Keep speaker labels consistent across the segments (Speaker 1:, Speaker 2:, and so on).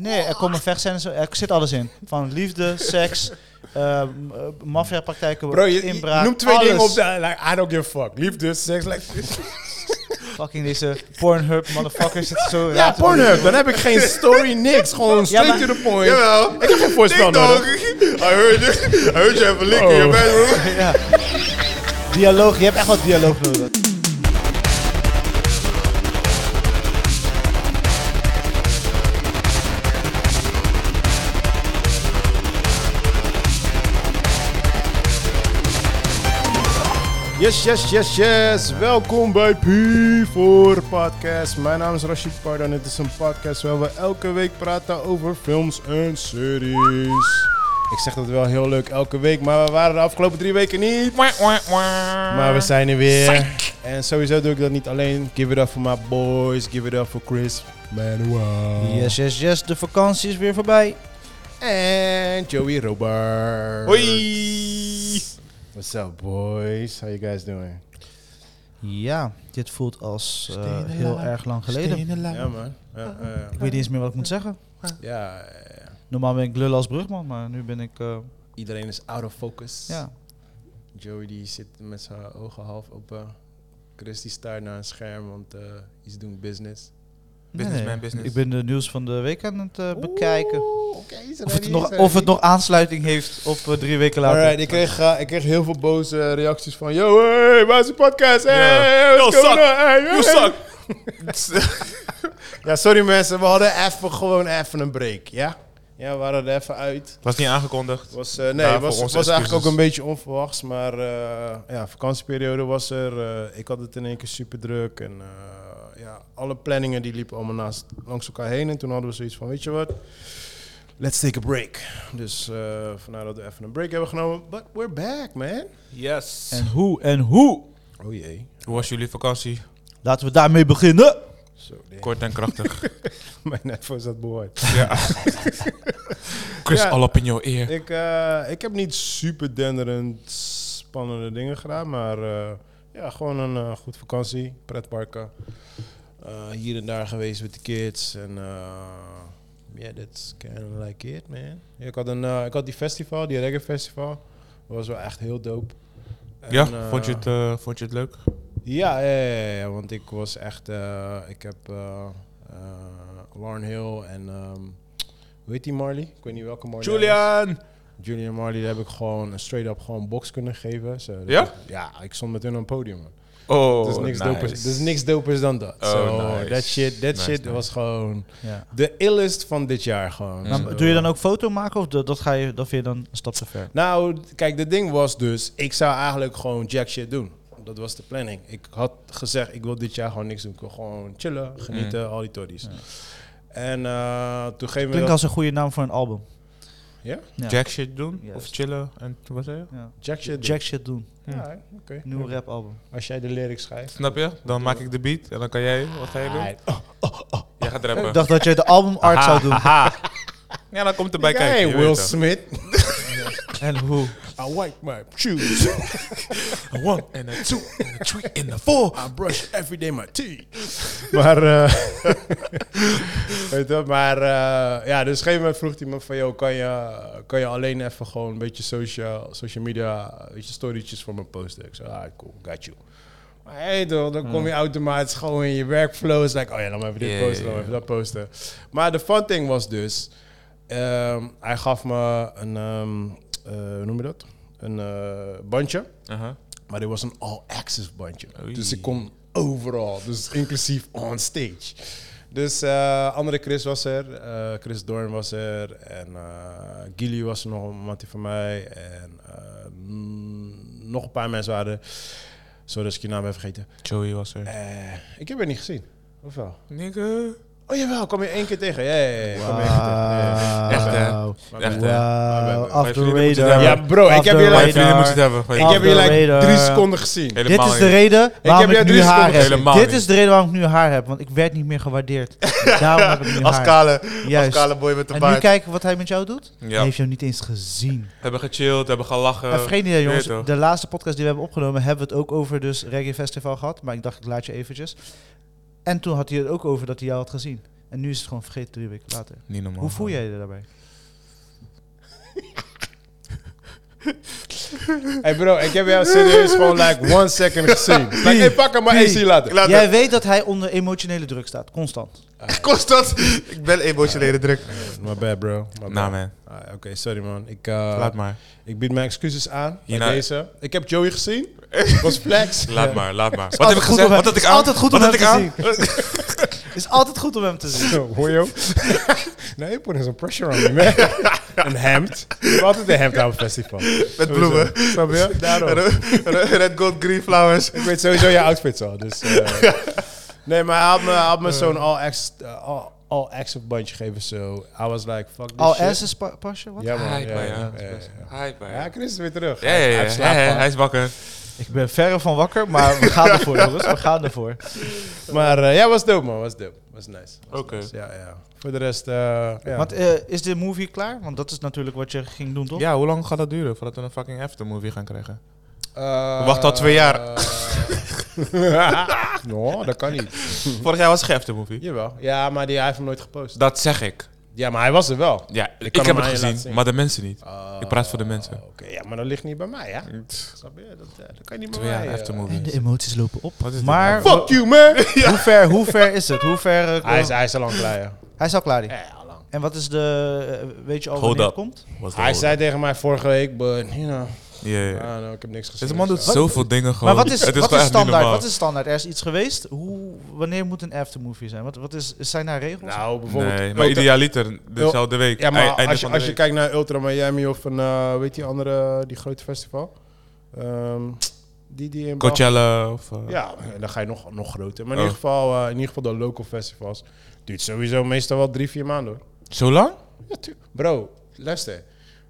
Speaker 1: Nee, er komen vechtscènes, er zit alles in. Van liefde, seks, eh maffiapraktijken,
Speaker 2: Bro, je, je
Speaker 1: inbraak.
Speaker 2: noemt twee
Speaker 1: alles.
Speaker 2: dingen op de... Like, I don't give a fuck. Liefde, seks, like...
Speaker 1: Fucking deze Pornhub, motherfuckers. Het is zo
Speaker 2: Ja,
Speaker 1: raar te doen.
Speaker 2: Pornhub. Dan heb ik geen story, niks. Gewoon straight
Speaker 1: maar-
Speaker 2: to the point.
Speaker 3: Jawel.
Speaker 2: Ik heb geen voorspel
Speaker 3: Ding dong.
Speaker 2: nodig.
Speaker 3: I heard you. I heard you have a lick in your
Speaker 2: Oh.
Speaker 3: bedroom.
Speaker 1: Ja. Dialoog, je hebt echt wat dialoog nodig.
Speaker 2: Yes, yes, yes, yes. Welkom bij P4 Podcast. Mijn naam is Rashid Pardo en dit is een podcast waar we elke week praten over films en series. Ik zeg dat wel heel leuk elke week, maar we waren de afgelopen drie weken niet. Maar we zijn er weer. En sowieso doe ik dat niet alleen. Give it up for my boys, give it up for Chris Manuel.
Speaker 1: Yes, yes, yes, de vakantie is weer voorbij.
Speaker 2: En Joey Robert.
Speaker 3: Hoi.
Speaker 2: What's up, boys? How you guys doing?
Speaker 1: Ja, dit voelt als eh,
Speaker 3: Stenen
Speaker 1: heel
Speaker 3: lang,
Speaker 1: erg lang geleden.
Speaker 2: Ja, man. Ja, ja,
Speaker 1: Ik weet niet eens meer wat ik moet zeggen.
Speaker 2: ja, ja.
Speaker 1: Normaal ben ik lul als brugman, maar nu ben ik... eh,
Speaker 2: Iedereen is out of focus.
Speaker 1: ja.
Speaker 2: Joey die zit met zijn ogen half open. Chris die staart naar een scherm, want eh is doing business.
Speaker 3: Business, man, business.
Speaker 1: Ik ben de nieuws van de week aan het eh, bekijken.
Speaker 2: Oeh, oké, is er
Speaker 1: Of
Speaker 2: een
Speaker 1: het, nog,
Speaker 2: is er
Speaker 1: of het
Speaker 2: een-
Speaker 1: nog aansluiting heeft op eh, drie weken later.
Speaker 2: Alright, ik kreeg, eh, ik kreeg heel veel boze reacties van... Yo, hey, waar is de podcast? Hey,
Speaker 3: Ja.
Speaker 2: what's
Speaker 3: Yo,
Speaker 2: going
Speaker 3: suck.
Speaker 2: on? Hey, hey."
Speaker 3: You suck.
Speaker 2: Ja, sorry mensen, we hadden even gewoon even een break, ja? Ja, we hadden er even uit.
Speaker 3: Was niet aangekondigd.
Speaker 2: Was, eh, nee,
Speaker 3: Daarvoor
Speaker 2: was, was
Speaker 3: onze
Speaker 2: eigenlijk ook
Speaker 3: excuses.
Speaker 2: een beetje onverwachts, maar eh, ja, vakantieperiode was er. eh, ik had het in één keer super druk en eh, ja, alle planningen die liepen allemaal naast, langs elkaar heen. En toen hadden we zoiets van, weet je wat, let's take a break. Dus eh vandaar dat we even een break hebben genomen, but we're back man.
Speaker 3: Yes.
Speaker 1: En hoe, en hoe?
Speaker 2: Oh jee.
Speaker 3: Hoe was jullie vakantie?
Speaker 1: Laten we daarmee beginnen.
Speaker 2: Zo, damn.
Speaker 3: Kort en krachtig.
Speaker 2: mijn netvo is dat behoord.
Speaker 3: ja. Chris,
Speaker 2: Ja.
Speaker 3: al op in jouw eer.
Speaker 2: Ik, eh, ik heb niet super denderend spannende dingen gedaan, maar eh, ja, gewoon een eh, goed vakantie, pretparken. Eh, hier en daar geweest met de kids en ja, yeah, that's kind of like it, man. Ja, ik, had een, eh, ik had die festival, die reggae festival, dat was wel echt heel dope. En,
Speaker 3: ja,
Speaker 2: eh,
Speaker 3: vond, je het, eh, vond je het leuk?
Speaker 2: ja, ja, ja, ja, ja, want ik was echt. eh, ik heb eh eh, Lauren Hill en. ehm, hoe heet die Marley? Ik weet niet welke Marley. hij is. Julian en Marley daar heb ik gewoon een straight up gewoon box kunnen geven. Zo, dat
Speaker 3: Ja?
Speaker 2: is- ja, ik stond met hun op een podium. Man.
Speaker 3: Oh,
Speaker 2: dus, niks
Speaker 3: nice.
Speaker 2: dopers, dus niks dopers dan dat.
Speaker 3: Oh,
Speaker 2: Zo,
Speaker 3: nice.
Speaker 2: That shit, that
Speaker 3: Nice,
Speaker 2: shit
Speaker 3: nice.
Speaker 2: was gewoon
Speaker 1: Ja.
Speaker 2: de illest van dit jaar gewoon.
Speaker 1: Nou,
Speaker 2: Zo.
Speaker 1: doe je dan ook foto maken of dat, dat, ga je, dat vind je dan een stap te ver?
Speaker 2: Nou, kijk, het ding was dus, ik zou eigenlijk gewoon jack shit doen. Dat was de planning. Ik had gezegd, ik wil dit jaar gewoon niks doen. Ik wil gewoon chillen, genieten, al die toddies. En eh toen geven we
Speaker 1: Klinkt
Speaker 2: dat-
Speaker 1: als een goede naam voor een album.
Speaker 2: Ja?
Speaker 1: Ja.
Speaker 3: Jack shit doen?
Speaker 1: Juist.
Speaker 3: Of chillen? En t- wat zei je?
Speaker 1: Ja.
Speaker 2: jack shit.
Speaker 1: Jack shit doen.
Speaker 2: Ja, oké.
Speaker 1: Nieuw rap album.
Speaker 2: Als jij de lyrics schrijft. Oh,
Speaker 3: Snap je? Dan maak ik de beat en dan kan jij, wat ga je doen? Jij gaat
Speaker 1: Ik
Speaker 3: rappen.
Speaker 1: dacht dat jij de album art zou doen.
Speaker 3: Ja, dan komt erbij kijken.
Speaker 2: hey,
Speaker 3: je weet
Speaker 2: Will
Speaker 3: toch.
Speaker 2: Smith.
Speaker 1: En hoe?
Speaker 2: I wipe my shoes.
Speaker 3: A one and a two and a three and a four.
Speaker 2: I brush every day my teeth. Maar, eh, weet je, wel, maar eh, ja, dus op een gegeven moment vroeg hij me van, joh, kan je, kan je alleen even gewoon een beetje social, social media, weet je, storytjes voor me posten? Ik zei, ah, cool, got you. Maar hey, toch, dan kom je automatisch gewoon in je workflow. Is like, oh ja, laat maar even dit
Speaker 3: Hmm. Ja,
Speaker 2: posten, laat
Speaker 3: ja,
Speaker 2: maar
Speaker 3: ja.
Speaker 2: even dat posten. Maar de fun thing was dus, ehm, hij gaf me een, ehm, eh, hoe noem je dat? Een eh, bandje.
Speaker 3: Aha.
Speaker 2: Maar dit was een all-access bandje.
Speaker 3: Oei.
Speaker 2: Dus ik kon overal. Dus inclusief on stage. Dus eh, andere Chris was er. eh, Chris Doorn was er. En eh Gilly was er nog een mattie van mij. En eh, mm, nog een paar mensen waren er. Sorry dat ik je naam heb vergeten.
Speaker 3: Joey was er.
Speaker 2: Eh, ik heb het niet gezien. Of wel?
Speaker 3: Nigga.
Speaker 2: Oh jawel, ik kwam je één keer tegen. Ja, ja, ja. ik kwam je één keer tegen. Ja, ja.
Speaker 3: Echt, hè?
Speaker 1: Wauw.
Speaker 3: Echt, hè?
Speaker 1: Wauw.
Speaker 2: Wij
Speaker 1: After
Speaker 3: vrienden moeten
Speaker 1: radar.
Speaker 2: Ja, bro, ik
Speaker 1: After
Speaker 2: heb je
Speaker 3: Mijn
Speaker 1: radar.
Speaker 3: vrienden moeten het hebben. Weet je.
Speaker 2: Ik heb je
Speaker 1: After
Speaker 2: like
Speaker 1: radar.
Speaker 2: drie seconden gezien.
Speaker 3: Helemaal
Speaker 1: Dit is de
Speaker 3: niet.
Speaker 1: reden waarom
Speaker 2: heb
Speaker 1: ik,
Speaker 2: jou
Speaker 1: nu
Speaker 2: drie
Speaker 1: haar
Speaker 2: seconden
Speaker 1: heb.
Speaker 3: Helemaal
Speaker 1: Dit
Speaker 3: niet.
Speaker 1: is de reden waarom ik nu haar heb, want ik werd niet meer gewaardeerd. Daarom heb ik nu
Speaker 3: Als
Speaker 1: haar.
Speaker 3: kale,
Speaker 1: Juist.
Speaker 3: kale boy met de
Speaker 1: En nu
Speaker 3: baard.
Speaker 1: kijken wat hij met jou doet.
Speaker 3: Ja.
Speaker 1: Hij heeft jou niet eens gezien.
Speaker 3: We hebben gechilled, we hebben gelachen.
Speaker 1: en vergeet niet, hè, jongens,
Speaker 3: je weet toch.
Speaker 1: de laatste podcast die we hebben opgenomen, hebben we het ook over dus Reggae Festival gehad. Maar ik dacht, ik laat je eventjes. En toen had hij het ook over dat hij jou had gezien. En nu is het gewoon vergeten drie weken later.
Speaker 4: Niet normaal.
Speaker 1: Hoe voel jij je daarbij?
Speaker 2: Hey bro, ik heb jou serieus gewoon like one second gezien. Like, hey, pak hem maar
Speaker 1: Pie.
Speaker 2: AC later.
Speaker 5: Laat
Speaker 1: Jij weet dat hij onder emotionele druk staat, constant.
Speaker 5: Constant. Ik ben emotionele druk.
Speaker 2: My bad bro. My bad.
Speaker 4: Nou man,
Speaker 2: Ah, Oké, sorry man. Ik, eh,
Speaker 4: laat maar.
Speaker 2: ik bied mijn excuses aan bij
Speaker 4: Hierna-
Speaker 2: deze. Ik heb Joey gezien. Was flex.
Speaker 4: Laat maar, laat maar. Wat heb ik
Speaker 1: Altijd goed om
Speaker 4: gezegd?
Speaker 1: hem-
Speaker 4: Wat had ik
Speaker 1: is
Speaker 4: aan?
Speaker 1: Altijd goed om
Speaker 4: Wat
Speaker 1: hem
Speaker 4: had ik
Speaker 1: te
Speaker 4: aan?
Speaker 1: zien. is altijd goed om hem te zien.
Speaker 2: Zo, Hoor je ook? Nee, you're putting some pressure on me, man. Een hemd. Ik heb altijd een hemd aan op het festival.
Speaker 5: Met bloemen.
Speaker 2: Snap je? Daarom.
Speaker 5: Red, gold, green flowers.
Speaker 2: Ik weet sowieso je outfits al, dus... eh. nee, maar hij had me, hij had me zo'n all-ex eh, all, all of bandje gegeven, so I was like, fuck this
Speaker 3: Oh,
Speaker 1: Al
Speaker 2: shit.
Speaker 1: S is pa- pasje? Wat?
Speaker 2: Ja, man.
Speaker 4: Hype,
Speaker 2: Ja,
Speaker 4: man,
Speaker 2: ja,
Speaker 4: ja.
Speaker 2: ja, ja.
Speaker 4: Hi, man.
Speaker 2: Ja,
Speaker 4: Ja,
Speaker 2: Chris is weer terug.
Speaker 4: ja, ja.
Speaker 2: Hij
Speaker 4: ja,
Speaker 2: slaapt
Speaker 4: ja,
Speaker 2: al.
Speaker 4: Hij is wakker.
Speaker 1: Ik ben verre van wakker, maar we gaan ervoor, jongens. We gaan ervoor.
Speaker 2: Maar eh, ja, was dope, man. Was dope. Was nice. Was
Speaker 4: Oké.
Speaker 2: nice. Ja, ja. Voor de rest, eh ja.
Speaker 1: Want eh, is de movie klaar? Want dat is natuurlijk wat je ging doen, toch?
Speaker 4: Ja, hoe lang gaat dat duren voordat we een fucking aftermovie gaan krijgen?
Speaker 2: Eh,
Speaker 5: Wacht al twee jaar.
Speaker 2: eh, no, dat kan niet.
Speaker 4: Vorig jaar was er geen aftermovie.
Speaker 2: Jawel. Ja, maar die, hij heeft hem nooit gepost.
Speaker 4: Dat zeg ik.
Speaker 2: Ja, maar hij was er wel.
Speaker 4: Ja, ik,
Speaker 2: kan hem
Speaker 4: heb
Speaker 2: aan
Speaker 4: het
Speaker 2: je laten zien.
Speaker 4: gezien, maar de mensen
Speaker 5: Ah.
Speaker 4: niet.
Speaker 2: Eh,
Speaker 4: Ik praat voor de mensen.
Speaker 2: Oké, ja, maar dat ligt niet bij mij, ja. Snap je? Dat, eh, dat kan niet bij
Speaker 4: Twee
Speaker 2: mij.
Speaker 4: jaar
Speaker 2: eh.
Speaker 1: En de
Speaker 4: aftermovie.
Speaker 1: emoties lopen op.
Speaker 4: Wat is dit
Speaker 1: Maar
Speaker 4: nou?
Speaker 2: Fuck you, man!
Speaker 1: hoe, ver, hoe ver is het? Hoe ver, eh,
Speaker 2: hij, is, hij is al lang klaar, ja.
Speaker 1: hij is al klaar. die.
Speaker 2: Ja, ja, al lang.
Speaker 1: En wat is de... eh, Weet je al
Speaker 4: Hold
Speaker 1: wanneer
Speaker 4: up.
Speaker 1: het komt?
Speaker 2: Hij zei tegen mij vorige week, but, you know,
Speaker 4: Ja, ja,
Speaker 2: I
Speaker 1: Ah.
Speaker 4: ja.
Speaker 2: don't know, ik heb niks gezien.
Speaker 4: Deze man doet
Speaker 2: of zo.
Speaker 4: zoveel dingen gewoon.
Speaker 1: Maar wat is,
Speaker 4: Het
Speaker 1: wat
Speaker 4: gewoon
Speaker 1: is
Speaker 4: echt niet
Speaker 1: standaard?
Speaker 4: normaal.
Speaker 1: Wat is standaard? Er is iets geweest. Hoe, wanneer moet een aftermovie zijn? Wat, wat is, zijn daar regels?
Speaker 2: Nou, bijvoorbeeld...
Speaker 4: Nee, maar idealiter dezelfde week.
Speaker 2: Ja, maar
Speaker 4: ei- einde
Speaker 2: als, je,
Speaker 4: van de
Speaker 2: als je
Speaker 4: week.
Speaker 2: kijkt naar Ultra Miami of een, eh, weet je, andere, die grote festival. Ehm, die, die in België-
Speaker 4: Coachella of... eh,
Speaker 2: Ja, dan ga je nog, nog groter. Maar in,
Speaker 4: Oh.
Speaker 2: ieder geval, eh, in ieder geval de local festivals. Duurt sowieso meestal wel drie, vier maanden hoor.
Speaker 4: Zo lang?
Speaker 2: Ja, tu- Bro, luister.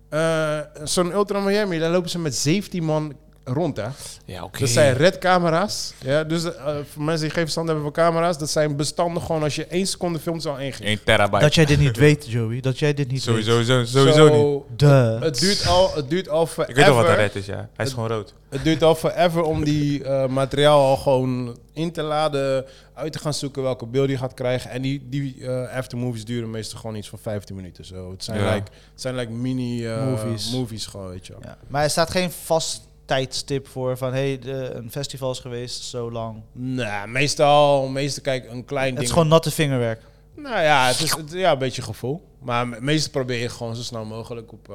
Speaker 2: Eh, Zo'n Ultra Miami, daar lopen ze met 17 man rond hè.
Speaker 4: Ja, oké.
Speaker 2: Dat zijn redcamera's. Ja, dus eh, voor mensen die geen verstand hebben van camera's, dat zijn bestanden gewoon als je één seconde filmt, zal één
Speaker 4: 1 terabyte.
Speaker 1: Dat jij dit niet weet, Joey. Dat jij dit niet weet.
Speaker 4: Sowieso, sowieso, sowieso niet.
Speaker 1: De.
Speaker 2: Het duurt al, het duurt al forever.
Speaker 4: Ik weet nog wat dat red is, ja. Hij is gewoon rood.
Speaker 2: Het duurt al forever om die eh, materiaal al gewoon in te laden, uit te gaan zoeken welke beelden je gaat krijgen. En die, die eh, aftermovies duren meestal gewoon iets van 15 minuten. Zo. Het zijn
Speaker 4: Ja.
Speaker 2: like, het zijn like mini eh, movies.
Speaker 1: Movies.
Speaker 2: gewoon, weet je wel.
Speaker 1: Ja. Maar er staat geen vast tijdstip voor van hey, de, een festival is geweest zo lang.
Speaker 2: Nou, meestal, meestal kijk een klein ding.
Speaker 1: Het is gewoon natte vingerwerk.
Speaker 2: Nou ja, het is het- ja, een beetje gevoel. Maar me- meestal probeer je gewoon zo snel mogelijk op, eh,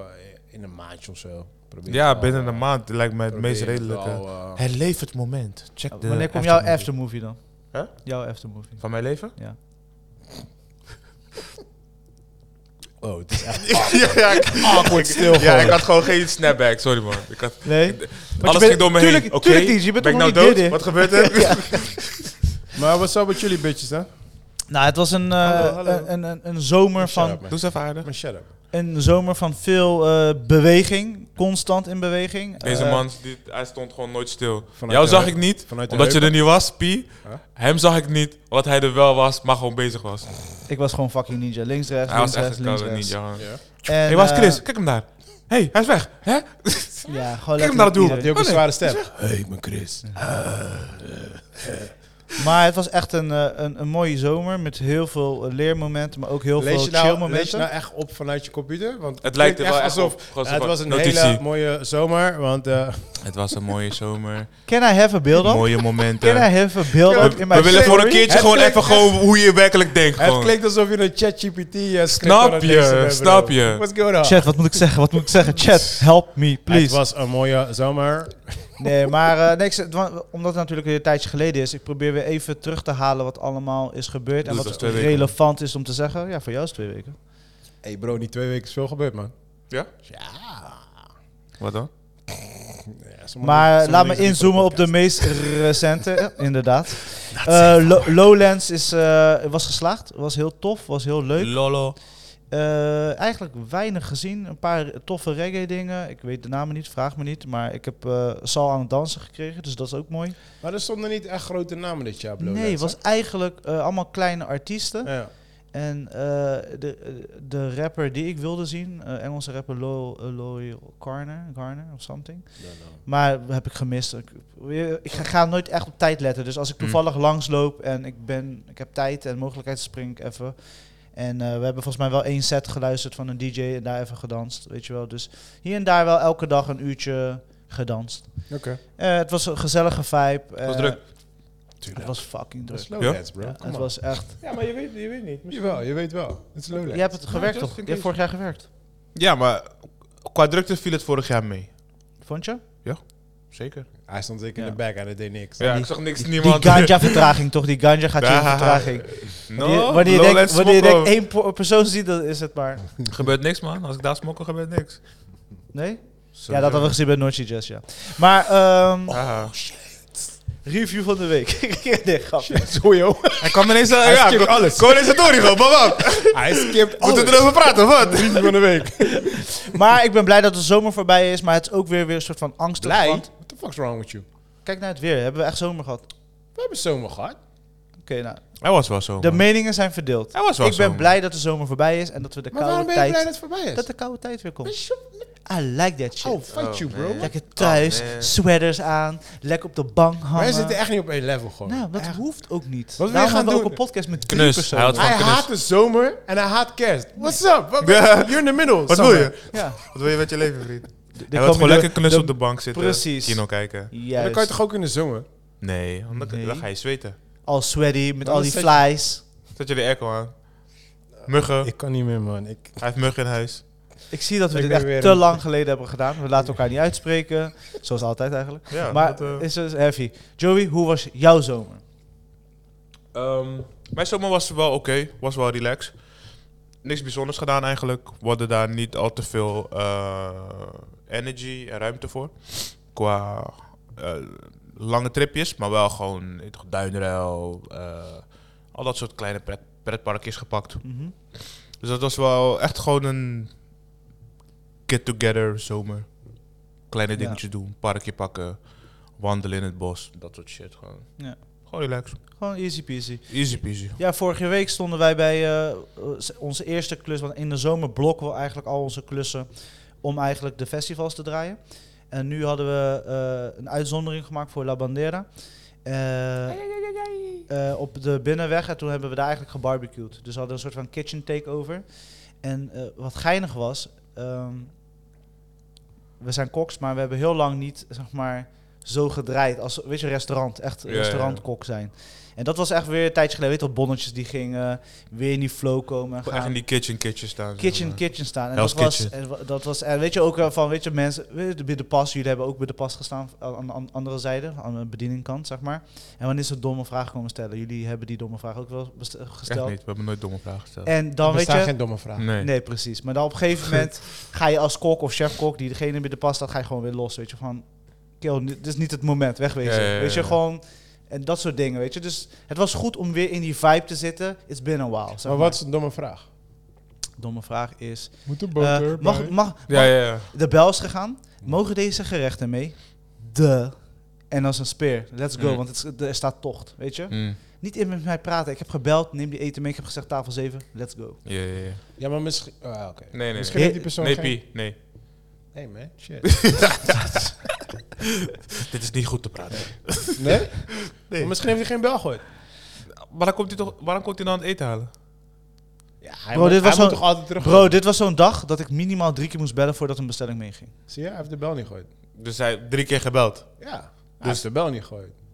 Speaker 2: in een maandje of zo. Probeer je
Speaker 4: Ja,
Speaker 2: wel,
Speaker 4: binnen
Speaker 2: eh,
Speaker 4: een maand lijkt mij het
Speaker 2: probeer
Speaker 4: meest
Speaker 2: je wel,
Speaker 4: redelijke.
Speaker 2: eh,
Speaker 4: Herleef het moment. Check de
Speaker 1: Wanneer komt jouw aftermovie dan?
Speaker 4: Hè?
Speaker 1: Jouw aftermovie.
Speaker 4: Van mijn leven?
Speaker 2: oh, het is echt
Speaker 5: ja, ja, ik,
Speaker 4: Ah,
Speaker 2: awkward stil
Speaker 5: ja,
Speaker 2: gewoon.
Speaker 5: ik had gewoon geen...
Speaker 4: Geen snapback, sorry man. Ik had,
Speaker 1: Nee?
Speaker 4: alles ging door me heen. Oké,
Speaker 1: Tuurlijk niet, je bent
Speaker 4: ben ik
Speaker 1: nog
Speaker 4: nou
Speaker 1: niet
Speaker 4: dood?
Speaker 1: dit, hè?
Speaker 4: Wat gebeurt er?
Speaker 2: Maar what's up met jullie bitches, hè?
Speaker 1: Nou, het was een, eh,
Speaker 2: Hallo, hallo.
Speaker 1: Een, een, een- een zomer
Speaker 2: Shut
Speaker 1: van,
Speaker 2: up, man.
Speaker 4: Doe ze even aardig.
Speaker 2: Maar shut up.
Speaker 1: een zomer van veel eh, beweging. Constant in beweging.
Speaker 4: Deze
Speaker 1: Eh,
Speaker 4: man, die- hij stond gewoon nooit stil.
Speaker 2: Vanuit
Speaker 4: Jou
Speaker 2: de
Speaker 4: zag
Speaker 2: heup.
Speaker 4: ik niet,
Speaker 2: Vanuit de
Speaker 4: omdat je
Speaker 2: heup.
Speaker 4: er niet was, Pi.
Speaker 2: Huh?
Speaker 4: Hem zag ik niet, omdat hij er wel was, maar gewoon bezig was.
Speaker 1: Ik was gewoon fucking ninja. Links, rechts,
Speaker 4: Hij was
Speaker 1: links, rechts,
Speaker 4: echt een
Speaker 1: links,
Speaker 4: koude
Speaker 1: rechts.
Speaker 4: ninja. man.
Speaker 2: Ja.
Speaker 1: En,
Speaker 4: Hé, waar is
Speaker 1: eh,
Speaker 4: Chris? Kijk hem daar. Hé, hey, hij is weg. Hè?
Speaker 1: Ja, gewoon
Speaker 4: Kijk hem
Speaker 1: lekker
Speaker 4: naar het doel.
Speaker 1: iedereen.
Speaker 2: Had hij ook een
Speaker 4: Oh,
Speaker 2: zware
Speaker 4: nee.
Speaker 2: stem? Hey, ik ben Chris.
Speaker 1: Maar het was echt een, eh, een, een mooie zomer met heel veel eh, leermomenten, maar ook heel
Speaker 2: Lees
Speaker 1: veel
Speaker 2: je,
Speaker 1: chill
Speaker 2: nou, lees je
Speaker 1: momenten.
Speaker 2: nou echt op vanuit je computer? Want
Speaker 4: Het lijkt er
Speaker 2: klinkt
Speaker 4: wel
Speaker 2: echt
Speaker 4: echt
Speaker 2: alsof...
Speaker 4: op. Gewoon
Speaker 2: Ja,
Speaker 4: zo
Speaker 2: het
Speaker 4: van
Speaker 2: was een
Speaker 4: notitie.
Speaker 2: hele mooie zomer, want... eh,
Speaker 4: Het was een mooie zomer.
Speaker 1: Can I have a beeld up?
Speaker 4: mooie
Speaker 1: Can I
Speaker 4: momenten.
Speaker 1: have a beeld
Speaker 2: Can I-
Speaker 1: up
Speaker 4: We,
Speaker 1: in
Speaker 4: we
Speaker 1: my
Speaker 4: willen gewoon een
Speaker 1: story?
Speaker 4: keertje
Speaker 2: Het
Speaker 4: gewoon
Speaker 2: klinkt
Speaker 4: even gewoon hoe je werkelijk denkt.
Speaker 2: het
Speaker 4: Gewoon.
Speaker 2: klinkt alsof je een ChatGPT eh, script
Speaker 4: Snap
Speaker 2: aan het
Speaker 4: je,
Speaker 2: lezen bent,
Speaker 4: snap
Speaker 2: bro.
Speaker 4: je.
Speaker 2: What's going on?
Speaker 1: Chat, wat moet ik zeggen? Wat moet ik zeggen? Chat, help me,
Speaker 2: Het
Speaker 1: please.
Speaker 2: was een mooie zomer.
Speaker 1: Nee, maar eh, nee, ik zeg- wa- omdat het natuurlijk weer een tijdje geleden is, ik probeer weer even terug te halen wat allemaal is gebeurd en
Speaker 4: Dus dat
Speaker 1: wat
Speaker 4: is twee weken.
Speaker 1: relevant is om te zeggen. Ja, voor jou is twee weken.
Speaker 2: hey bro, die twee weken is veel gebeurd, man.
Speaker 4: Ja?
Speaker 2: Ja.
Speaker 4: Wat dan?
Speaker 2: Ja, sommige-
Speaker 1: Maar
Speaker 2: sommige
Speaker 1: laat me
Speaker 2: dingen
Speaker 1: inzoomen op de
Speaker 2: podcast.
Speaker 1: meest recente, eh, inderdaad. Eh, Lo- Lowlands is, eh, was geslaagd, was heel tof, was heel leuk.
Speaker 4: Lolo.
Speaker 1: Eh, eigenlijk weinig gezien. Een paar toffe reggae dingen. Ik weet de namen niet, vraag me niet. Maar ik heb eh, Sal aan het dansen gekregen, dus dat is ook mooi.
Speaker 2: Maar er stonden niet echt grote namen dit jaar, bro.
Speaker 1: nee, het was eigenlijk eh, allemaal kleine artiesten.
Speaker 2: Ja.
Speaker 1: En eh, de, de rapper die ik wilde zien, eh, Engelse rapper Lo- eh, Loyal Garner, Garner of something. Maar heb ik gemist. Ik, ik ga- ga nooit echt op tijd letten. Dus als ik
Speaker 4: Mm.
Speaker 1: toevallig langsloop en ik, ben, ik heb tijd en mogelijkheid, spring ik even. En eh, we hebben volgens mij wel één set geluisterd van een DJ en daar even gedanst. Weet je wel. Dus hier en daar wel elke dag een uurtje gedanst.
Speaker 2: Oké.
Speaker 1: Eh, het was een gezellige vibe.
Speaker 4: was
Speaker 1: eh,
Speaker 4: druk.
Speaker 1: Het
Speaker 2: Tuurlijk.
Speaker 1: was fucking
Speaker 2: Dat is
Speaker 1: druk.
Speaker 2: low
Speaker 4: Ja?
Speaker 2: dance, bro.
Speaker 1: Ja,
Speaker 2: Kom
Speaker 1: het
Speaker 2: op.
Speaker 1: was echt.
Speaker 3: Ja, maar je weet, je weet niet.
Speaker 2: Jawel, je weet wel. Het is low
Speaker 1: Je hebt het gewerkt
Speaker 3: just
Speaker 1: toch?
Speaker 3: in
Speaker 1: Je hebt
Speaker 3: case.
Speaker 1: vorig jaar gewerkt.
Speaker 4: Ja, maar qua drukte viel het vorig jaar mee.
Speaker 1: Vond je?
Speaker 4: Zeker.
Speaker 2: Hij stond zeker
Speaker 1: Ja.
Speaker 2: in de back en hij deed niks.
Speaker 4: Ja,
Speaker 1: Die-
Speaker 4: ik zag niks,
Speaker 1: Die,
Speaker 4: niemand.
Speaker 1: die ganja-vertraging toch? Die ganja gaat je in
Speaker 4: Ah,
Speaker 1: vertraging.
Speaker 4: No,
Speaker 1: Die- wanneer je denkt,
Speaker 4: lowlands
Speaker 1: wanneer je
Speaker 4: smokkel.
Speaker 1: denkt één po- persoon ziet, dan is het maar.
Speaker 4: Gebeurt niks, man. Als ik daar smokkel, gebeurt niks.
Speaker 1: Nee? Ja, dat hadden we gezien bij Noordje Jazz, ja. Maar, ehm,
Speaker 4: Ah.
Speaker 1: review van de week. nee, grapje.
Speaker 2: Zo joh.
Speaker 4: Hij kwam ineens... eh,
Speaker 2: Hij
Speaker 4: ja,
Speaker 2: skipt
Speaker 4: kom-
Speaker 2: alles.
Speaker 4: Kom ineens het Torigo, bam, bam.
Speaker 2: Hij skipt
Speaker 4: Moeten
Speaker 1: Oh.
Speaker 4: we
Speaker 2: alles.
Speaker 4: erover praten, of wat?
Speaker 2: Review van de week.
Speaker 1: Maar ik ben blij dat de zomer voorbij is, maar het is ook weer, weer een soort van angst.
Speaker 2: Blij? What the fuck's wrong with you?
Speaker 1: Kijk naar het weer. Hebben we echt zomer gehad? Oké,
Speaker 2: We hebben zomer gehad.
Speaker 1: nou.
Speaker 4: Hij was wel zo,
Speaker 1: De
Speaker 4: man.
Speaker 1: meningen zijn verdeeld.
Speaker 4: Hij was wel
Speaker 1: Ik ben
Speaker 4: zo,
Speaker 1: blij dat de zomer voorbij is en dat we de
Speaker 2: Maar waarom
Speaker 1: koude
Speaker 2: ben je blij dat
Speaker 1: tijd...
Speaker 2: het voorbij is?
Speaker 1: Dat de koude tijd weer komt. I like that shit.
Speaker 2: Oh, fight
Speaker 4: Oh,
Speaker 2: you, bro.
Speaker 4: man.
Speaker 2: Wij
Speaker 1: Lekker thuis,
Speaker 4: man.
Speaker 1: sweaters aan, lekker op de bank hangen.
Speaker 2: zitten echt niet op één level gewoon.
Speaker 1: Nou, dat
Speaker 2: Echt.
Speaker 1: hoeft ook niet.
Speaker 2: wil je
Speaker 1: Daarom
Speaker 2: gaan
Speaker 1: hebben we
Speaker 2: doen?
Speaker 1: ook een podcast met drie
Speaker 4: Knus,
Speaker 1: personen.
Speaker 4: hij had-
Speaker 2: Hij
Speaker 4: Van kennis.
Speaker 2: haat de zomer en hij haat kerst. What's up? Wat-
Speaker 4: Ja.
Speaker 2: You're in the middle.
Speaker 4: Wat wil
Speaker 2: somewhere.
Speaker 4: je?
Speaker 1: Ja,
Speaker 4: Wat wil je met je leven, vriend?
Speaker 1: er
Speaker 4: Hij
Speaker 1: komen
Speaker 4: wil
Speaker 1: de-
Speaker 4: gewoon lekker knus
Speaker 1: de-
Speaker 4: op de bank zitten.
Speaker 1: Precies.
Speaker 4: Kino kijken.
Speaker 2: Maar
Speaker 1: Juist.
Speaker 2: dan kan je toch ook in de zomer?
Speaker 4: Nee, want dan-
Speaker 1: Nee.
Speaker 4: dan ga je zweten.
Speaker 1: Al sweaty, met
Speaker 2: Dan
Speaker 1: al die
Speaker 2: zet
Speaker 1: flies.
Speaker 4: Zet je de airco aan.
Speaker 1: Eh,
Speaker 4: Muggen.
Speaker 2: Ik kan niet meer, man. Ik,
Speaker 4: Hij heeft muggen in huis.
Speaker 1: Ik zie dat we
Speaker 2: Ik
Speaker 1: dit
Speaker 2: ben
Speaker 1: echt
Speaker 2: weer
Speaker 1: te
Speaker 2: een-
Speaker 1: lang geleden hebben gedaan. We laten elkaar niet uitspreken. Zoals altijd eigenlijk.
Speaker 4: Ja,
Speaker 1: maar
Speaker 4: dat, eh,
Speaker 1: is dus heavy. Joey, hoe was jouw zomer?
Speaker 4: Ehm, mijn zomer was wel oké, was wel relaxed. Niks bijzonders gedaan eigenlijk. We hadden daar niet al te veel eh, energy en ruimte voor. Qua eh, lange tripjes, maar wel gewoon eh, toch duinruil. eh, al dat soort kleine pret, pretparkjes gepakt.
Speaker 1: Mhm.
Speaker 4: Dus dat was wel echt gewoon een get-together zomer. Kleine
Speaker 1: Ja.
Speaker 4: dingetjes doen, parkje pakken, wandelen in het bos, dat soort shit. Gewoon,
Speaker 1: Ja.
Speaker 4: gewoon relaxed.
Speaker 1: Gewoon easy peasy.
Speaker 4: Easy peasy.
Speaker 1: Ja, vorige week stonden wij bij eh, eh, onze eerste klus. Want in de zomer blokken we eigenlijk al onze klussen om eigenlijk de festivals te draaien. En nu hadden we eh, een uitzondering gemaakt voor La Bandera. Eh, eh, op de binnenweg. En toen hebben we daar eigenlijk gebarbecued. Dus we hadden een soort van kitchen takeover. En eh, wat geinig was... ehm, we zijn koks, maar we hebben heel lang niet, zeg maar, zo gedraaid. Als, weet je, restaurant. Echt
Speaker 4: Ja, ja, ja.
Speaker 1: restaurantkok zijn. En dat was echt weer een tijdje geleden. Weet je, wel, bonnetjes die gingen eh, weer in die flow komen. En
Speaker 4: Echt in
Speaker 1: gaan.
Speaker 4: die kitchen kitchen staan. zeg
Speaker 1: Kitchen,
Speaker 4: maar.
Speaker 1: kitchen staan. En
Speaker 4: Hell's
Speaker 1: dat was,
Speaker 4: Kitchen.
Speaker 1: en wa- dat was, en weet je ook wel van, weet je, mensen, weet je, bij de pas, jullie hebben ook bij de pas gestaan aan de an- andere zijde, aan de bedieningkant, zeg maar. En wanneer ze domme vragen komen stellen, jullie hebben die domme vraag ook wel best-
Speaker 4: Echt
Speaker 1: gesteld.
Speaker 4: niet, we hebben nooit domme vragen gesteld.
Speaker 1: En dan
Speaker 2: er
Speaker 1: weet
Speaker 2: bestaan
Speaker 1: je,
Speaker 2: geen domme vragen.
Speaker 4: Nee.
Speaker 1: Nee, precies. Maar dan op een gegeven moment ga je als kok of chef-kok, die degene bij de pas staat, ga je gewoon weer los. Weet je, van, kill, dit is niet het moment, wegwezen.
Speaker 4: Ja, ja, ja,
Speaker 1: Weet je,
Speaker 4: ja.
Speaker 1: gewoon, en dat soort dingen, weet je. Dus het was goed om weer in die vibe te zitten. It's been a while. zeg
Speaker 2: Maar wat is een domme vraag?
Speaker 1: Domme vraag is,
Speaker 2: Moet de
Speaker 1: eh,
Speaker 2: boter
Speaker 1: mag, mag,
Speaker 4: Ja, ja, ja.
Speaker 1: de bel is gegaan. Mogen deze gerechten mee? De. En als een speer. Let's go,
Speaker 4: Mm.
Speaker 1: want het, is- er staat tocht, weet je.
Speaker 4: Mm.
Speaker 1: Niet in met mij praten. Ik heb gebeld, neem die eten mee. Ik heb gezegd tafel 7, let's go.
Speaker 4: Ja, ja, ja.
Speaker 2: Ja, maar misschien... Ah, oké.
Speaker 4: Nee, nee, nee.
Speaker 2: Misschien heeft die persoon
Speaker 4: Nee,
Speaker 2: geen-
Speaker 4: Pie, nee.
Speaker 2: Nee, man. Shit.
Speaker 4: Dit is niet goed te praten.
Speaker 2: Nee?
Speaker 4: Nee.
Speaker 2: Maar misschien heeft hij geen bel gehoord.
Speaker 4: Maar dan komt hij toch, waarom komt hij dan aan het eten halen?
Speaker 2: Ja, hij
Speaker 1: Bro,
Speaker 2: moet,
Speaker 1: dit was
Speaker 2: hij moet
Speaker 1: zo'n-
Speaker 2: toch altijd terug...
Speaker 1: Bro, dit was zo'n dag dat ik minimaal drie keer moest bellen voordat een bestelling meeging.
Speaker 2: Zie je, hij heeft de bel niet gehoord.
Speaker 4: Dus hij heeft drie keer gebeld.
Speaker 2: Ja, hij heeft de bel niet gehoord.
Speaker 4: Dus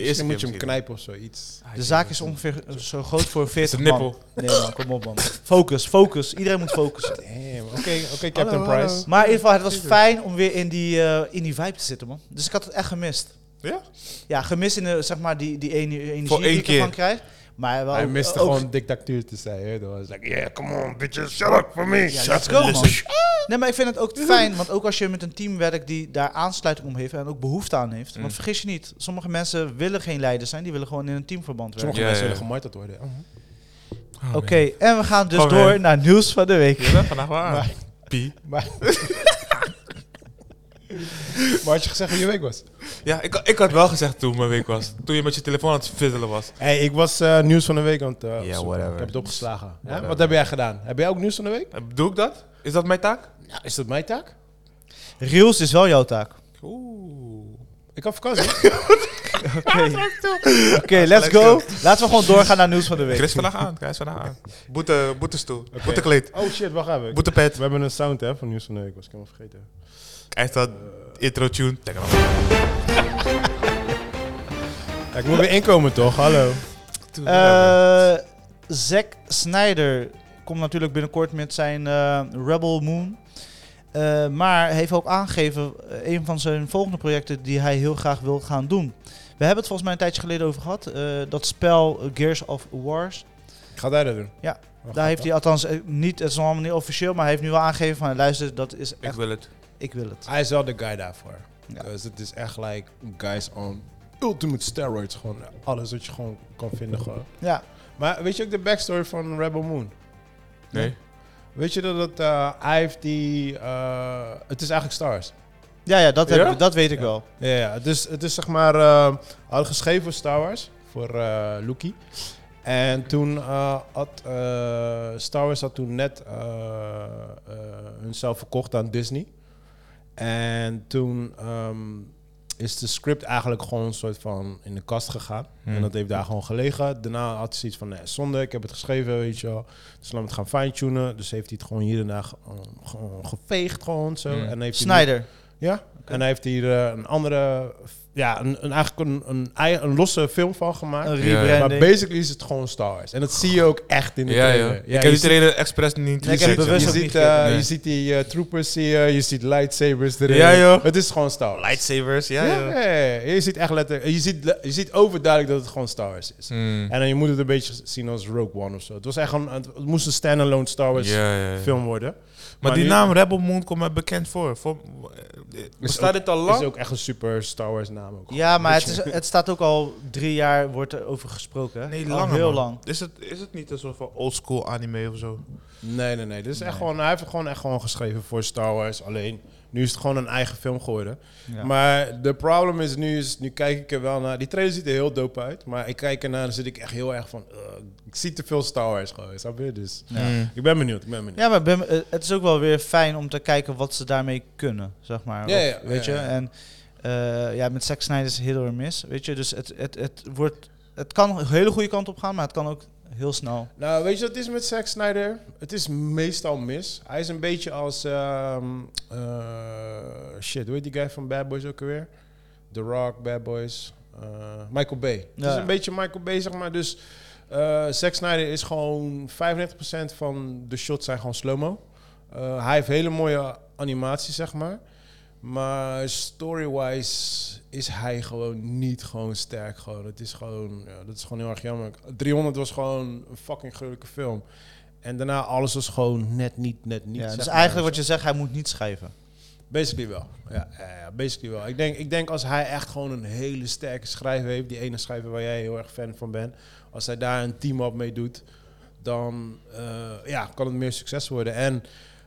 Speaker 4: De
Speaker 2: Eerst
Speaker 4: eerste
Speaker 2: moet je
Speaker 4: keer
Speaker 2: hem
Speaker 4: misschien.
Speaker 2: knijpen of zoiets.
Speaker 1: De zaak is ongeveer eh, zo groot voor 40
Speaker 4: een
Speaker 1: man.
Speaker 4: nippel.
Speaker 1: Nee man, kom op man. Focus, focus. Iedereen moet focussen.
Speaker 2: Damn. Oké, oké, Captain
Speaker 4: Hallo,
Speaker 2: Price.
Speaker 4: hallo.
Speaker 1: Maar in ieder geval, het was fijn om weer in die, eh, in die vibe te zitten man. Dus ik had het echt gemist.
Speaker 4: Ja?
Speaker 1: Ja, gemist in de, zeg maar, die, die ene- energie
Speaker 4: Voor één
Speaker 1: die ik
Speaker 4: keer.
Speaker 1: ervan krijg. Maar wel,
Speaker 2: Hij miste
Speaker 1: ook-
Speaker 2: gewoon dictatuur te zijn. hè. Dat was like, yeah, come on, bitches.
Speaker 1: Ja, let's go, man. Nee, maar ik vind het ook fijn, want ook als je met een team werkt die daar aansluiting om heeft en ook behoefte aan heeft. Want
Speaker 4: Mm.
Speaker 1: vergis je niet, sommige mensen willen geen leider zijn, die willen gewoon in een teamverband werken.
Speaker 2: Sommige
Speaker 4: Ja,
Speaker 2: mensen
Speaker 4: ja, ja.
Speaker 2: willen gemarteld worden. Mhm.
Speaker 4: Oh,
Speaker 1: Oké, en we gaan dus
Speaker 4: Kom,
Speaker 1: door
Speaker 4: man.
Speaker 1: naar nieuws van de week.
Speaker 4: Je bent vandaag waar. Pie.
Speaker 2: Maar Maar had je gezegd hoe je week was?
Speaker 4: Ja, ik, ik had wel gezegd toen mijn week was. Toen je met je telefoon aan het fizzelen was.
Speaker 2: Hey, ik was eh, nieuws van de week aan het eh, opzoeken.
Speaker 4: whatever.
Speaker 2: Ik heb het opgeslagen. Hè?
Speaker 4: Whatever.
Speaker 2: Wat heb jij gedaan? Heb jij ook nieuws van de week?
Speaker 4: Eh, Doe ik dat? Is dat mijn taak?
Speaker 2: Ja, Nou, is dat mijn taak?
Speaker 1: Reels is wel jouw taak.
Speaker 4: Oeh.
Speaker 2: Ik had vakantie.
Speaker 1: Oké, Oké, let's go. Laten we gewoon doorgaan naar nieuws van de week.
Speaker 4: Chris vandaag aan. Chris vandaag aan. Boete, boetestoel. Boetekleed.
Speaker 2: oh shit, wacht even.
Speaker 4: Boetepet.
Speaker 2: We hebben een sound hè, van nieuws van de week. Was ik helemaal vergeten. Eh,
Speaker 4: Hij staat intro tune. Denk aan.
Speaker 2: Ja, ik moet weer inkomen toch? Hallo.
Speaker 1: Eh Zack Snyder komt natuurlijk binnenkort met zijn eh, Rebel Moon. Eh, maar heeft ook aangegeven eh, een van zijn volgende projecten die hij heel graag wil gaan doen. We hebben het volgens mij een tijdje geleden over gehad. eh, dat spel eh, Gears of Wars.
Speaker 2: Ik ga daar dat doen.
Speaker 1: Ja,
Speaker 2: Waar
Speaker 1: Daar
Speaker 2: gaat
Speaker 1: heeft hij althans eh, niet, het is nog allemaal niet officieel, maar hij heeft nu wel aangegeven van luister, dat is
Speaker 4: Ik
Speaker 1: echt,
Speaker 4: wil het.
Speaker 1: ik wil het.
Speaker 2: Hij is wel de guy daarvoor.
Speaker 1: Ja.
Speaker 2: Dus het is echt like guys on ultimate steroids. Gewoon alles wat je gewoon kan vinden. Gewoon.
Speaker 1: Ja,
Speaker 2: Maar weet je ook de backstory van Rebel Moon?
Speaker 4: Nee.
Speaker 2: Weet je dat het, eh, hij heeft die... eh, het is eigenlijk Stars.
Speaker 1: ja, ja, dat, heb
Speaker 4: Ja?
Speaker 1: ik- dat weet ik
Speaker 2: Ja.
Speaker 1: wel.
Speaker 2: Ja, ja het, is, het is zeg maar... eh had geschreven voor Star Wars. Voor eh Loki. En toen eh, had eh, Star Wars had toen net eh eh, hunzelf verkocht aan Disney. En toen ehm, is de script eigenlijk gewoon een soort van in de kast gegaan.
Speaker 4: Hmm.
Speaker 2: En dat heeft daar gewoon gelegen. Daarna had hij zoiets van, nee, zonde, ik heb het geschreven, weet je wel. Dus laat me het gaan fine-tunen. Dus heeft hij het gewoon hier en daar ge- gewoon geveegd gewoon zo.
Speaker 4: Hmm.
Speaker 2: En heeft hij nu-
Speaker 1: Snyder.
Speaker 2: ja, en hij heeft hier eh, een andere, ja, een, een, eigenlijk een, een, ei- een losse film van gemaakt.
Speaker 1: Een
Speaker 4: Ja, ja.
Speaker 2: maar
Speaker 1: rebranding.
Speaker 2: basically is het gewoon Star Wars. En dat zie je ook echt in de
Speaker 4: Ja,
Speaker 2: trailer.
Speaker 4: ja. Ik heb
Speaker 2: je
Speaker 4: die
Speaker 2: ziet-
Speaker 4: trainer expres niet
Speaker 1: Nee, ik heb
Speaker 4: gezien.
Speaker 1: bewust
Speaker 2: je
Speaker 1: ook niet
Speaker 2: ziet,
Speaker 1: gekeken,
Speaker 2: eh,
Speaker 4: nee.
Speaker 2: je ziet die eh, troopers zie je, je ziet lightsabers erin.
Speaker 4: Ja, joh.
Speaker 2: Het is gewoon Star Wars.
Speaker 4: Lightsabers, ja,
Speaker 2: ja,
Speaker 4: ja.
Speaker 2: ja, ja. Je ziet echt letterlijk, je ziet, le- je ziet overduidelijk dat het gewoon Star Wars is.
Speaker 4: Hmm.
Speaker 2: En dan je moet het een beetje zien als Rogue One of zo. Het was echt gewoon, het het moest een standalone Star Wars
Speaker 4: Ja, ja, ja.
Speaker 2: film worden.
Speaker 4: Maar die
Speaker 2: nu-
Speaker 4: naam Rebel Moon komt mij bekend voor. voor eh, bestaat
Speaker 2: ook-
Speaker 4: dit al
Speaker 2: is
Speaker 4: lang?
Speaker 2: ook echt een super Star Wars naam ook.
Speaker 1: Ja, maar het, is, het staat ook al drie jaar wordt er over gesproken. hè?
Speaker 4: Nee,
Speaker 1: Al
Speaker 4: langer,
Speaker 1: Heel
Speaker 4: man.
Speaker 1: lang.
Speaker 4: Is het, is het niet een soort van oldschool anime of zo?
Speaker 2: Nee, nee, nee. Dit is echt gewoon, hij heeft het gewoon echt gewoon geschreven voor Star Wars. Alleen, nu is het gewoon een eigen film geworden.
Speaker 1: Ja.
Speaker 2: Maar de problem is nu, is, nu kijk ik er wel naar. Die trailer ziet er heel dope uit. Maar ik kijk ernaar en dan zit ik echt heel erg van... "Ugh, ik zie te veel Star Wars gewoon, snap je? Dus
Speaker 4: Hmm.
Speaker 2: ik ben benieuwd, ik ben benieuwd.
Speaker 1: Ja, maar ik ben- eh, het is ook wel weer fijn om te kijken wat ze daarmee kunnen, zeg maar.
Speaker 2: Ja,
Speaker 1: Of,
Speaker 2: ja,
Speaker 1: weet
Speaker 2: ja,
Speaker 1: je,
Speaker 2: ja.
Speaker 1: en eh, ja, met Zack Snyder is het heel erg mis, weet je. Dus het, het, het, wordt, het kan een hele goede kant op gaan, maar het kan ook heel snel.
Speaker 2: Nou, weet je wat het is met Zack Snyder? Het is meestal mis. Hij is een beetje als... ehm, eh, shit, hoe heet die guy van Bad Boys ook alweer? The Rock, Bad Boys. eh, Michael Bay. Het
Speaker 1: Ja.
Speaker 2: is een beetje Michael Bay, zeg maar. Dus eh Zack Snyder is gewoon... 95% van de shots zijn gewoon slow-mo. Eh, hij heeft hele mooie animaties, zeg maar. Maar story-wise is hij gewoon niet gewoon sterk. Gewoon. Het is gewoon, ja, dat is gewoon heel erg jammer. 300 was gewoon een fucking gruwelijke film. En daarna alles was gewoon net niet, net niet.
Speaker 1: ja,
Speaker 2: zeg
Speaker 1: dus
Speaker 2: maar. Eh,
Speaker 1: eigenlijk wat je zegt, hij moet niet schrijven.
Speaker 2: Basically wel. Ja, ja, ja, basically wel. Ik denk, ik denk als hij echt gewoon een hele sterke schrijver heeft, die ene schrijver waar jij heel erg fan van bent, als hij daar een team-up mee doet, dan eh, ja, kan het meer succes worden. En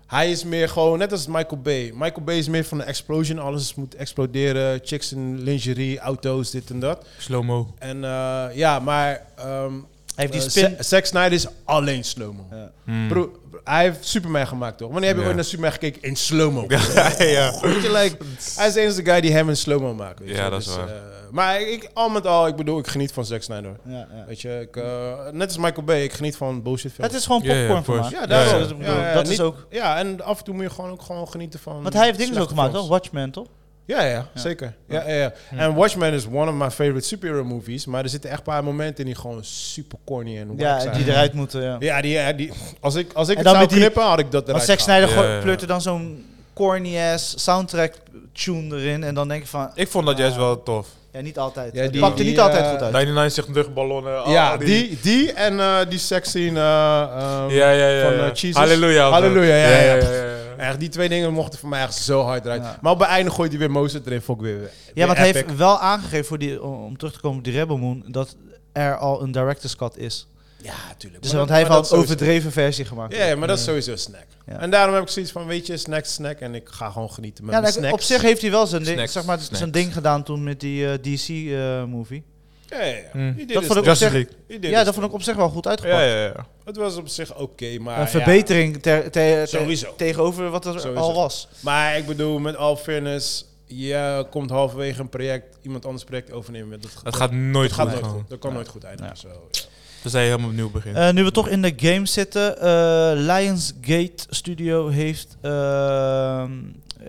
Speaker 2: hij is meer gewoon, net als Michael Bay. Michael Bay is meer van de explosion, alles moet exploderen, chicks in lingerie, auto's, dit en dat.
Speaker 4: Slow-mo.
Speaker 2: En eh, ja, maar ehm
Speaker 1: Hij heeft die
Speaker 2: eh,
Speaker 1: spin...
Speaker 2: Zack- Zack Snyder is alleen slow-mo.
Speaker 1: Ja.
Speaker 4: Hmm.
Speaker 2: Bro, hij heeft Superman gemaakt, toch? Wanneer heb je
Speaker 4: Ja.
Speaker 2: ooit naar Superman gekeken? In slow-mo.
Speaker 4: ja, ja.
Speaker 2: Weet je, like, hij is de enige guy die hem in slow-mo maakt. weet je.
Speaker 4: Ja, dat is waar.
Speaker 2: eh, maar ik, al met al, ik bedoel, ik geniet van Zack Snyder.
Speaker 1: Ja, ja.
Speaker 2: Weet je, ik, eh, net als Michael Bay, ik geniet van bullshit films.
Speaker 1: Het is gewoon
Speaker 4: Ja, ja,
Speaker 1: popcorn
Speaker 4: of course.
Speaker 1: gemaakt.
Speaker 2: Ja,
Speaker 1: dat is
Speaker 2: daarom.
Speaker 1: wat ik bedoel.
Speaker 2: Ja, ja,
Speaker 1: dat
Speaker 2: niet-
Speaker 1: is ook...
Speaker 2: Ja, en af en toe moet je gewoon ook gewoon genieten van...
Speaker 1: Want hij heeft dingen zo
Speaker 2: slechte
Speaker 1: gemaakt,
Speaker 2: films.
Speaker 1: toch? Watchmen, toch?
Speaker 2: Ja, ja, zeker. Ja, ja, ja. En Watchmen is one of my favorite superhero movies. Maar er zitten echt een paar momenten in die gewoon super corny en whack
Speaker 1: Ja,
Speaker 2: zijn.
Speaker 1: die eruit moeten, ja.
Speaker 2: Ja, die, ja, die, als ik, als ik
Speaker 1: En dan
Speaker 2: het zou
Speaker 1: met die-
Speaker 2: knippen, had ik
Speaker 1: Want
Speaker 2: dat eruit
Speaker 1: Zack
Speaker 2: gehaald.
Speaker 1: Snyder
Speaker 4: Ja,
Speaker 1: gooi-
Speaker 4: ja, ja.
Speaker 1: pleurt er dan zo'n corny-ass soundtrack-tune erin. En dan denk je van,
Speaker 4: Ik vond dat juist wel tof.
Speaker 1: ja, niet altijd.
Speaker 2: Ja,
Speaker 1: Het
Speaker 2: die-
Speaker 1: pakte
Speaker 2: die,
Speaker 1: niet altijd
Speaker 2: eh,
Speaker 1: goed uit.
Speaker 4: 99 zegt luchtballonnen. ah,
Speaker 1: Oh,
Speaker 2: Ja, die, die en eh, die eh, sexy in...
Speaker 4: Ja, ja, ja.
Speaker 2: van, eh,
Speaker 4: ja.
Speaker 2: Jesus.
Speaker 4: Halleluja. of zo.
Speaker 2: Halleluja, ja, ja, ja.
Speaker 4: ja.
Speaker 2: Echt, die twee dingen mochten voor mij echt zo hard eruit.
Speaker 1: Ja.
Speaker 2: Maar op het einde gooit hij weer Mozart erin, vond ik weer. weer
Speaker 1: Ja, want hij
Speaker 2: epic.
Speaker 1: heeft wel aangegeven, voor die, om terug te komen op die Rebel Moon, dat er al een director's cut is.
Speaker 2: Ja, natuurlijk.
Speaker 1: Dus,
Speaker 2: Maar
Speaker 1: want
Speaker 2: dat-
Speaker 1: hij heeft
Speaker 2: maar
Speaker 1: al
Speaker 2: dat
Speaker 1: een
Speaker 2: sowieso.
Speaker 1: overdreven versie gemaakt.
Speaker 2: Ja, ja, maar dat is sowieso een snack.
Speaker 1: Ja.
Speaker 2: En daarom heb ik zoiets van, weet je, snack, snack. En ik ga gewoon genieten met
Speaker 1: Ja,
Speaker 2: mijn
Speaker 1: nou,
Speaker 2: snacks.
Speaker 1: op zich heeft hij wel zijn ding,
Speaker 4: Snacks,
Speaker 1: zeg maar, zijn
Speaker 4: snacks.
Speaker 1: ding gedaan toen met die eh, DC-movie.
Speaker 2: Ja, ja, ja.
Speaker 4: Mm.
Speaker 2: He did
Speaker 1: Dat
Speaker 2: his
Speaker 1: vond ik op
Speaker 2: thing.
Speaker 1: zich-
Speaker 4: Justice League.
Speaker 2: He did
Speaker 1: ja,
Speaker 2: his
Speaker 1: dat vond ik op
Speaker 2: thing.
Speaker 1: zich wel goed uitgepakt.
Speaker 4: Ja, ja, ja.
Speaker 2: Het was op zich oké, maar...
Speaker 1: een
Speaker 2: ja.
Speaker 1: verbetering ter, ter- ter-
Speaker 2: Sowieso.
Speaker 1: tegenover wat er
Speaker 2: Sowieso.
Speaker 1: al was.
Speaker 2: Maar ik bedoel, met all fairness, je komt halverwege een project, iemand anders project overnemen. Dat,
Speaker 4: Het gaat nooit
Speaker 2: dat gaat
Speaker 4: goed
Speaker 2: nooit
Speaker 4: gaan.
Speaker 2: goed. Dat kan nooit goed eindigen. Zo, ja.
Speaker 4: Tenzij je helemaal opnieuw begint.
Speaker 1: Eh, nu we toch in de game zitten, eh, Lionsgate Studio heeft ehm,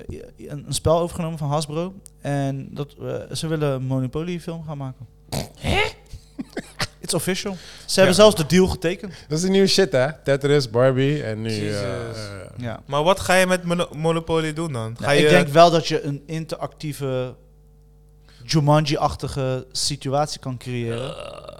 Speaker 1: eh, een, een spel overgenomen van Hasbro. En dat, eh, ze willen een Monopoly film gaan maken. Hè? It's official. Ze hebben zelfs de deal getekend.
Speaker 2: Dat is de nieuwe shit, hè? Tetris, Barbie en nu...
Speaker 4: Jezus.
Speaker 2: eh, eh,
Speaker 1: Ja.
Speaker 4: Maar wat ga je met Mono- Monopoly doen dan? Ga je,
Speaker 1: Nou, ik denk wel dat je een interactieve Jumanji-achtige situatie kan creëren.
Speaker 4: Eh.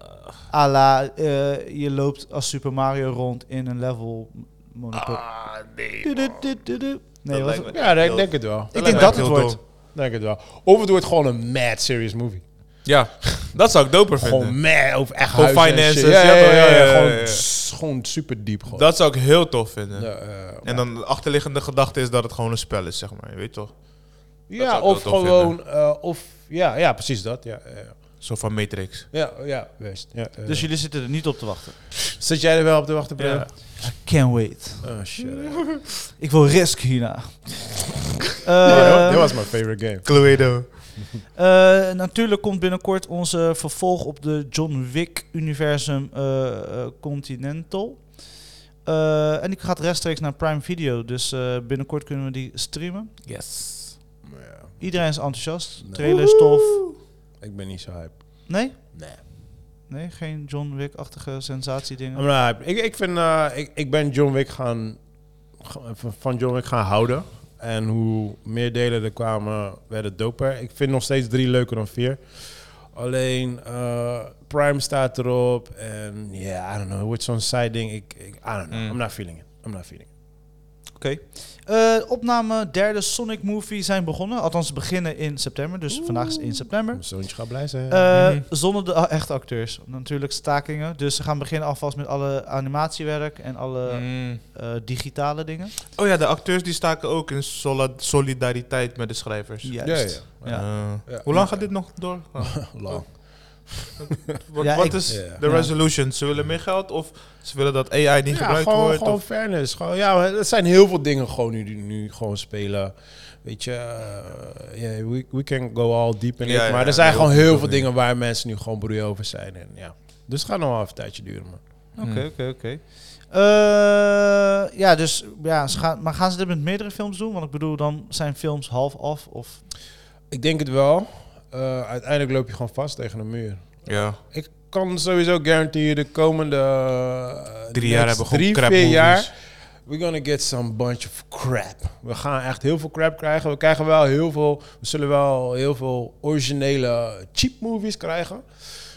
Speaker 1: A la, eh, je loopt als Super Mario rond in een level Monopoly.
Speaker 4: Ah, nee.
Speaker 1: Du-
Speaker 4: man.
Speaker 1: du- du- du- du. Nee,
Speaker 4: Dat
Speaker 1: wat-
Speaker 4: lijkt me
Speaker 2: ja,
Speaker 4: echt
Speaker 2: ik
Speaker 4: heel-
Speaker 2: denk het wel.
Speaker 1: ik
Speaker 4: lijkt
Speaker 1: denk
Speaker 4: me
Speaker 1: dat
Speaker 4: echt
Speaker 1: het
Speaker 4: heel
Speaker 1: wordt.
Speaker 4: dom.
Speaker 2: Denk het wel. Of het wordt gewoon een mad serious movie.
Speaker 4: Ja, dat zou ik doper vinden.
Speaker 2: Gewoon mad, of echt
Speaker 4: Gewoon
Speaker 2: huizen en
Speaker 4: finances,
Speaker 2: shit. Ja,
Speaker 4: ja,
Speaker 2: ja, ja,
Speaker 4: ja, ja,
Speaker 2: Gewoon,
Speaker 4: ja, ja.
Speaker 2: s- gewoon super diep gewoon.
Speaker 4: Dat zou ik heel tof vinden.
Speaker 2: Ja, eh,
Speaker 4: En dan de achterliggende gedachte is dat het gewoon een spel is, zeg maar. Je weet toch? zou
Speaker 2: ja,
Speaker 4: ik wel
Speaker 2: of
Speaker 4: tof
Speaker 2: gewoon... eh, of, ja, ja, precies dat. Ja, ja, ja.
Speaker 4: Zo van Matrix.
Speaker 2: ja, ja, juist, ja eh.
Speaker 1: Dus jullie zitten er niet op te wachten.
Speaker 2: Zit jij er wel op te wachten, Bril?
Speaker 4: Ja.
Speaker 1: Can't wait.
Speaker 2: Oh, shit.
Speaker 1: Ik wil risk hierna.
Speaker 2: Ja,
Speaker 1: Eh,
Speaker 2: dat was mijn favorite game.
Speaker 4: Cluedo.
Speaker 1: eh, natuurlijk komt binnenkort onze vervolg op de John Wick-universum eh, eh, Continental. Eh, en die gaat rechtstreeks naar Prime Video. Dus eh, binnenkort kunnen we die streamen.
Speaker 4: Yes.
Speaker 2: Ja,
Speaker 1: Iedereen is enthousiast.
Speaker 2: Nee.
Speaker 1: Trailer is tof.
Speaker 2: ik ben niet zo hype.
Speaker 1: Nee?
Speaker 2: Nee.
Speaker 1: Nee, geen John Wick-achtige
Speaker 2: I'm
Speaker 1: sensatiedingen.
Speaker 2: not hype. Ik, ik, vind, eh, ik, ik ben John Wick gaan... ga- Van John Wick gaan houden. En hoe meer delen er kwamen, werd het doper. Ik vind nog steeds drie leuker dan vier. Alleen eh, Prime staat erop. En ja, I don't know. Het wordt zo'n side ding. Ik, ik, I don't know.
Speaker 4: Mm.
Speaker 2: I'm not feeling it. I'm not feeling it.
Speaker 1: Oké. Eh, opname derde Sonic movie zijn begonnen. Althans, ze beginnen in september. Dus vandaag is 1 september.
Speaker 2: Mijn zoontje gaat blij zijn.
Speaker 1: Eh,
Speaker 4: Mhm.
Speaker 1: Zonder de a- echte acteurs. Natuurlijk stakingen. Dus ze gaan beginnen alvast met alle animatiewerk en alle
Speaker 4: Mhm.
Speaker 1: eh, digitale dingen.
Speaker 4: Mm. Oh ja, de acteurs die staken ook in sola- solidariteit met de schrijvers.
Speaker 1: Juist.
Speaker 4: Eh,
Speaker 1: Ja.
Speaker 2: Ja.
Speaker 4: Hoe lang gaat dit nog door? Oh,
Speaker 2: Lang.
Speaker 4: Wat,
Speaker 1: Ja,
Speaker 4: wat
Speaker 1: ik-
Speaker 4: is
Speaker 2: Ja.
Speaker 4: de
Speaker 1: Ja.
Speaker 4: resolution? Ze willen meer geld of ze willen dat AI niet
Speaker 2: ja,
Speaker 4: gebruikt
Speaker 2: gewoon,
Speaker 4: wordt?
Speaker 2: Gewoon
Speaker 4: of-
Speaker 2: fairness. Gewoon, ja, maar het zijn heel veel dingen gewoon nu, die nu gewoon spelen. Weet je, eh, yeah, we, we can go all deep in
Speaker 4: Ja,
Speaker 2: it.
Speaker 4: ja,
Speaker 2: Maar
Speaker 4: ja,
Speaker 2: er zijn
Speaker 4: heel
Speaker 2: gewoon
Speaker 4: veel
Speaker 2: heel veel
Speaker 4: dingen.
Speaker 2: dingen waar mensen nu gewoon broei over zijn. En, ja. Dus het gaat nog wel even een tijdje duren. Man.
Speaker 1: Oké, oké, oké. Eh, Ja, dus ja, ze gaan, maar gaan ze dit met meerdere films doen? Want ik bedoel, dan zijn films half af of
Speaker 2: Ik denk het wel. Eh, uiteindelijk loop je gewoon vast tegen een muur.
Speaker 4: Ja.
Speaker 2: Ik kan sowieso garanderen de komende eh,
Speaker 4: Drie
Speaker 2: next
Speaker 4: jaar hebben we gewoon
Speaker 2: drie,
Speaker 4: crap
Speaker 2: vier
Speaker 4: movies.
Speaker 2: jaar. We're gonna get some bunch of crap. We gaan echt heel veel crap krijgen. We krijgen wel heel veel. We zullen wel heel veel originele cheap movies krijgen.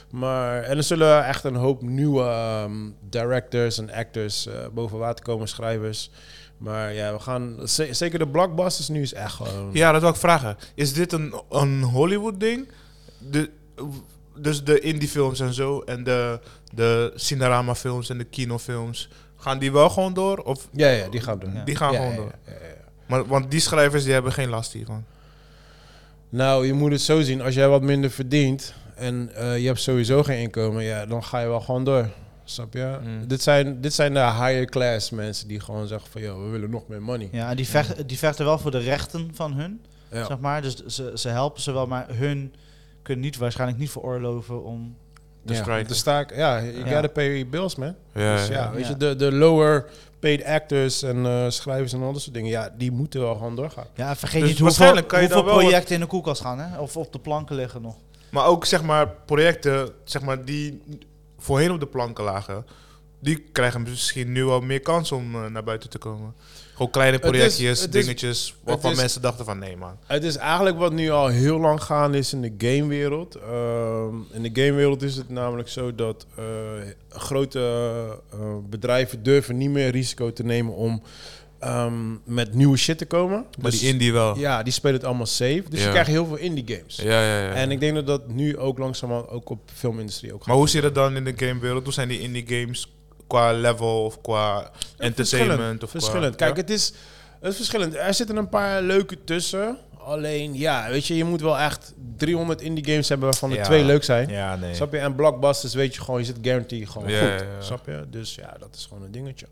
Speaker 2: Maar, en er zullen echt een hoop nieuwe ehm, directors en actors eh, boven water komen, schrijvers. Maar ja, we gaan. ze- Zeker de blockbusters nu is echt gewoon.
Speaker 4: Ja, dat wil ik vragen. Is dit een, een Hollywood ding? De, dus de indie films en zo en de, de cinerama films en de kinofilms, gaan die wel gewoon door? Of
Speaker 2: Ja, ja, die gaan we doen.
Speaker 1: Ja.
Speaker 4: die gaan
Speaker 2: Ja,
Speaker 4: gewoon
Speaker 2: ja,
Speaker 4: door?
Speaker 2: ja, ja, ja.
Speaker 4: Maar, want die schrijvers die hebben geen last hiervan.
Speaker 2: Nou, je moet het zo zien. Als jij wat minder verdient en eh, je hebt sowieso geen inkomen, ja, dan ga je wel gewoon door. Snap je?
Speaker 4: Mm.
Speaker 2: Dit, zijn, dit zijn de higher class mensen die gewoon zeggen van, joh, we willen nog meer money.
Speaker 1: Ja, en die, vecht, die vechten wel voor de rechten van hun,
Speaker 2: Ja.
Speaker 1: zeg maar. Dus ze, ze helpen ze wel, maar hun kunnen niet, waarschijnlijk niet veroorloven om...
Speaker 4: De
Speaker 2: Ja,
Speaker 4: striker.
Speaker 2: De staak, ja, you
Speaker 1: Ja.
Speaker 2: gotta pay your bills, man.
Speaker 4: Dus Ja,
Speaker 2: dus ja,
Speaker 4: ja.
Speaker 2: weet
Speaker 1: Ja.
Speaker 2: je, de, de lower paid actors en eh, schrijvers en al dat soort dingen, ja, die moeten wel gewoon doorgaan.
Speaker 1: Ja, vergeet
Speaker 4: Dus
Speaker 1: niet hoeveel,
Speaker 4: waarschijnlijk kan je
Speaker 1: hoeveel
Speaker 4: dan wel wat-
Speaker 1: projecten in de koelkast gaan, hè? Of op de planken liggen nog.
Speaker 4: Maar ook zeg maar projecten zeg maar, die voorheen op de planken lagen, die krijgen misschien nu al meer kans om eh, naar buiten te komen. Gewoon kleine
Speaker 2: is-
Speaker 4: projectjes,
Speaker 2: het is-
Speaker 4: dingetjes, waarvan
Speaker 2: is-
Speaker 4: mensen dachten van nee man.
Speaker 2: Het is eigenlijk wat nu al heel lang gaande is in de gamewereld. Ehm, in de gamewereld is het namelijk zo dat eh, grote eh, bedrijven durven niet meer risico te nemen om eh, ehm, met nieuwe shit te komen.
Speaker 4: Maar
Speaker 2: Dus-
Speaker 4: die indie wel.
Speaker 2: Ja, die spelen het allemaal safe. Dus je
Speaker 4: Ja.
Speaker 2: krijgt heel veel indie games.
Speaker 4: Ja, ja, ja.
Speaker 2: En ik denk dat dat nu ook langzamerhand ook op filmindustrie ook gaat.
Speaker 4: maar hoe zit het dan in de gamewereld? Hoe zijn die indie games qua level of qua entertainment?
Speaker 2: Verschillend,
Speaker 4: Of qua-
Speaker 2: verschillend. Kijk,
Speaker 4: Ja?
Speaker 2: het is, het is verschillend. Er zitten een paar leuke tussen. Alleen, ja, weet je, je moet wel echt 300 indie games hebben waarvan er
Speaker 4: Ja.
Speaker 2: twee leuk zijn.
Speaker 4: Ja, nee.
Speaker 2: Snap je? En blockbusters weet je gewoon, je zit guarantee gewoon
Speaker 4: Ja,
Speaker 2: goed.
Speaker 4: ja, ja.
Speaker 2: Snap je? Dus ja, dat is gewoon een dingetje.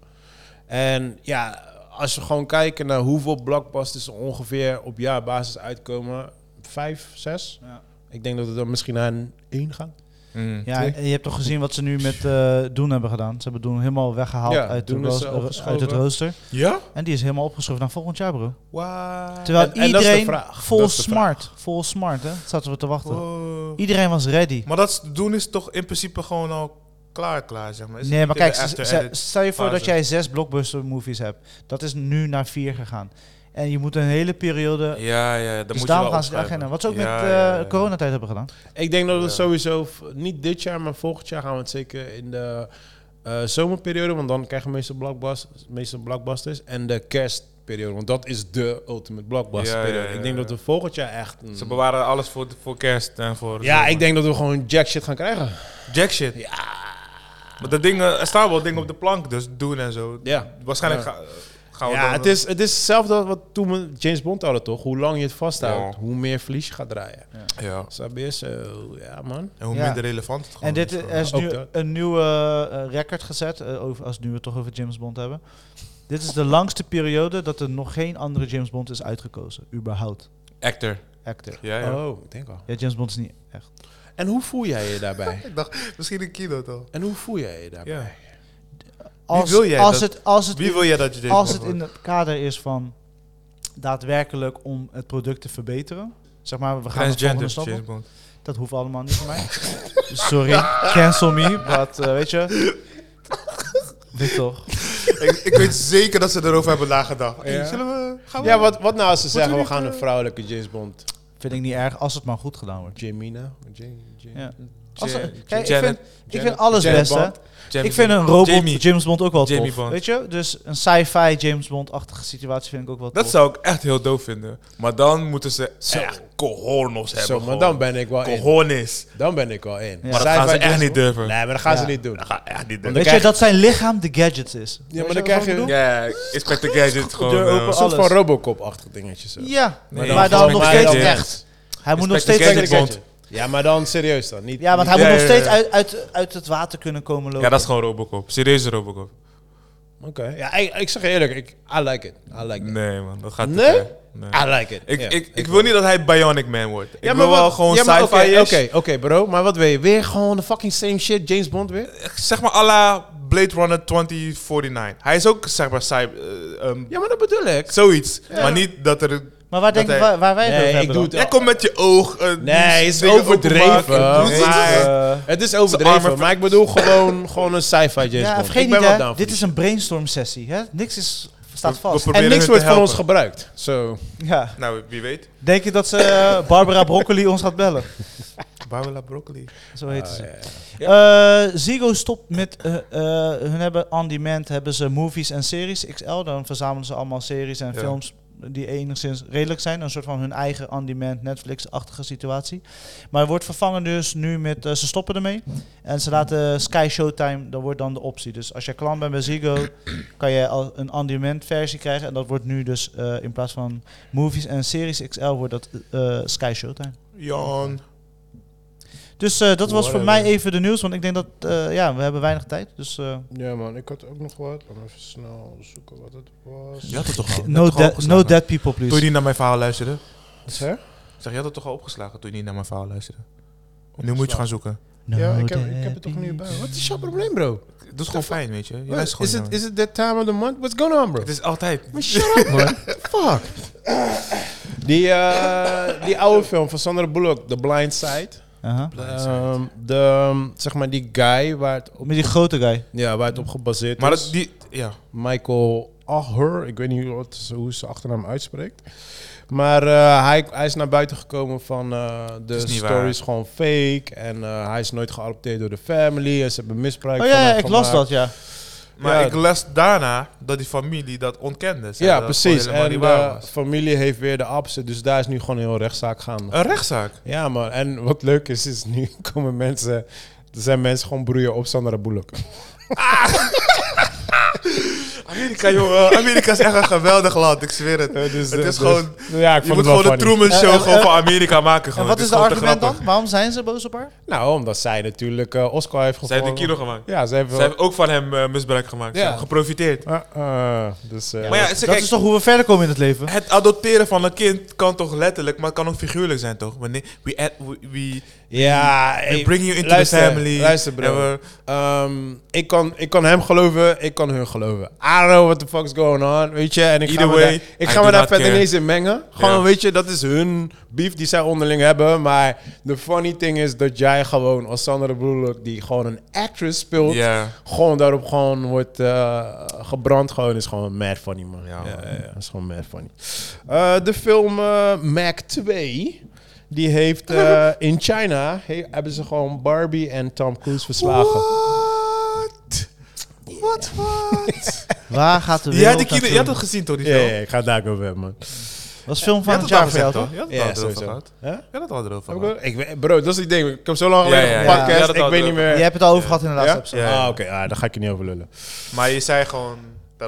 Speaker 2: En ja, als we gewoon kijken naar hoeveel blockbusters er ongeveer op jaarbasis uitkomen. Vijf, zes?
Speaker 1: Ja.
Speaker 2: Ik denk dat het dan misschien naar een één gaat.
Speaker 4: Mm.
Speaker 1: Ja, en je hebt toch gezien wat ze nu met eh Doen hebben gedaan? Ze hebben Doen helemaal weggehaald
Speaker 2: Ja,
Speaker 1: uit, de
Speaker 2: Doen
Speaker 1: roos-
Speaker 2: is, eh,
Speaker 1: eh, uit het
Speaker 2: opgeschoven.
Speaker 1: rooster.
Speaker 4: Ja?
Speaker 1: En die is helemaal opgeschoven naar volgend jaar, bro.
Speaker 4: Wow.
Speaker 1: Terwijl
Speaker 2: En- en dat is de
Speaker 1: iedereen
Speaker 2: vraag.
Speaker 1: vol
Speaker 2: Dat is de
Speaker 1: smart, vol smart, hè? Dat zaten we te wachten.
Speaker 4: Oh.
Speaker 1: Iedereen was ready.
Speaker 4: Maar dat is- doen is toch in principe gewoon al klaar, klaar, zeg maar. Is
Speaker 1: Nee,
Speaker 4: het
Speaker 1: maar
Speaker 4: niet in
Speaker 1: kijk,
Speaker 4: de
Speaker 1: s-
Speaker 4: after
Speaker 1: s-
Speaker 4: edit?
Speaker 1: stel je voor dat
Speaker 4: fase.
Speaker 1: jij zes blockbuster movies hebt. Dat is nu naar vier gegaan. En je moet een hele periode.
Speaker 4: Ja, ja, dan
Speaker 1: dus
Speaker 4: moet
Speaker 1: daarom
Speaker 4: je wel
Speaker 1: gaan ze de
Speaker 4: opschuiven.
Speaker 1: agenda. Wat ze ook
Speaker 4: Ja,
Speaker 1: met eh
Speaker 4: ja, ja.
Speaker 1: coronatijd hebben gedaan.
Speaker 2: Ik denk dat het
Speaker 4: Ja.
Speaker 2: sowieso, v- niet dit jaar, maar volgend jaar gaan we het zeker in de eh, zomerperiode. Want dan krijgen we meestal, blockbusters, meestal blockbusters. En de kerstperiode, want dat is de ultimate blockbusterperiode.
Speaker 4: Ja, ja, ja,
Speaker 2: Ik denk
Speaker 4: ja.
Speaker 2: dat we volgend jaar echt... een-
Speaker 4: Ze bewaren alles voor, voor kerst en voor...
Speaker 2: ja, ik denk dat we gewoon jack shit gaan krijgen.
Speaker 4: Jack shit.
Speaker 2: Ja.
Speaker 4: Maar dat ding, eh, er staan wel dingen op de plank, dus doen en zo.
Speaker 2: Ja.
Speaker 4: Waarschijnlijk
Speaker 2: Ja.
Speaker 4: ga- gaan we
Speaker 2: ja,
Speaker 4: dan- eh,
Speaker 2: het is, het is hetzelfde als wat toen we James Bond hadden, toch? Hoe lang je het vasthoudt,
Speaker 4: Ja.
Speaker 2: hoe meer verlies je gaat draaien.
Speaker 4: Ja.
Speaker 2: Snap je? Zo, ja man.
Speaker 4: En hoe
Speaker 1: Ja.
Speaker 4: minder relevant het gewoon
Speaker 1: en dit
Speaker 4: is.
Speaker 1: is, er is
Speaker 2: Ook
Speaker 1: nu
Speaker 2: dat.
Speaker 1: een nieuwe eh, record gezet. eh, over, als nu we het toch over James Bond hebben. Dit is de langste periode dat er nog geen andere James Bond is uitgekozen. Überhaupt.
Speaker 4: Actor.
Speaker 1: Actor.
Speaker 4: Ja, ja.
Speaker 2: Oh, ik denk al.
Speaker 1: Ja, James Bond is niet echt.
Speaker 2: En hoe voel jij je daarbij?
Speaker 4: Ik dacht, misschien een kilo toch?
Speaker 2: en hoe voel jij je daarbij?
Speaker 4: Ja.
Speaker 1: Als,
Speaker 4: wil jij
Speaker 1: als
Speaker 4: dat-
Speaker 1: het, als het
Speaker 4: Wie wil jij dat je dit
Speaker 1: als het in het kader is van daadwerkelijk om het product te verbeteren. Zeg maar, we gaan de volgende
Speaker 4: Transgender
Speaker 1: stap op.
Speaker 4: James Bond.
Speaker 1: Dat hoeft allemaal niet van mij. Sorry, cancel me, but eh, weet je. Dit toch?
Speaker 4: ik, ik weet zeker dat ze erover hebben nagedacht. Hey,
Speaker 2: Ja.
Speaker 4: zullen we... Gaan we
Speaker 2: Ja, wat, wat nou als ze zeggen,
Speaker 4: we
Speaker 2: we
Speaker 4: niet,
Speaker 2: gaan een
Speaker 4: eh,
Speaker 2: vrouwelijke James Bond.
Speaker 1: Vind ik niet erg als het maar goed gedaan wordt.
Speaker 2: Jamina? Jane- Jane-
Speaker 1: Ja. Als er-
Speaker 4: Ja-
Speaker 1: kijk, ik
Speaker 4: Janet-
Speaker 1: vind, ik vind
Speaker 2: Janet-
Speaker 1: alles
Speaker 2: Janet
Speaker 1: best, hè.
Speaker 2: Bond.
Speaker 4: James
Speaker 1: Ik vind een
Speaker 4: Bond.
Speaker 1: robot
Speaker 4: Jamie.
Speaker 1: James Bond ook wel
Speaker 4: Jamie
Speaker 1: tof,
Speaker 4: Bond.
Speaker 1: weet je? Dus een sci-fi James Bond-achtige situatie vind ik ook wel tof.
Speaker 4: Dat zou ik echt heel doof vinden. Maar dan moeten ze echt cojones hebben.
Speaker 2: Zo, maar
Speaker 4: gewoon.
Speaker 2: dan ben ik wel in.
Speaker 4: Cojones.
Speaker 2: Dan ben ik wel in.
Speaker 1: Maar
Speaker 4: Maar dat
Speaker 2: Sci-fi
Speaker 4: gaan ze echt
Speaker 2: James
Speaker 4: niet
Speaker 2: Bond?
Speaker 4: durven.
Speaker 2: Nee, maar dat gaan ze
Speaker 1: Ja.
Speaker 2: niet doen.
Speaker 4: Dat gaat echt niet
Speaker 1: Weet
Speaker 4: durven.
Speaker 2: krijg
Speaker 1: je,
Speaker 2: je-
Speaker 1: dat zijn lichaam de gadgets is. Weet
Speaker 2: maar
Speaker 1: je
Speaker 2: dan
Speaker 1: wat ik
Speaker 2: krijg je-
Speaker 1: bedoel?
Speaker 4: Ja, Inspector Gadget gewoon.
Speaker 1: deur open.
Speaker 4: eh,
Speaker 2: Een soort van
Speaker 1: Alles.
Speaker 2: Robocop-achtig dingetje zo.
Speaker 1: Ja,
Speaker 4: Nee,
Speaker 1: maar dan
Speaker 4: gewoon
Speaker 1: nog
Speaker 4: maar
Speaker 1: steeds
Speaker 4: dan-
Speaker 1: echt. Hij moet nog
Speaker 4: Inspector
Speaker 1: steeds
Speaker 4: Gadget.
Speaker 1: uit,
Speaker 4: Bond.
Speaker 2: Ja, maar dan serieus dan. Niet,
Speaker 1: ja, want
Speaker 2: niet-
Speaker 1: hij moet
Speaker 4: Ja,
Speaker 1: nog
Speaker 4: ja,
Speaker 1: steeds
Speaker 4: ja.
Speaker 1: uit, uit, uit het water kunnen komen lopen.
Speaker 4: ja, dat is gewoon Robocop. Serieuze Robocop.
Speaker 2: Oké. Ja, ik, ik zeg je eerlijk, ik, I like it. I like it.
Speaker 4: Nee, man. Dat gaat te
Speaker 2: Nee?
Speaker 4: ver. Nee.
Speaker 2: I like it.
Speaker 4: Ik,
Speaker 2: Ja,
Speaker 4: ik, ik wil niet dat hij Bionic Man wordt. Ik
Speaker 2: Ja, maar
Speaker 4: wil wel
Speaker 2: wat-
Speaker 4: gewoon
Speaker 2: ja, maar
Speaker 4: sci-fi
Speaker 2: oké,
Speaker 4: is.
Speaker 2: Oké, oké, bro. Maar wat wil je? Weer gewoon de fucking same shit, James Bond weer?
Speaker 4: Zeg maar à la Blade Runner 2049. Hij is ook, zeg maar, sci- eh, ehm,
Speaker 2: Ja, maar dat bedoel ik.
Speaker 4: zoiets. Maar niet dat er...
Speaker 1: Maar waar, denk,
Speaker 4: dat hij-
Speaker 1: waar, waar wij het
Speaker 2: Nee,
Speaker 1: over
Speaker 2: ik
Speaker 1: hebben
Speaker 2: doe
Speaker 1: dan?
Speaker 2: het-
Speaker 4: Jij komt met je oog. eh,
Speaker 2: Nee, is
Speaker 4: dingen
Speaker 2: overdreven,
Speaker 4: openmaken. Doe
Speaker 2: maar-
Speaker 4: iets.
Speaker 1: Eh,
Speaker 2: Het is
Speaker 4: Zijn
Speaker 2: overdreven,
Speaker 4: armen-
Speaker 2: maar ik bedoel gewoon, gewoon een sci-fi James
Speaker 1: ja,
Speaker 2: Bond.
Speaker 1: vergeet
Speaker 2: ik ben
Speaker 1: niet, hè,
Speaker 2: wel down voor
Speaker 1: dit
Speaker 2: die
Speaker 1: is een brainstorm sessie. Hè? Niks is, staat
Speaker 4: We-
Speaker 1: vast.
Speaker 2: shit.
Speaker 4: we
Speaker 2: En
Speaker 4: proberen
Speaker 2: niks
Speaker 4: hun
Speaker 2: wordt
Speaker 4: te
Speaker 2: van
Speaker 4: helpen.
Speaker 2: ons gebruikt. Zo.
Speaker 1: ja.
Speaker 4: Nou, wie weet.
Speaker 1: Denk je dat ze eh, Barbara Broccoli ons gaat bellen?
Speaker 4: Barbara Broccoli. Ah,
Speaker 1: Zo heet ze.
Speaker 2: Ah,
Speaker 4: ja.
Speaker 1: Eh, Ziggo stopt met... eh, eh, hun hebben on demand hebben ze movies en series XL. Dan verzamelen ze allemaal series en
Speaker 4: Ja.
Speaker 1: films die enigszins redelijk zijn. Een soort van hun eigen on-demand Netflix-achtige situatie. Maar het wordt vervangen dus nu met... eh, ze stoppen ermee. En ze laten Sky Showtime, dat wordt dan de optie. Dus als je klant bent bij Ziggo, kan je al een on-demand versie krijgen. En dat wordt nu dus eh, in plaats van movies en series XL, wordt dat eh, Sky Showtime.
Speaker 4: Jan.
Speaker 1: Dus eh, dat was voor
Speaker 4: Whatever.
Speaker 1: mij even de nieuws, want ik denk dat eh, ja, we hebben weinig tijd. Dus eh,
Speaker 2: Ja man, ik had ook nog wat. Laat me even snel zoeken wat het was.
Speaker 4: Je had het toch al?
Speaker 1: no,
Speaker 4: dat
Speaker 1: dead- no dead people,
Speaker 4: Toen je
Speaker 1: please.
Speaker 4: niet naar mijn verhaal luisterde.
Speaker 2: Zeg?
Speaker 4: Ik Zeg, je had het toch al opgeslagen toen je niet naar mijn verhaal luisterde. En nu moet je gaan zoeken.
Speaker 1: No
Speaker 2: ja, ik heb,
Speaker 1: dead
Speaker 2: ik heb het toch nu
Speaker 1: people.
Speaker 2: bij. Wat is jouw probleem bro?
Speaker 4: Dat is gewoon fijn, weet je. je luistert gewoon
Speaker 2: Is Oh,
Speaker 4: niet
Speaker 2: het
Speaker 4: naar
Speaker 2: is it that time of the month? What's going on bro?
Speaker 4: mij. Het is altijd.
Speaker 2: Maar shut up man. Fuck. Die, eh, die oude film van Sandra Bullock, The Blind Side.
Speaker 1: Aha.
Speaker 2: Ehm, de, ehm, zeg maar die guy waar het op,
Speaker 1: Met die grote guy.
Speaker 2: ja, waar het op gebaseerd
Speaker 4: Maar
Speaker 2: is.
Speaker 4: dat, die, ja.
Speaker 2: Michael Aher. Ik weet niet hoe, het- hoe ze achternaam uitspreekt. Maar eh, hij, hij is naar buiten gekomen van eh, de
Speaker 4: is niet
Speaker 2: story
Speaker 4: waar.
Speaker 2: is gewoon fake. En eh, hij is nooit geadopteerd door de family. En ze hebben misbruik
Speaker 1: Oh
Speaker 2: van
Speaker 1: ja, ja,
Speaker 2: hem
Speaker 1: ik las dat,
Speaker 2: gemaakt.
Speaker 1: ja.
Speaker 4: Maar
Speaker 2: Ja.
Speaker 4: ik las daarna dat die familie dat ontkende. Zei
Speaker 2: Ja,
Speaker 4: dat het
Speaker 2: precies.
Speaker 4: gewoon helemaal
Speaker 2: En eh,
Speaker 4: niet
Speaker 2: de
Speaker 4: waar was.
Speaker 2: familie heeft weer de opposite, dus daar is nu gewoon een heel rechtszaak gaande.
Speaker 4: Een rechtszaak.
Speaker 2: Ja, maar en wat leuk is, is nu komen mensen, er zijn mensen gewoon broeien op Sandra Bullock. Eh,
Speaker 4: Amerika, jongen. Amerika is echt een geweldig land, ik zweer het.
Speaker 2: Eh, dus, eh,
Speaker 4: het is
Speaker 2: dus-
Speaker 4: gewoon...
Speaker 2: ja, ik
Speaker 4: Je
Speaker 2: vond het
Speaker 4: moet
Speaker 2: wel
Speaker 4: gewoon de
Speaker 2: funny.
Speaker 4: Truman Show
Speaker 1: En- en-
Speaker 2: eh,
Speaker 4: gewoon van Amerika maken.
Speaker 1: En
Speaker 4: Gewoon.
Speaker 1: wat is het
Speaker 4: gewoon te
Speaker 1: argument
Speaker 4: grappig.
Speaker 1: dan? Waarom zijn ze boos op haar?
Speaker 2: Nou, omdat zij natuurlijk eh, Oscar heeft
Speaker 4: Zij
Speaker 2: gevonden.
Speaker 4: heeft een kilo gemaakt.
Speaker 2: Ja, zij heeft
Speaker 4: Ze
Speaker 2: wel...
Speaker 4: hebben ook van hem eh, misbruik gemaakt. Ze
Speaker 2: Ja.
Speaker 4: hebben geprofiteerd.
Speaker 2: Ah, ah, dus, eh,
Speaker 4: Maar ja, ze-
Speaker 1: Dat
Speaker 4: kijk,
Speaker 1: is toch hoe we verder komen in het leven?
Speaker 4: Het adopteren van een kind kan toch letterlijk, maar het kan ook figuurlijk zijn, toch? Wanneer we, add- we, we,
Speaker 2: ja,
Speaker 4: we
Speaker 2: hey,
Speaker 4: bring you into
Speaker 2: luister,
Speaker 4: the family.
Speaker 2: Luister, bro.
Speaker 4: En we-
Speaker 2: Ehm, ik, kan, ik kan hem geloven, ik kan hun geloven. I don't know what the fuck's going on, weet je. En ik
Speaker 4: Either
Speaker 2: ga
Speaker 4: way,
Speaker 2: me daar, ik
Speaker 4: I
Speaker 2: ga
Speaker 4: do
Speaker 2: me daar
Speaker 4: not
Speaker 2: verder
Speaker 4: care.
Speaker 2: niet eens in mengen. Gewoon,
Speaker 4: Ja.
Speaker 2: weet je, dat is hun beef die zij onderling hebben. Maar de funny thing is dat jij gewoon als Sandra Bullock, die gewoon een actress speelt,
Speaker 4: Ja.
Speaker 2: gewoon daarop gewoon wordt eh, gebrand. Gewoon is gewoon mad funny, man.
Speaker 4: Ja,
Speaker 2: Ja,
Speaker 4: man.
Speaker 2: ja, ja, is gewoon mad funny. Eh, de film eh, Mac 2... Die heeft eh, in China he- hebben ze gewoon Barbie en Tom Cruise verslagen.
Speaker 4: What? What, what?
Speaker 1: Waar gaat de
Speaker 4: Je had,
Speaker 1: wereld
Speaker 4: die kilo, je had het
Speaker 1: naartoe?
Speaker 4: gezien, toch? Die
Speaker 2: Ja,
Speaker 4: film?
Speaker 2: ja, ik ga het daar ook over hebben, man.
Speaker 1: Dat is film
Speaker 4: Je
Speaker 1: van
Speaker 4: had
Speaker 1: het
Speaker 4: het al
Speaker 1: jaar voor jou,
Speaker 4: gezegd,
Speaker 1: toch?
Speaker 4: toch? Je had
Speaker 2: Ja,
Speaker 4: het al erover
Speaker 2: sowieso.
Speaker 4: gehad.
Speaker 2: Huh?
Speaker 4: Je had het al erover
Speaker 2: Heb ik
Speaker 4: gehad.
Speaker 2: wel- ik weet- bro, dat is het ding. Ik heb zo lang
Speaker 4: Ja,
Speaker 2: geleden
Speaker 4: ja,
Speaker 2: een
Speaker 4: ja.
Speaker 2: podcast.
Speaker 4: Ja, dat
Speaker 2: ik
Speaker 4: had-
Speaker 2: weet niet meer.
Speaker 1: Je hebt het al over
Speaker 4: Ja.
Speaker 1: gehad in de laatste
Speaker 2: Ja?
Speaker 1: episode.
Speaker 4: Ja, ja.
Speaker 2: Ah, oké. Ah, daar ga ik je niet over lullen.
Speaker 4: Maar je zei gewoon dat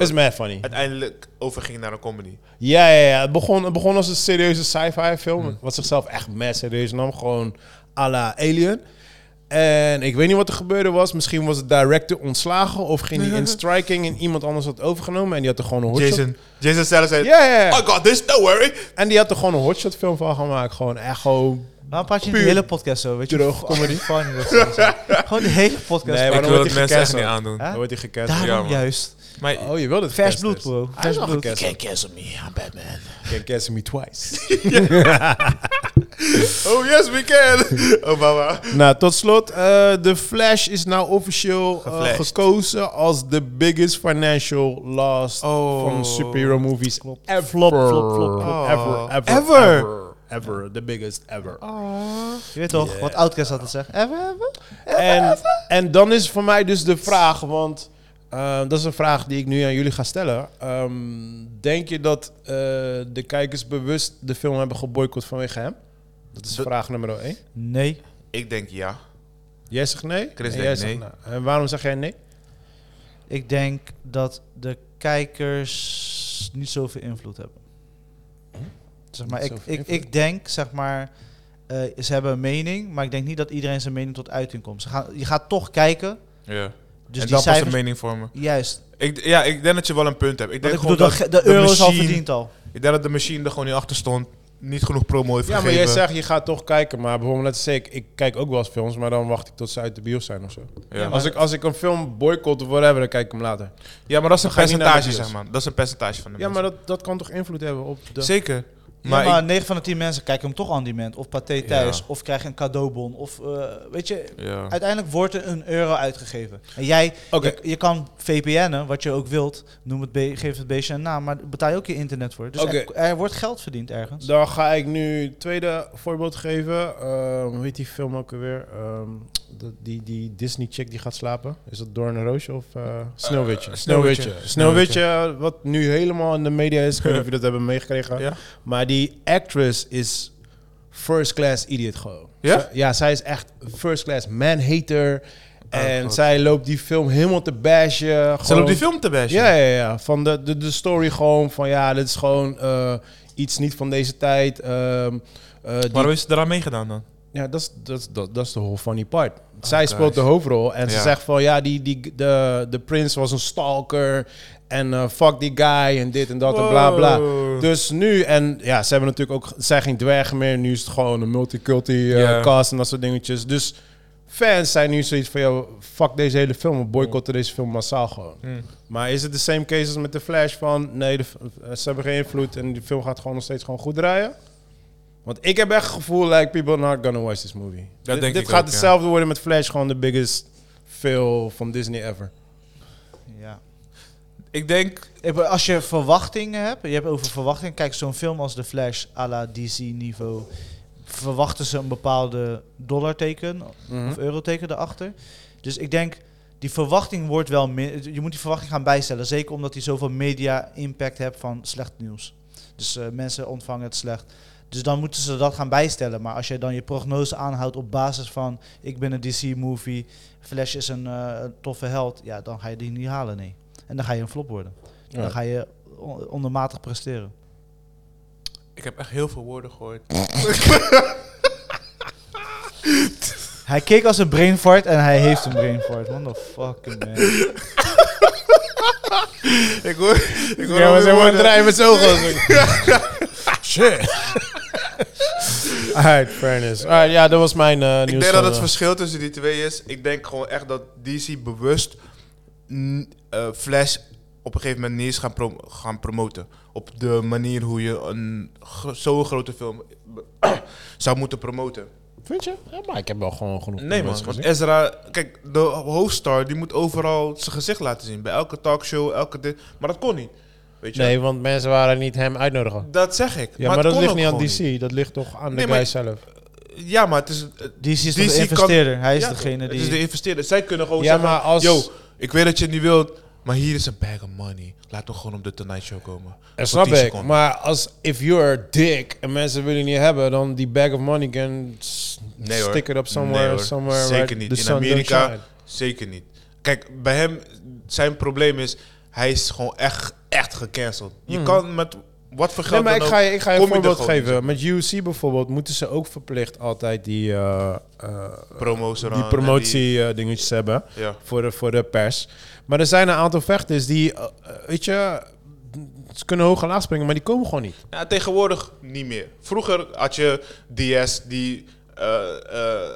Speaker 2: Dat is
Speaker 4: het
Speaker 2: mad funny.
Speaker 4: uiteindelijk overging naar een comedy.
Speaker 2: Ja, ja, ja. Het begon, het begon als een serieuze sci-fi film.
Speaker 1: Hmm.
Speaker 2: Wat zichzelf echt mad serieus nam. Gewoon à la Alien. En ik weet niet wat er gebeurde was. Misschien was het director ontslagen. Of ging die in striking en iemand anders had overgenomen. En die had er gewoon een hotshot.
Speaker 4: Jason, Jason zelf zei,
Speaker 2: Ja, ja, ja.
Speaker 4: I got this, don't worry.
Speaker 2: En die had er gewoon een hotshot film van gemaakt. Gewoon echt gewoon...
Speaker 1: Waarom praat je niet de
Speaker 2: Puur
Speaker 1: hele podcast zo? Weet je
Speaker 2: droog
Speaker 1: hoe funny dat is? Gewoon de hele podcast.
Speaker 2: Nee, maar
Speaker 4: Ik
Speaker 2: dan
Speaker 4: wil
Speaker 2: wordt
Speaker 4: het
Speaker 2: hij
Speaker 4: mensen echt
Speaker 2: gecanceld.
Speaker 4: niet aandoen.
Speaker 1: Hè?
Speaker 2: Dan wordt hij gecanceld.
Speaker 1: Daarom
Speaker 4: Ja, man.
Speaker 1: juist.
Speaker 4: Maar
Speaker 2: Oh, je wilde het
Speaker 1: Vers
Speaker 2: gecanceld.
Speaker 1: bloed, bro.
Speaker 2: Hij is
Speaker 1: Vers
Speaker 2: al
Speaker 1: bloed.
Speaker 2: gecanceld.
Speaker 4: cancel me, I'm Batman.
Speaker 2: Can't cancel me twice.
Speaker 4: Oh yes, we can. Oh mama.
Speaker 2: nou, tot slot. eh, de Flash is nou officieel eh,
Speaker 4: Geflashed.
Speaker 2: gekozen als de biggest financial loss
Speaker 4: Oh.
Speaker 2: van superhero movies ever.
Speaker 1: Flop, flop, flop, flop.
Speaker 4: Oh.
Speaker 2: Ever, ever,
Speaker 4: Ever. Oh.
Speaker 2: ever. Ever, the biggest ever.
Speaker 1: Je weet toch, wat Outcast altijd zegt. Even, even.
Speaker 2: En, en dan is voor mij dus de vraag, want eh, dat is een vraag die ik nu aan jullie ga stellen. Ehm, denk je dat eh, de kijkers bewust de film hebben geboycott vanwege hem? Dat is vraag nummer één.
Speaker 1: Nee.
Speaker 4: Ik denk ja.
Speaker 2: Jij zegt nee?
Speaker 4: Chris
Speaker 2: en
Speaker 4: denkt
Speaker 2: jij zegt
Speaker 4: nee.
Speaker 2: nou. En waarom zeg jij nee?
Speaker 1: Ik denk dat de kijkers niet zoveel invloed hebben. Zeg maar,
Speaker 2: Niet
Speaker 1: ik,
Speaker 2: zoveel
Speaker 1: ik,
Speaker 2: invloed.
Speaker 1: ik denk, zeg maar, eh, ze hebben een mening, maar ik denk niet dat iedereen zijn mening tot uiting komt. Ze gaan, je gaat toch kijken.
Speaker 4: Ja.
Speaker 1: Dus
Speaker 4: en
Speaker 1: die
Speaker 4: dan pas een
Speaker 1: cijfers...
Speaker 4: mening vormen.
Speaker 1: Juist.
Speaker 4: Ik, ja, ik denk dat je wel een punt hebt. Ik
Speaker 1: Want
Speaker 4: denk
Speaker 1: ik bedoel,
Speaker 4: gewoon
Speaker 1: de,
Speaker 4: dat
Speaker 1: ge- de euro is al
Speaker 4: machine-
Speaker 1: verdiend al.
Speaker 4: Ik denk dat de machine er gewoon niet achter stond. Niet genoeg promo heeft
Speaker 2: Ja, maar
Speaker 4: gegeven.
Speaker 2: jij zegt je gaat toch kijken, maar bijvoorbeeld net als ik, ik kijk ook wel eens films, maar dan wacht ik tot ze uit de bios zijn of zo.
Speaker 4: Ja. Ja, maar,
Speaker 2: Als, ik, als ik een film boycott of whatever, dan kijk ik hem later.
Speaker 4: dat is een
Speaker 2: ga je niet naar de
Speaker 4: percentage,
Speaker 2: bios.
Speaker 4: zeg maar. Dat is een percentage van de
Speaker 2: Ja, maar
Speaker 4: mensen.
Speaker 2: dat, dat kan toch invloed hebben op de...
Speaker 4: Zeker.
Speaker 1: Maar,
Speaker 4: Maar,
Speaker 1: ja, maar 9 van de 10 mensen kijken hem toch aan die moment. Of paté thuis,
Speaker 4: Ja.
Speaker 1: of krijgen een cadeaubon. Of eh, weet je,
Speaker 4: ik- ja.
Speaker 1: uiteindelijk wordt er een euro uitgegeven. En jij,
Speaker 2: Oké.
Speaker 1: je, je kan VPN'en, wat je ook wilt, noem het be- geef het beestje een naam, maar daar betaal je ook je internet voor. Dus
Speaker 2: Oké.
Speaker 1: er, er wordt geld verdiend ergens.
Speaker 2: Dan ga ik nu het tweede voorbeeld geven. Ehm, hoe heet die film ook alweer? Ehm, dat- die, die Disney-chick die gaat slapen. Is dat Doorn Roosje of eh Sneeuwwitje?
Speaker 4: Sneeuwwitje.
Speaker 2: Sneeuwwitje. Sneeuwwitje, wat nu helemaal in de media is. Ik weet niet of jullie dat hebben meegekregen.
Speaker 4: Ja.
Speaker 2: Maar die actress is first class idiot gewoon.
Speaker 4: Ja?
Speaker 2: Zij- ja, zij is echt first class man-hater. En
Speaker 4: Oh, God.
Speaker 2: zij loopt die film helemaal te bashen.
Speaker 4: Ze loopt
Speaker 2: gewoon-
Speaker 4: die film te bashen.
Speaker 2: ja, ja, ja. Van de, de, de story gewoon van ja, dit is gewoon eh, iets niet van deze tijd. ehm, eh, die-
Speaker 4: Waarom is ze eraan meegedaan dan?
Speaker 2: ja, dat is- dat is- dat- dat is de whole funny part. Zij
Speaker 4: Oké.
Speaker 2: speelt de hoofdrol en ze
Speaker 4: Ah, Ja.
Speaker 2: zegt van ja, die, die, de, de prins was een stalker en eh, fuck die guy en dit en dat en bla bla.
Speaker 4: Wow.
Speaker 2: Dus nu, en ja, ze hebben natuurlijk ook, ze zijn geen dwergen meer. Nu is het gewoon een multiculti eh,
Speaker 4: Ja.
Speaker 2: cast en dat soort dingetjes. Dus fans zijn nu zoiets van, joh, fuck deze hele film. We boycotten deze film massaal gewoon.
Speaker 4: Hmm.
Speaker 2: Maar is het de same case als met de Flash van, nee, de, f- eh, ze hebben geen invloed en die film gaat gewoon nog steeds gewoon goed draaien? Want ik heb echt het gevoel, like, people are not gonna watch this movie. dit
Speaker 4: denk
Speaker 2: dit
Speaker 4: ik
Speaker 2: gaat
Speaker 4: ook, ja.
Speaker 2: hetzelfde worden met Flash, gewoon de biggest film van Disney ever.
Speaker 1: Ja.
Speaker 4: Ik denk...
Speaker 1: Ik bedoel, Als je verwachtingen hebt, je hebt over verwachtingen, kijk zo'n film als The Flash à la DC niveau,
Speaker 2: Mhm.
Speaker 4: Hm?
Speaker 1: verwachten ze een bepaalde dollarteken of euroteken erachter. Dus ik denk die verwachting wordt wel min- Je moet die verwachting gaan bijstellen. Zeker omdat hij zoveel media-impact hebt van slecht nieuws. Dus eh, mensen ontvangen het slecht. Dus dan moeten ze dat gaan bijstellen. Maar als je dan je prognose aanhoudt op basis van... ik ben een DC-movie, Flash is een eh, een toffe held... ja, dan ga je die niet halen, nee. En dan ga je een flop worden. Dan ga je on- ondermatig presteren.
Speaker 4: Ik heb echt heel veel woorden gehoord.
Speaker 1: Hij keek als een brain fart en hij heeft een brain fart. What the fucking man.
Speaker 4: ik hoor, ik hoor
Speaker 2: Ja,
Speaker 4: alweer
Speaker 2: maar zeg maar,
Speaker 4: woorden.
Speaker 2: draai met zo Shit. Alright, fairness. Alright, ja, dat was mijn eh nieuws.
Speaker 4: Ik denk dat
Speaker 2: van
Speaker 4: het
Speaker 2: de-
Speaker 4: verschil tussen die twee is. Ik denk gewoon echt dat DC bewust n- eh, Flash op een gegeven moment niet is gaan, prom- gaan promoten. Op de manier hoe je een gro- zo'n grote film eh, zou moeten promoten.
Speaker 2: Vind je? Ja, maar ik heb wel gewoon genoeg
Speaker 4: Nee man,
Speaker 2: mensen
Speaker 4: want
Speaker 2: gezien.
Speaker 4: Ezra, kijk, de hoofdstar die moet overal zijn gezicht laten zien. Bij elke talkshow, elke dit. Maar dat kon niet. Weet je?
Speaker 2: Nee, want mensen waren niet hem uitnodigen.
Speaker 4: Dat zeg ik.
Speaker 2: Ja, maar,
Speaker 4: het
Speaker 2: dat
Speaker 4: kon
Speaker 2: ligt
Speaker 4: ook
Speaker 2: niet aan
Speaker 4: gewoon
Speaker 2: DC. Dat ligt toch aan
Speaker 4: Nee,
Speaker 2: de guy
Speaker 4: maar-
Speaker 2: zelf.
Speaker 4: Ja, maar het is... het-
Speaker 1: Die is toch
Speaker 4: DC
Speaker 1: de
Speaker 4: kan-
Speaker 1: investeerder. Hij is
Speaker 4: Ja,
Speaker 1: degene
Speaker 4: het
Speaker 1: die...
Speaker 4: is de investeerder. Zij kunnen gewoon
Speaker 2: Ja,
Speaker 4: zeggen,
Speaker 2: maar als-
Speaker 4: yo, ik weet dat je het niet wilt, maar hier is een bag of money. Laat hem gewoon op de Tonight Show komen.
Speaker 2: Dat
Speaker 4: Voor
Speaker 2: eh, snap
Speaker 4: 10
Speaker 2: ik.
Speaker 4: seconden.
Speaker 2: Maar als if you're dick en mensen willen je niet hebben, dan die bag of money can s-
Speaker 4: Nee, hoor.
Speaker 2: stick it up somewhere.
Speaker 4: Nee, hoor.
Speaker 2: somewhere
Speaker 4: Zeker
Speaker 2: where
Speaker 4: niet.
Speaker 2: the
Speaker 4: In
Speaker 2: sun don't
Speaker 4: Amerika-
Speaker 2: shine.
Speaker 4: Zeker niet. Kijk, bij hem, zijn probleem is, hij is gewoon echt, echt gecanceld. Je kan met wat voor
Speaker 2: Hmm. Nee,
Speaker 4: geld
Speaker 2: maar ik
Speaker 4: dan
Speaker 2: ga,
Speaker 4: ook-
Speaker 2: je- ik ga je
Speaker 4: kom
Speaker 2: een
Speaker 4: je er
Speaker 2: voorbeeld
Speaker 4: gewoon niet.
Speaker 2: geven. Met UC bijvoorbeeld moeten ze ook verplicht altijd die, eh, eh,
Speaker 4: promo's eraan
Speaker 2: die
Speaker 4: en die-
Speaker 2: promotie-dingetjes hebben.
Speaker 4: ja.
Speaker 2: voor de, voor de pers. Maar er zijn een aantal vechters die, eh, eh, weet je, ze kunnen hoog en laag springen, maar die komen gewoon niet.
Speaker 4: Ja, tegenwoordig niet meer. Vroeger had je DS die eh, eh,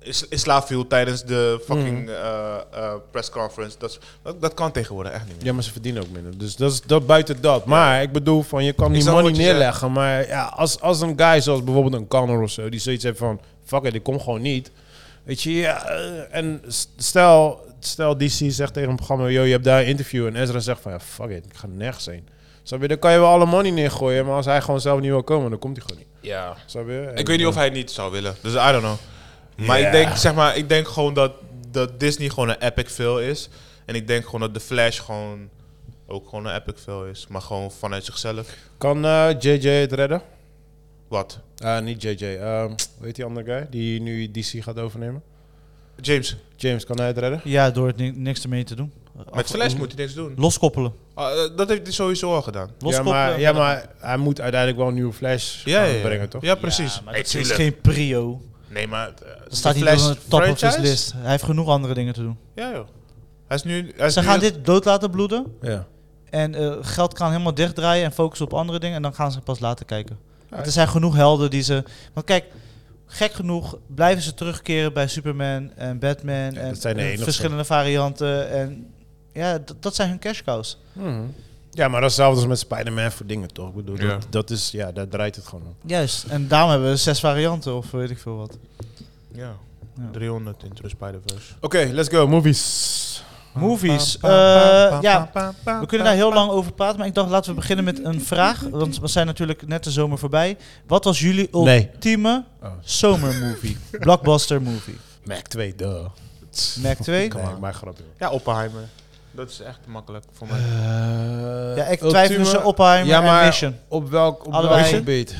Speaker 4: is, in slaap viel tijdens de fucking eh, eh, pressconference. Dat, is- dat, dat kan tegenwoordig echt niet meer.
Speaker 2: Ja, maar ze verdienen ook minder. Dus dat is dat buiten dat. Maar ik bedoel van, je kan die
Speaker 4: snap
Speaker 2: money
Speaker 4: wat je
Speaker 2: neerleggen. Maar ja, als, als een guy zoals bijvoorbeeld een Connor of zo, die zoiets heeft van, fuck it, ik kom gewoon niet. Weet je, ja, eh, en s- stel, stel DC zegt tegen een programma, yo, je hebt daar een interview. En Ezra zegt van, ja, fuck it, ik ga nergens heen. Snap je, dan kan je wel alle money neergooien, maar als hij gewoon zelf niet wil komen, dan komt hij gewoon niet.
Speaker 4: Ja.
Speaker 2: Snap je? En,
Speaker 4: Ik weet niet of hij niet zou willen. Dus I don't know. Maar
Speaker 2: Ja.
Speaker 4: ik denk, zeg maar, ik denk gewoon dat, dat Disney gewoon een epic film is. En ik denk gewoon dat The Flash gewoon ook gewoon een epic film is. Maar gewoon vanuit zichzelf.
Speaker 2: Kan eh, JJ het redden?
Speaker 4: Wat?
Speaker 2: Ah, niet JJ. Ehm hoe heet die andere guy die nu DC gaat overnemen?
Speaker 4: James,
Speaker 2: James, kan hij het redden?
Speaker 1: Ja, door het ni- niks ermee te doen.
Speaker 4: met Flash
Speaker 1: Mm.
Speaker 4: moet hij niks doen.
Speaker 1: Loskoppelen.
Speaker 4: Ah, eh, dat heeft hij sowieso al gedaan.
Speaker 2: Ja
Speaker 1: Loskoppelen.
Speaker 2: maar, ja, maar hij moet uiteindelijk wel een nieuwe Flash
Speaker 4: Ja,
Speaker 2: gaan
Speaker 4: ja, ja.
Speaker 2: brengen, toch?
Speaker 4: Ja, precies.
Speaker 1: Ja, maar
Speaker 4: Hey,
Speaker 1: dat is
Speaker 4: tuurlijk.
Speaker 1: geen prio.
Speaker 4: Nee, maar... eh, de
Speaker 1: Dat staat niet
Speaker 4: Flash
Speaker 1: op de top of his
Speaker 4: franchise?
Speaker 1: list. Hij heeft genoeg andere dingen te doen.
Speaker 4: Ja joh. Hij is nu... Hij is
Speaker 1: Ze
Speaker 4: nu
Speaker 1: gaan dit dood laten bloeden.
Speaker 2: Ja.
Speaker 1: En eh, geld kan helemaal dichtdraaien en focussen op andere dingen. En dan gaan ze pas later kijken. Want er zijn genoeg helden die ze... Want kijk, gek genoeg blijven ze terugkeren bij Superman en Batman. en
Speaker 2: dat zijn de
Speaker 1: eh,
Speaker 2: enigste.
Speaker 1: verschillende varianten. En ja, d- dat zijn hun cash cows.
Speaker 2: Mhm. Ja, maar dat is hetzelfde als met Spider-Man voor dingen, toch? Ik bedoel,
Speaker 4: Ja.
Speaker 2: dat, dat is, ja, daar draait het gewoon om.
Speaker 1: Juist. En daarom hebben we zes varianten of weet ik veel wat.
Speaker 4: Ja.
Speaker 1: Ja.
Speaker 4: 300 Into the Spider-Verse.
Speaker 2: Oké, let's go, movies.
Speaker 1: Movies. Eh, ja, we kunnen daar heel lang over praten. Maar ik dacht, laten we beginnen met een vraag. Want we zijn natuurlijk net de zomer voorbij. Wat was jullie
Speaker 2: Nee.
Speaker 1: ultieme
Speaker 2: Oh.
Speaker 1: zomermovie? Blockbuster movie.
Speaker 2: Mac 2, duh.
Speaker 1: Mac 2.
Speaker 4: Come
Speaker 2: Nee,
Speaker 4: on.
Speaker 2: maar grapje.
Speaker 4: Ja, Oppenheimer. Dat is echt makkelijk voor
Speaker 1: Eh,
Speaker 4: mij.
Speaker 1: Ja, ik twijfel
Speaker 4: dus
Speaker 1: tussen Oppenheimer
Speaker 2: Ja, maar
Speaker 1: en Mission.
Speaker 2: Eh, Op welk, op welk
Speaker 1: Allebei.
Speaker 2: gebied?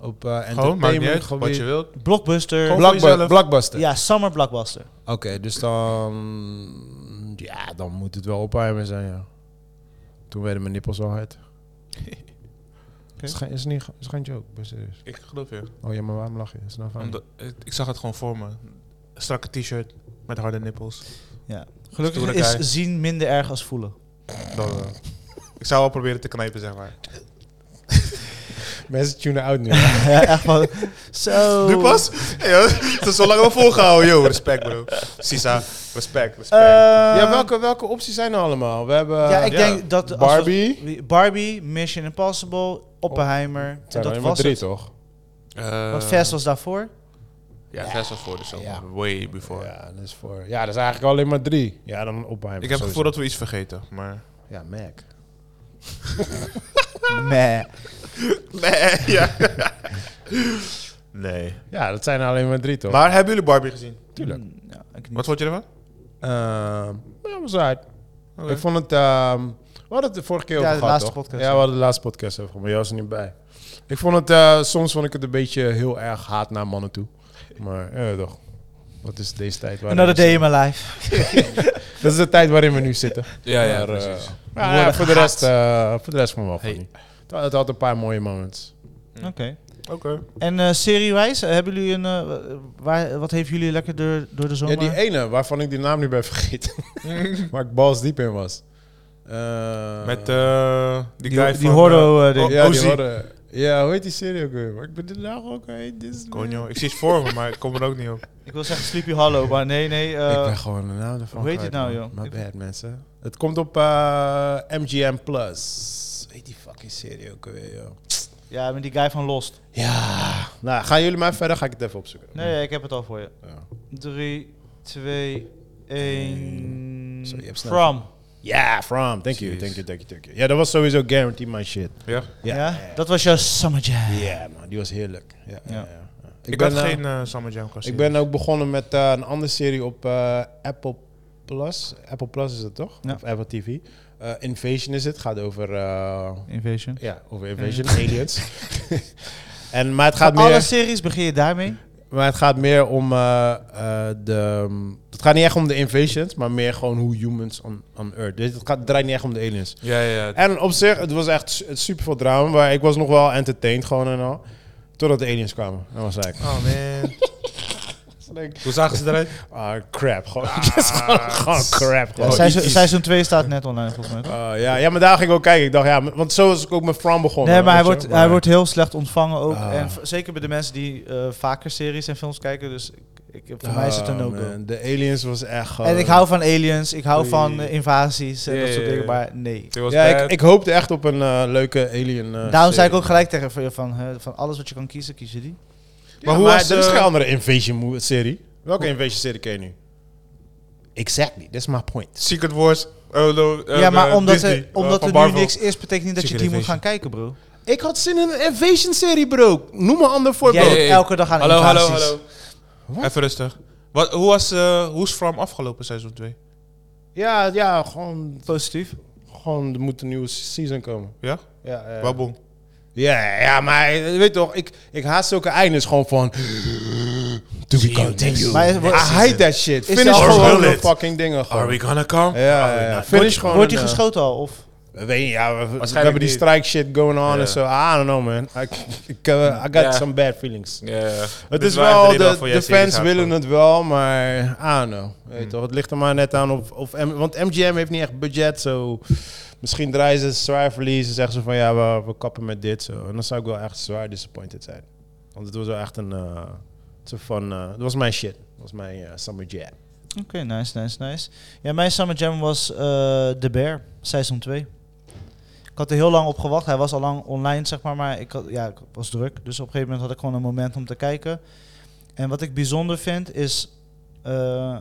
Speaker 2: Op eh
Speaker 4: Gewoon, maakt niet
Speaker 2: entertainment
Speaker 4: uit wat je
Speaker 2: gebied?
Speaker 4: wilt.
Speaker 1: Blockbuster.
Speaker 4: Gewoon- Voor
Speaker 2: Blockbu-
Speaker 4: jezelf.
Speaker 2: Blockbuster.
Speaker 1: ja, summer blockbuster.
Speaker 2: Oké, dus dan... Ja, dan moet het wel Oppenheimer zijn, ja. Toen werden mijn nippels al hard. Is, geen, is, niet, is geen joke, ik ben serieus.
Speaker 4: Ik geloof je.
Speaker 2: Oh ja, maar waarom lach je? Is nou fijn.
Speaker 4: Omdat, ik, ik zag het gewoon voor me. Strakke t-shirt met harde nippels.
Speaker 1: Ja. Gelukkig
Speaker 4: Stoere
Speaker 1: is
Speaker 4: guy.
Speaker 1: zien minder erg als voelen.
Speaker 4: Dat, eh, ik zou wel proberen te knijpen, zeg maar.
Speaker 2: Mensen tunen out nu.
Speaker 1: ja, echt van... Zo.
Speaker 4: Nu pas? Hey, joh, het is zo lang al volgehouden, joh. Respect, bro. Sisa, respect, respect.
Speaker 1: Eh,
Speaker 2: ja, eh, welke, welke opties zijn er allemaal? We hebben
Speaker 1: Ja, ik
Speaker 4: ja.
Speaker 1: denk dat... als we-
Speaker 2: Barbie.
Speaker 1: Barbie, Mission Impossible, Oppenheimer.
Speaker 2: Het
Speaker 1: en
Speaker 2: zijn er
Speaker 1: dat
Speaker 2: maar
Speaker 1: was
Speaker 2: drie,
Speaker 1: het.
Speaker 2: toch?
Speaker 4: Eh,
Speaker 1: Want Fast was daarvoor.
Speaker 4: Ja, Fast was voor de zomer.
Speaker 2: Ja.
Speaker 4: Way before.
Speaker 2: Ja, dat is voor... Ja, dat is eigenlijk alleen maar drie. Ja, dan Oppenheimer.
Speaker 4: Ik heb het
Speaker 2: sowieso.
Speaker 4: gevoel dat we iets vergeten, maar...
Speaker 2: Ja, Mac.
Speaker 1: Nee.
Speaker 4: Nee, ja. nee.
Speaker 2: Ja, dat zijn er alleen maar drie, toch?
Speaker 4: Maar hebben jullie Barbie gezien?
Speaker 2: Tuurlijk.
Speaker 1: Ja, ik niet.
Speaker 4: Wat vond je ervan? Ehm,
Speaker 2: Ja, was uit.
Speaker 4: oké.
Speaker 2: Ik vond het... ehm, we hadden het de vorige keer
Speaker 1: Ja,
Speaker 2: over
Speaker 1: de
Speaker 2: gehad,
Speaker 1: laatste
Speaker 2: toch?
Speaker 1: podcast,
Speaker 2: Ja, we
Speaker 1: ja.
Speaker 2: hadden de laatste podcast over gehad, maar jij was er niet bij. Ik vond het... eh, soms vond ik het een beetje heel erg haat naar mannen toe. Maar ja, toch. Dat is deze tijd waarin
Speaker 1: Another
Speaker 2: we
Speaker 1: day in my life.
Speaker 2: zitten. Dat is de tijd waarin we nu zitten.
Speaker 4: ja, ja,
Speaker 2: Maar, eh,
Speaker 4: precies.
Speaker 2: maar ja,
Speaker 1: worden
Speaker 2: voor, de rest, eh, voor de rest vond ik wel
Speaker 4: Hey.
Speaker 2: funny. Het had- Het had een paar mooie moments.
Speaker 1: Oké.
Speaker 4: Oké.
Speaker 1: En eh seriewijs, eh, hebben jullie een... eh, waar, wat heeft jullie lekker door, door de zomer?
Speaker 2: Ja, die ene waarvan ik die naam nu ben vergeten. waar ik bals diep in was. Eh,
Speaker 4: Met eh, die
Speaker 1: Die-
Speaker 4: guy
Speaker 1: die
Speaker 4: van...
Speaker 1: Hordo, eh, ding.
Speaker 4: oh,
Speaker 2: ja, die
Speaker 4: Ozzy.
Speaker 2: hadden- ja, hoe heet die serie ook weer? Maar ik ben de dag ook... Hey, dit is-
Speaker 4: Konjo. Ik zie het voor me, maar ik kom er ook niet op.
Speaker 1: Ik wil zeggen Sleepy Hollow, maar nee, nee. eh,
Speaker 2: e- ik ben gewoon de naam ervan
Speaker 1: hoe heet
Speaker 2: kwijt,
Speaker 1: het nou,
Speaker 2: man.
Speaker 1: joh?
Speaker 2: My
Speaker 1: Ik-
Speaker 2: bad, mensen. Het komt op eh, MGM+. Plus. Hoe heet die fucking serie ook weer, joh?
Speaker 1: ja, met die guy van Lost.
Speaker 2: Ja. Nou, gaan jullie maar verder? Ga ik het even opzoeken.
Speaker 1: Nee, ik heb het al voor je.
Speaker 2: Ja.
Speaker 1: 3, 2, 1.
Speaker 2: Zo, je hebt snel.
Speaker 1: From.
Speaker 2: Ja, from. Thank you,
Speaker 4: Precies.
Speaker 2: thank you, thank you, thank you. Ja, dat was sowieso guarantee my shit.
Speaker 4: Ja?
Speaker 1: Ja?
Speaker 2: Ja,
Speaker 1: Dat was jouw summer jam.
Speaker 2: ja, man, die was heerlijk. Ja, ja.
Speaker 1: Ja.
Speaker 2: ja, ja.
Speaker 4: Ik,
Speaker 2: ben,
Speaker 4: had
Speaker 2: eh,
Speaker 4: geen eh Summer Jam klassiek.
Speaker 2: ik ben ook begonnen met eh, een andere serie op eh, Apple Plus. Apple Plus is het toch?
Speaker 1: Ja.
Speaker 2: Of Apple TV. Eh, Invasion is het. Gaat over, eh,
Speaker 1: Invasion.
Speaker 2: ja, over Invasion, aliens. en, maar, het gaat
Speaker 1: Alle
Speaker 2: meer,
Speaker 1: series begin je daarmee?
Speaker 2: maar het gaat meer om eh, eh, de... Het gaat niet echt om de invasions, maar meer gewoon hoe humans on, on Earth. Dus het, gaat, het draait niet echt om de aliens.
Speaker 4: Ja, ja. ja.
Speaker 2: En op zich, het was echt su- super veel drama. Maar ik was nog wel entertained gewoon en al. Totdat de aliens kwamen. Dan was ik...
Speaker 4: Oh, man.
Speaker 2: dan denk ik,
Speaker 4: Hoe zagen ze eruit?
Speaker 2: Ah, crap. Gewoon, het is gewoon, gewoon crap.
Speaker 1: Ja,
Speaker 2: Gewoon.
Speaker 1: seizoen- seizoen 2 staat net online volgens mij. toch?
Speaker 2: Ah, ja, ja, maar daar ging ik ook kijken. Ik dacht, ja, m- want zo was ik ook met Fran begonnen.
Speaker 1: Nee, maar hij
Speaker 2: weet je,
Speaker 1: wordt, hij wordt heel slecht ontvangen ook.
Speaker 2: Ah.
Speaker 1: En v- zeker bij de mensen die eh, vaker series en films kijken. Dus ik, ik, voor mij is het een
Speaker 2: Ah,
Speaker 1: no-go.
Speaker 2: man, De aliens was echt eh, gewoon...
Speaker 1: En ik hou van aliens, ik hou
Speaker 2: Oei.
Speaker 1: van eh, invasies en
Speaker 4: Ja,
Speaker 1: dat soort
Speaker 4: ja,
Speaker 1: dingen,
Speaker 4: ja.
Speaker 1: maar nee.
Speaker 4: It was
Speaker 2: Ja,
Speaker 4: bad.
Speaker 2: ik, ik hoopte echt op een eh, leuke alien... eh,
Speaker 1: Daarom zei ik
Speaker 2: serie.
Speaker 1: ook gelijk tegen je van, hè, van alles wat je kan kiezen, kies je die.
Speaker 2: Ja,
Speaker 4: Maar
Speaker 2: maar
Speaker 4: hoe was,
Speaker 2: er is
Speaker 4: eh,
Speaker 2: geen andere invasion mo- serie. Welke invasion serie ken je nu? Exactly, that's my point.
Speaker 4: Secret Wars. oh, no, eh,
Speaker 1: ja, maar
Speaker 4: eh,
Speaker 1: omdat,
Speaker 4: Disney,
Speaker 1: er,
Speaker 4: eh,
Speaker 1: omdat
Speaker 4: van
Speaker 1: er nu
Speaker 4: Marvel.
Speaker 1: niks is, betekent niet dat je
Speaker 4: Secret
Speaker 1: die moet
Speaker 4: Invasion.
Speaker 1: gaan kijken, bro.
Speaker 2: Ik had zin in een invasion serie, bro. Noem een ander
Speaker 1: Jij
Speaker 2: voorbeeld.
Speaker 4: ja, ja.
Speaker 1: elke dag aan
Speaker 4: Hallo, hallo,
Speaker 1: invasies.
Speaker 4: hallo.
Speaker 2: Wat?
Speaker 4: Even rustig. Wat, hoe was eh Who's From afgelopen seizoen 2?
Speaker 2: Ja, ja, gewoon,
Speaker 1: Positief.
Speaker 2: gewoon er moet een nieuwe season komen.
Speaker 4: Ja?
Speaker 2: Ja, eh, ja.
Speaker 4: Waboom.
Speaker 2: ja, ja, maar je weet toch, ik, ik haat zulke eindes gewoon van... Do we continue?
Speaker 1: Maar is-
Speaker 2: I hate that shit.
Speaker 1: Is
Speaker 2: Finish
Speaker 1: dat-
Speaker 2: gewoon
Speaker 4: Will
Speaker 2: de
Speaker 4: it?
Speaker 2: fucking dingen gewoon.
Speaker 4: Are we gonna come?
Speaker 2: ja,
Speaker 4: Are we
Speaker 2: ja, ja.
Speaker 4: not?
Speaker 2: Finish gewoon.
Speaker 1: Wordt hij
Speaker 2: een, eh,
Speaker 1: geschoten al? Of?
Speaker 2: We weten, ja, we, we
Speaker 4: Waarschijnlijk
Speaker 2: hebben die
Speaker 4: niet.
Speaker 2: strike shit going on
Speaker 4: Ja.
Speaker 2: en zo. I don't know, man. I, ik, eh, I got
Speaker 4: Ja.
Speaker 2: some bad feelings.
Speaker 4: Ja.
Speaker 2: Het
Speaker 4: Dit
Speaker 2: is
Speaker 4: waren
Speaker 2: wel,
Speaker 4: de Hmm. reden
Speaker 2: de,
Speaker 4: waarvoor jij
Speaker 2: de
Speaker 4: series
Speaker 2: fans
Speaker 4: haat
Speaker 2: willen
Speaker 4: gewoon.
Speaker 2: het wel, maar I don't know. Weet je toch, het ligt er maar net aan of, of M- want MGM heeft niet echt budget, zo misschien draaien ze zwaar verlies en zeggen ze van ja, we, we kappen met dit, zo. En dan zou ik wel echt zwaar disappointed zijn. Want het was wel echt een, eh zo van, eh, dat was mijn shit, dat was mijn eh, summer jam.
Speaker 1: Oké, nice, nice, nice. Ja, mijn Summer Jam was eh The Bear, seizoen 2. Ik had er heel lang op gewacht. Hij was al lang online, zeg maar. Maar ik, had, ja, ik was druk. Dus op een gegeven moment had ik gewoon een moment om te kijken. En wat ik bijzonder vind is... eh,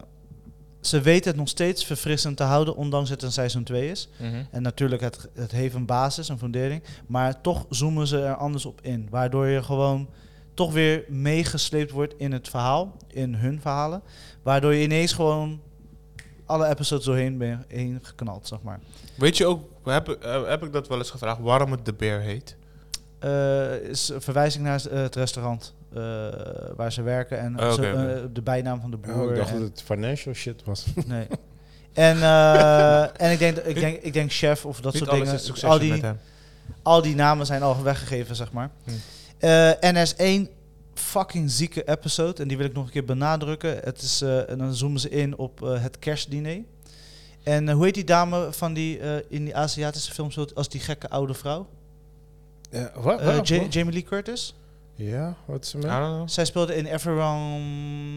Speaker 1: ze weten het nog steeds verfrissend te houden, ondanks het een seizoen 2 is.
Speaker 2: Mhm.
Speaker 1: En natuurlijk, het, het heeft een basis, een fundering. Maar toch zoomen ze er anders op in. Waardoor je gewoon toch weer meegesleept wordt in het verhaal. In hun verhalen. Waardoor je ineens gewoon alle episodes doorheen bent heen geknald, zeg maar.
Speaker 4: Weet je ook, heb, eh, heb ik dat wel eens gevraagd, waarom het de beer heet?
Speaker 1: Eh, is een verwijzing naar eh, het restaurant eh, waar ze werken. En
Speaker 4: Oh,
Speaker 1: ze-
Speaker 4: oké, oké.
Speaker 1: eh, de bijnaam van de boer.
Speaker 2: Oh, ik dacht
Speaker 1: en-
Speaker 2: dat het financial shit was.
Speaker 1: Nee. En, eh, en ik, denk, ik, denk, ik denk chef of dat
Speaker 4: Niet
Speaker 1: soort
Speaker 4: alles
Speaker 1: dingen.
Speaker 4: is succes
Speaker 1: al die,
Speaker 4: met hem.
Speaker 1: al die namen zijn al weggegeven, zeg maar.
Speaker 4: Hm.
Speaker 1: Eh, en er is één fucking zieke episode. En die wil ik nog een keer benadrukken. Het is, eh, en dan zoomen ze in op eh, het kerstdiner. En eh, hoe heet die dame van die eh, in die Aziatische films als die gekke oude vrouw?
Speaker 2: Ja, wat?
Speaker 1: Eh, Ja- Jamie Lee Curtis.
Speaker 2: ja, wat is er
Speaker 4: I
Speaker 2: mee?
Speaker 4: don't know.
Speaker 1: Zij speelde in Everyone.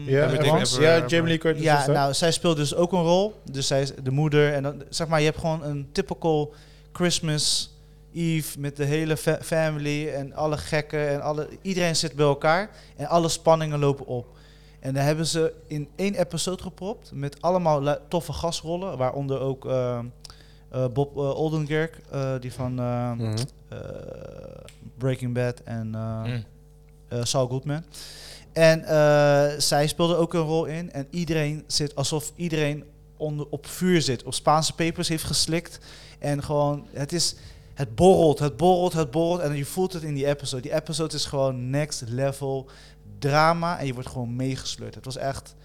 Speaker 2: Ja,
Speaker 4: Oh. Everything
Speaker 2: Evans?
Speaker 4: Ever-
Speaker 2: ja,
Speaker 4: Ever-
Speaker 2: Jamie Lee Curtis. was
Speaker 1: Ja,
Speaker 2: dat?
Speaker 1: nou, zij speelt dus ook een rol. Dus zij is de moeder. En dan, zeg maar, je hebt gewoon een typical Christmas Eve met de hele fa- family en alle gekken en alle, iedereen zit bij elkaar en alle spanningen lopen op. En daar hebben ze in één episode gepropt met allemaal lu- toffe gastrollen, waaronder ook eh, eh, Bob eh, Odenkirk, eh, die van eh,
Speaker 2: Mhm.
Speaker 1: eh, Breaking Bad en eh,
Speaker 4: Mm.
Speaker 1: eh, Saul Goodman. En eh, zij speelde ook een rol in. En iedereen zit alsof iedereen onder, op vuur zit, op Spaanse pepers heeft geslikt. En gewoon, het is, het borrelt, het borrelt, het borrelt. En je voelt het in die episode. Die episode is gewoon next level drama en je wordt gewoon meegesleurd. Het was echt,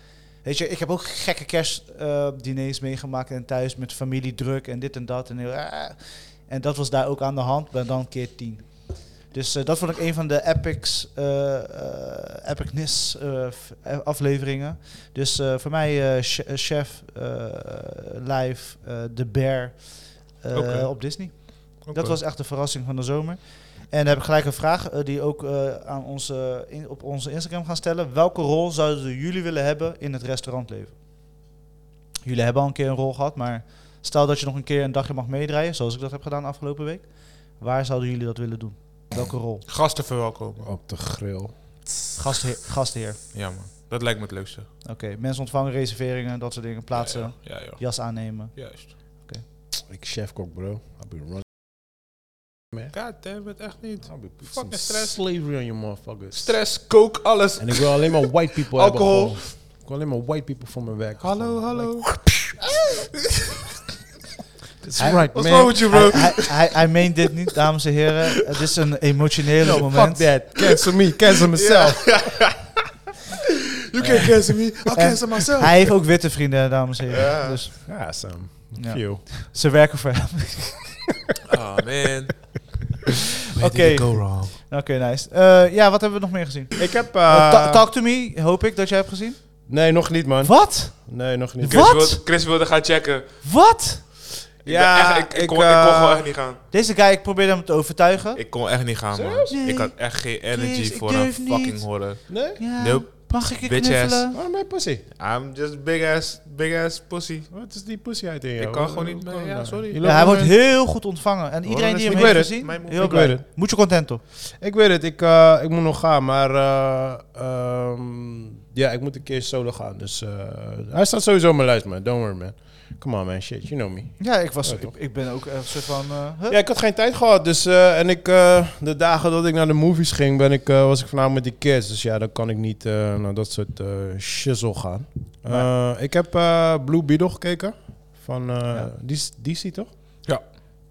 Speaker 1: weet je, ik heb ook gekke kerstdiners meegemaakt en thuis met familie druk en dit en dat. En, heel, ah. en dat was daar ook aan de hand, maar dan keer tien. Dus eh, dat vond ik een van de epics, eh, eh, epicness eh, f- eh, afleveringen. Dus eh, voor mij eh, Ch- eh, Chef, eh, Live, eh, The Bear eh,
Speaker 4: Oké.
Speaker 1: op Disney.
Speaker 4: Oké.
Speaker 1: Dat was echt de verrassing van de zomer. En dan heb ik gelijk een vraag eh, die ook eh, aan onze, in- op onze Instagram gaan stellen. Welke rol zouden jullie willen hebben in het restaurantleven? Jullie hebben al een keer een rol gehad, maar stel dat je nog een keer een dagje mag meedraaien, zoals ik dat heb gedaan afgelopen week. Waar zouden jullie dat willen doen? Welke rol?
Speaker 4: Gasten verwelkomen. Oh,
Speaker 2: Op de grill.
Speaker 1: Gastheer. gastheer.
Speaker 4: Ja, man. Dat lijkt me het leukste.
Speaker 1: Oké, mensen ontvangen reserveringen, dat soort dingen. Plaatsen,
Speaker 4: Ja, ja. ja, joh.
Speaker 1: jas aannemen.
Speaker 4: Juist.
Speaker 2: Ik chefkok, bro. I'll be running.
Speaker 4: God damn it, echt niet.
Speaker 2: I'll be put
Speaker 4: Fucking
Speaker 2: some
Speaker 4: stress.
Speaker 2: slavery on you motherfuckers.
Speaker 4: Stress, coke, alles.
Speaker 2: En ik wil alleen maar white people hebben.
Speaker 4: Alcohol.
Speaker 2: gewoon. Ik wil alleen maar white people voor mijn werk.
Speaker 4: Hallo,
Speaker 2: Gewoon.
Speaker 4: hallo.
Speaker 2: Like, that's
Speaker 1: Hij-
Speaker 2: right,
Speaker 4: What's wrong
Speaker 2: man.
Speaker 4: with you,
Speaker 1: Hij,
Speaker 4: bro?
Speaker 1: hij, hij, hij meent dit niet, dames en heren. Het is een emotionele
Speaker 2: Yo, fuck
Speaker 1: moment.
Speaker 2: that. Cancel me. Cancel myself.
Speaker 4: You can't cancel me, I'll cancel myself.
Speaker 1: Hij heeft ook witte vrienden, dames en heren.
Speaker 4: Ja.
Speaker 1: Dus
Speaker 2: Ja, Sam.
Speaker 1: Ja.
Speaker 2: Ah, Few.
Speaker 1: ze werken voor hem.
Speaker 4: Oh, man.
Speaker 1: Oké,
Speaker 4: Go wrong.
Speaker 1: oké, nice. Eh, ja, wat hebben we nog meer gezien?
Speaker 2: Ik heb...
Speaker 1: Eh,
Speaker 2: eh,
Speaker 1: Ta- Talk to me, hoop ik dat jij hebt gezien.
Speaker 2: nee, nog niet, man.
Speaker 1: Wat?
Speaker 2: Nee, nog niet.
Speaker 1: Wat?
Speaker 4: Chris wilde, Chris wilde gaan checken.
Speaker 1: Wat?
Speaker 4: Ik
Speaker 2: Ja,
Speaker 4: ben echt, ik, ik
Speaker 2: ik,
Speaker 4: kon, ik kon
Speaker 2: eh,
Speaker 4: gewoon echt niet gaan.
Speaker 1: Deze guy, ik probeerde hem te overtuigen.
Speaker 4: Ik kon echt niet gaan, man.
Speaker 1: Serieus?
Speaker 4: Ik had echt geen energy
Speaker 1: Chris, ik
Speaker 4: voor een
Speaker 1: durf niet.
Speaker 4: fucking horror.
Speaker 2: Nee?
Speaker 1: Ja.
Speaker 4: Nope.
Speaker 1: Mag ik je
Speaker 4: Bitch ass.
Speaker 1: knuffelen?
Speaker 2: Waarom ben je pussy?
Speaker 4: I'm just big ass, big ass pussy.
Speaker 2: Wat is die pussy uit in jou?
Speaker 4: Ik kan
Speaker 2: Wat-
Speaker 4: gewoon niet
Speaker 2: wat
Speaker 4: mee,
Speaker 2: kan
Speaker 4: ja,
Speaker 2: daar?
Speaker 4: sorry.
Speaker 1: Ja,
Speaker 2: Je
Speaker 4: Ja,
Speaker 2: loopt
Speaker 1: hij
Speaker 2: gewoon
Speaker 1: wordt
Speaker 2: mee?
Speaker 1: heel goed ontvangen. En iedereen die
Speaker 4: is-
Speaker 1: hem
Speaker 4: ik
Speaker 1: heeft
Speaker 4: weet het,
Speaker 1: gezien,
Speaker 4: mijn moeder.
Speaker 1: heel
Speaker 2: Ik
Speaker 1: blij.
Speaker 2: weet het.
Speaker 1: Moet je contento.
Speaker 2: Ik weet het. Ik, eh, ik moet nog gaan. Maar eh, ehm, ja, ik moet een keer solo gaan. Dus eh, hij staat sowieso op mijn lijst, man. Don't worry, man. Come on, man. Shit, you know me.
Speaker 1: Ja, ik, was,
Speaker 2: Ja,
Speaker 1: ik,
Speaker 2: toch?
Speaker 1: ik ben ook een soort van... eh, huh?
Speaker 2: Ja, ik had geen tijd gehad. Dus, eh, en ik, eh, de dagen dat ik naar de movies ging, ben ik, eh, was ik vanavond met die kids. Dus ja, dan kan ik niet eh, naar dat soort eh shizzle gaan. Eh, ik heb eh, Blue Beetle gekeken. Van eh,
Speaker 1: Ja.
Speaker 2: die is- die DC, toch?
Speaker 4: Ja.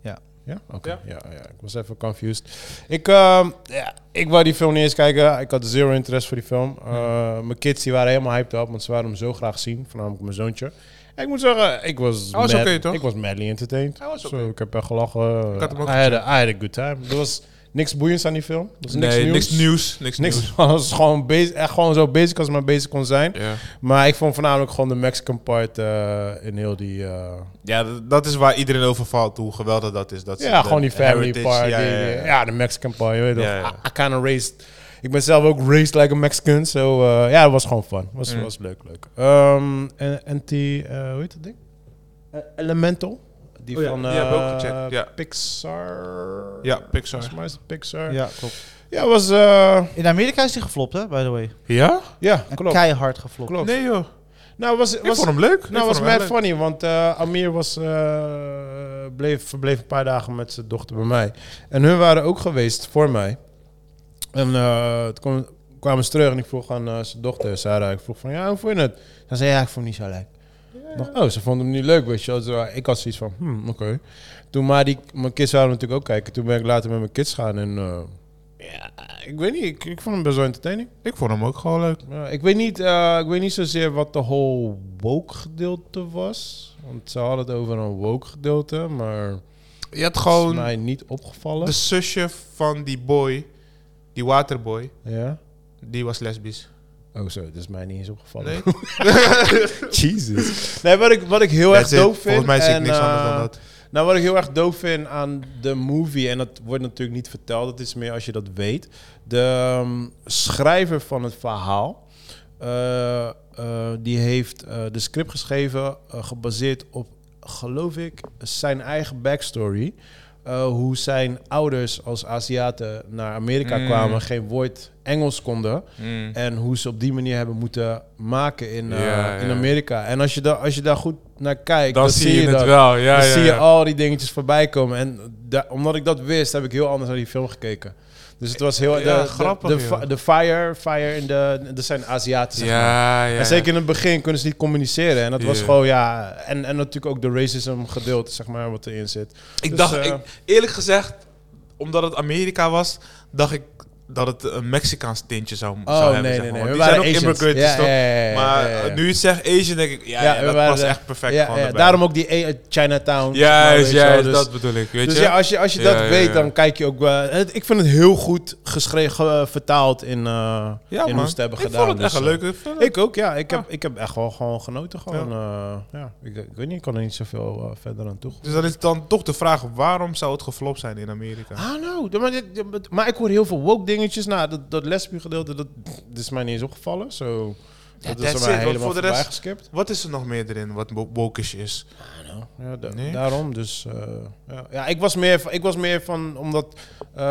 Speaker 1: Ja.
Speaker 2: Ja? Oké.
Speaker 4: Ja.
Speaker 2: Ja. Ja, ik was even confused. Ik, eh, ja, ik wou die film niet eens kijken. Ik had zero interest voor die film.
Speaker 4: Hm.
Speaker 2: Eh, Mijn kids die waren helemaal hyped up, want ze waren hem zo graag zien. Voornamelijk mijn zoontje. En ik moet zeggen, ik was,
Speaker 4: Hij was
Speaker 2: mad-
Speaker 4: oké, toch?
Speaker 2: ik was madly entertained.
Speaker 4: Hij was
Speaker 2: Zo,
Speaker 4: oké.
Speaker 2: ik heb echt gelachen.
Speaker 4: Ik had hem ook
Speaker 2: I, had a, I had a good time. Er was niks boeiends aan die film. Er was niks
Speaker 4: nee,
Speaker 2: nieuws.
Speaker 4: niks nieuws. Niks,
Speaker 2: Niks.
Speaker 4: nieuws.
Speaker 2: Het was gewoon, basi- echt gewoon zo basic als het maar basic kon zijn.
Speaker 4: Ja,
Speaker 2: Maar ik vond voornamelijk gewoon de Mexican part eh, in heel die... eh,
Speaker 4: ja dat, dat is waar iedereen over valt, hoe geweldig dat is. Dat ze
Speaker 2: ja,
Speaker 4: de
Speaker 2: gewoon die family
Speaker 4: heritage-
Speaker 2: part. die-
Speaker 4: Ja,
Speaker 2: die- eh,
Speaker 4: ja,
Speaker 2: Ja,
Speaker 4: ja.
Speaker 2: de Mexican part. Je weet
Speaker 4: Ja,
Speaker 2: toch?
Speaker 4: ja.
Speaker 2: I, I kinda raised... Ik ben zelf ook raised like a Mexican. So, eh, ja, het was gewoon fun. was,
Speaker 4: Mm.
Speaker 2: was leuk, leuk. Ehm, en anti... eh, hoe heet dat ding? Eh, Elemental. Die
Speaker 4: Oh ja,
Speaker 2: van
Speaker 4: die hebben we ook
Speaker 2: eh,
Speaker 4: gecheckt, ja.
Speaker 2: Pixar.
Speaker 4: Ja, Pixar.
Speaker 2: Volgens mij is het Pixar. Ja,
Speaker 1: Ja, klopt.
Speaker 2: was... eh,
Speaker 1: In Amerika is die geflopt, hè, by the way.
Speaker 4: Ja?
Speaker 2: ja,
Speaker 1: En
Speaker 2: klopt.
Speaker 1: Keihard geflopt.
Speaker 2: Klopt.
Speaker 4: Nee, joh.
Speaker 2: Nou, was,
Speaker 4: Ik
Speaker 2: was,
Speaker 4: vond hem leuk. Ik
Speaker 2: nou,
Speaker 4: vond
Speaker 2: was
Speaker 4: hem
Speaker 2: mad
Speaker 4: echt leuk.
Speaker 2: funny, want eh, Amir was, eh, bleef, verbleef een paar dagen met zijn dochter bij mij. En hun waren ook geweest voor mij. En eh toen kwam- kwamen ze terug en ik vroeg aan eh, zijn dochter, Sarah, ik vroeg van, ja, hoe vond je het? Ze zei, ja, ik vond het niet zo leuk. Ik dacht, Oh, ze vond hem niet leuk, weet je wel. Zo, Ik had zoiets van, hmm, oké. Toen, maar die, mijn kids zouden natuurlijk ook kijken. Toen ben ik later met mijn kids gaan en... eh, ja, ik weet niet, ik, ik vond hem best wel entertaining.
Speaker 4: Ik vond hem ook gewoon leuk.
Speaker 2: Ja, ik, weet niet, eh, ik weet niet zozeer wat de whole woke gedeelte was. Want ze hadden het over een woke gedeelte, maar
Speaker 4: Je had
Speaker 2: gewoon
Speaker 4: gewoon
Speaker 2: mij niet opgevallen.
Speaker 4: de zusje van die boy, die waterboy,
Speaker 2: Ja?
Speaker 4: die was lesbisch.
Speaker 2: Oh zo, het is mij niet eens opgevallen.
Speaker 4: Nee?
Speaker 2: Jesus. Nee, wat ik, wat ik heel erg
Speaker 4: That's it.
Speaker 2: doof vind...
Speaker 4: Volgens mij zie ik
Speaker 2: en,
Speaker 4: niks anders
Speaker 2: eh,
Speaker 4: dan dat.
Speaker 2: Nou, wat ik heel erg doof vind aan de movie, en dat wordt natuurlijk niet verteld, dat is meer als je dat weet. De ehm, schrijver van het verhaal, eh, eh, die heeft eh, de script geschreven, eh, gebaseerd op, geloof ik, zijn eigen backstory. Eh, hoe zijn ouders als Aziaten naar Amerika
Speaker 4: Mm.
Speaker 2: kwamen, geen woord Engels konden.
Speaker 4: Mm.
Speaker 2: En hoe ze op die manier hebben moeten maken in, eh,
Speaker 4: Ja, ja.
Speaker 2: in Amerika. En als je, daar als je daar goed naar kijkt,
Speaker 4: Dan zie je het
Speaker 2: dat.
Speaker 4: wel. Ja,
Speaker 2: dan
Speaker 4: ja,
Speaker 2: zie je
Speaker 4: ja.
Speaker 2: al die dingetjes voorbij komen. En da- omdat ik dat wist, heb ik heel anders naar die film gekeken. Dus het was heel... De,
Speaker 4: Ja,
Speaker 2: de-
Speaker 4: grappig,
Speaker 2: De,
Speaker 4: joh.
Speaker 2: fi- de fire, fire in de... Dat zijn Aziatische
Speaker 4: Ja, ja.
Speaker 2: En zeker in het begin kunnen ze niet communiceren. En dat was
Speaker 4: Ja.
Speaker 2: gewoon, ja... En, en natuurlijk ook de racism gedeelte, zeg maar, wat erin zit.
Speaker 4: Ik
Speaker 2: Dus,
Speaker 4: dacht,
Speaker 2: eh,
Speaker 4: ik, eerlijk gezegd, omdat het Amerika was, dacht ik dat het een Mexicaans tintje zou, zou
Speaker 2: Oh,
Speaker 4: hebben.
Speaker 2: nee,
Speaker 4: zeg
Speaker 2: nee,
Speaker 4: maar.
Speaker 2: nee.
Speaker 4: Want
Speaker 2: We
Speaker 4: die zijn
Speaker 2: waren
Speaker 4: ook
Speaker 2: Asians.
Speaker 4: immigrants, dus
Speaker 2: Ja,
Speaker 4: toch?
Speaker 2: ja, ja, ja, ja, ja,
Speaker 4: maar
Speaker 2: ja.
Speaker 4: eh, nu je het zegt Asian, denk ik, ja,
Speaker 2: Ja,
Speaker 4: ja,
Speaker 2: we
Speaker 4: dat
Speaker 2: waren
Speaker 4: past
Speaker 2: de-
Speaker 4: echt perfect
Speaker 2: ja,
Speaker 4: gewoon
Speaker 2: ja,
Speaker 4: erbij.
Speaker 2: daarom ook die eh, Chinatown.
Speaker 4: Juist,
Speaker 2: weet je wel,
Speaker 4: juist,
Speaker 2: dus-
Speaker 4: dat bedoel ik, weet
Speaker 2: dus
Speaker 4: je?
Speaker 2: ja, als je, als je
Speaker 4: Ja,
Speaker 2: dat
Speaker 4: ja,
Speaker 2: weet,
Speaker 4: ja.
Speaker 2: dan kijk je ook... eh, het- ik vind het heel goed geschreven, vertaald in, eh,
Speaker 4: ja,
Speaker 2: in hoe
Speaker 4: man.
Speaker 2: ze het hebben
Speaker 4: ik
Speaker 2: gedaan.
Speaker 4: vond het echt
Speaker 2: Dus,
Speaker 4: een
Speaker 2: eh,
Speaker 4: leuke film.
Speaker 2: Ik ook, ja. Ik heb, ik heb echt wel gewoon genoten. Gewoon, ja. ja. Ik, ik weet niet, ik kan er niet zoveel eh, verder aan toevoegen.
Speaker 4: Dus dan is dan toch de vraag, waarom zou het geflopt zijn in Amerika?
Speaker 2: Ah, nou. Maar, dit- dit- maar ik hoor heel veel woke dingetjes. Nou, dat, dat lesbisch gedeelte, dat, dat is mij niet eens opgevallen. Zo, dat is er
Speaker 4: that's it,
Speaker 2: maar
Speaker 4: want
Speaker 2: helemaal
Speaker 4: voor de
Speaker 2: voorbij
Speaker 4: rest-
Speaker 2: geskipt.
Speaker 4: Wat is er nog meer erin wat wo- wokish is?
Speaker 2: Ja, da-
Speaker 4: Niks.
Speaker 2: Daarom, dus... eh, ja. ja, ik was meer van... Ik was meer van omdat eh,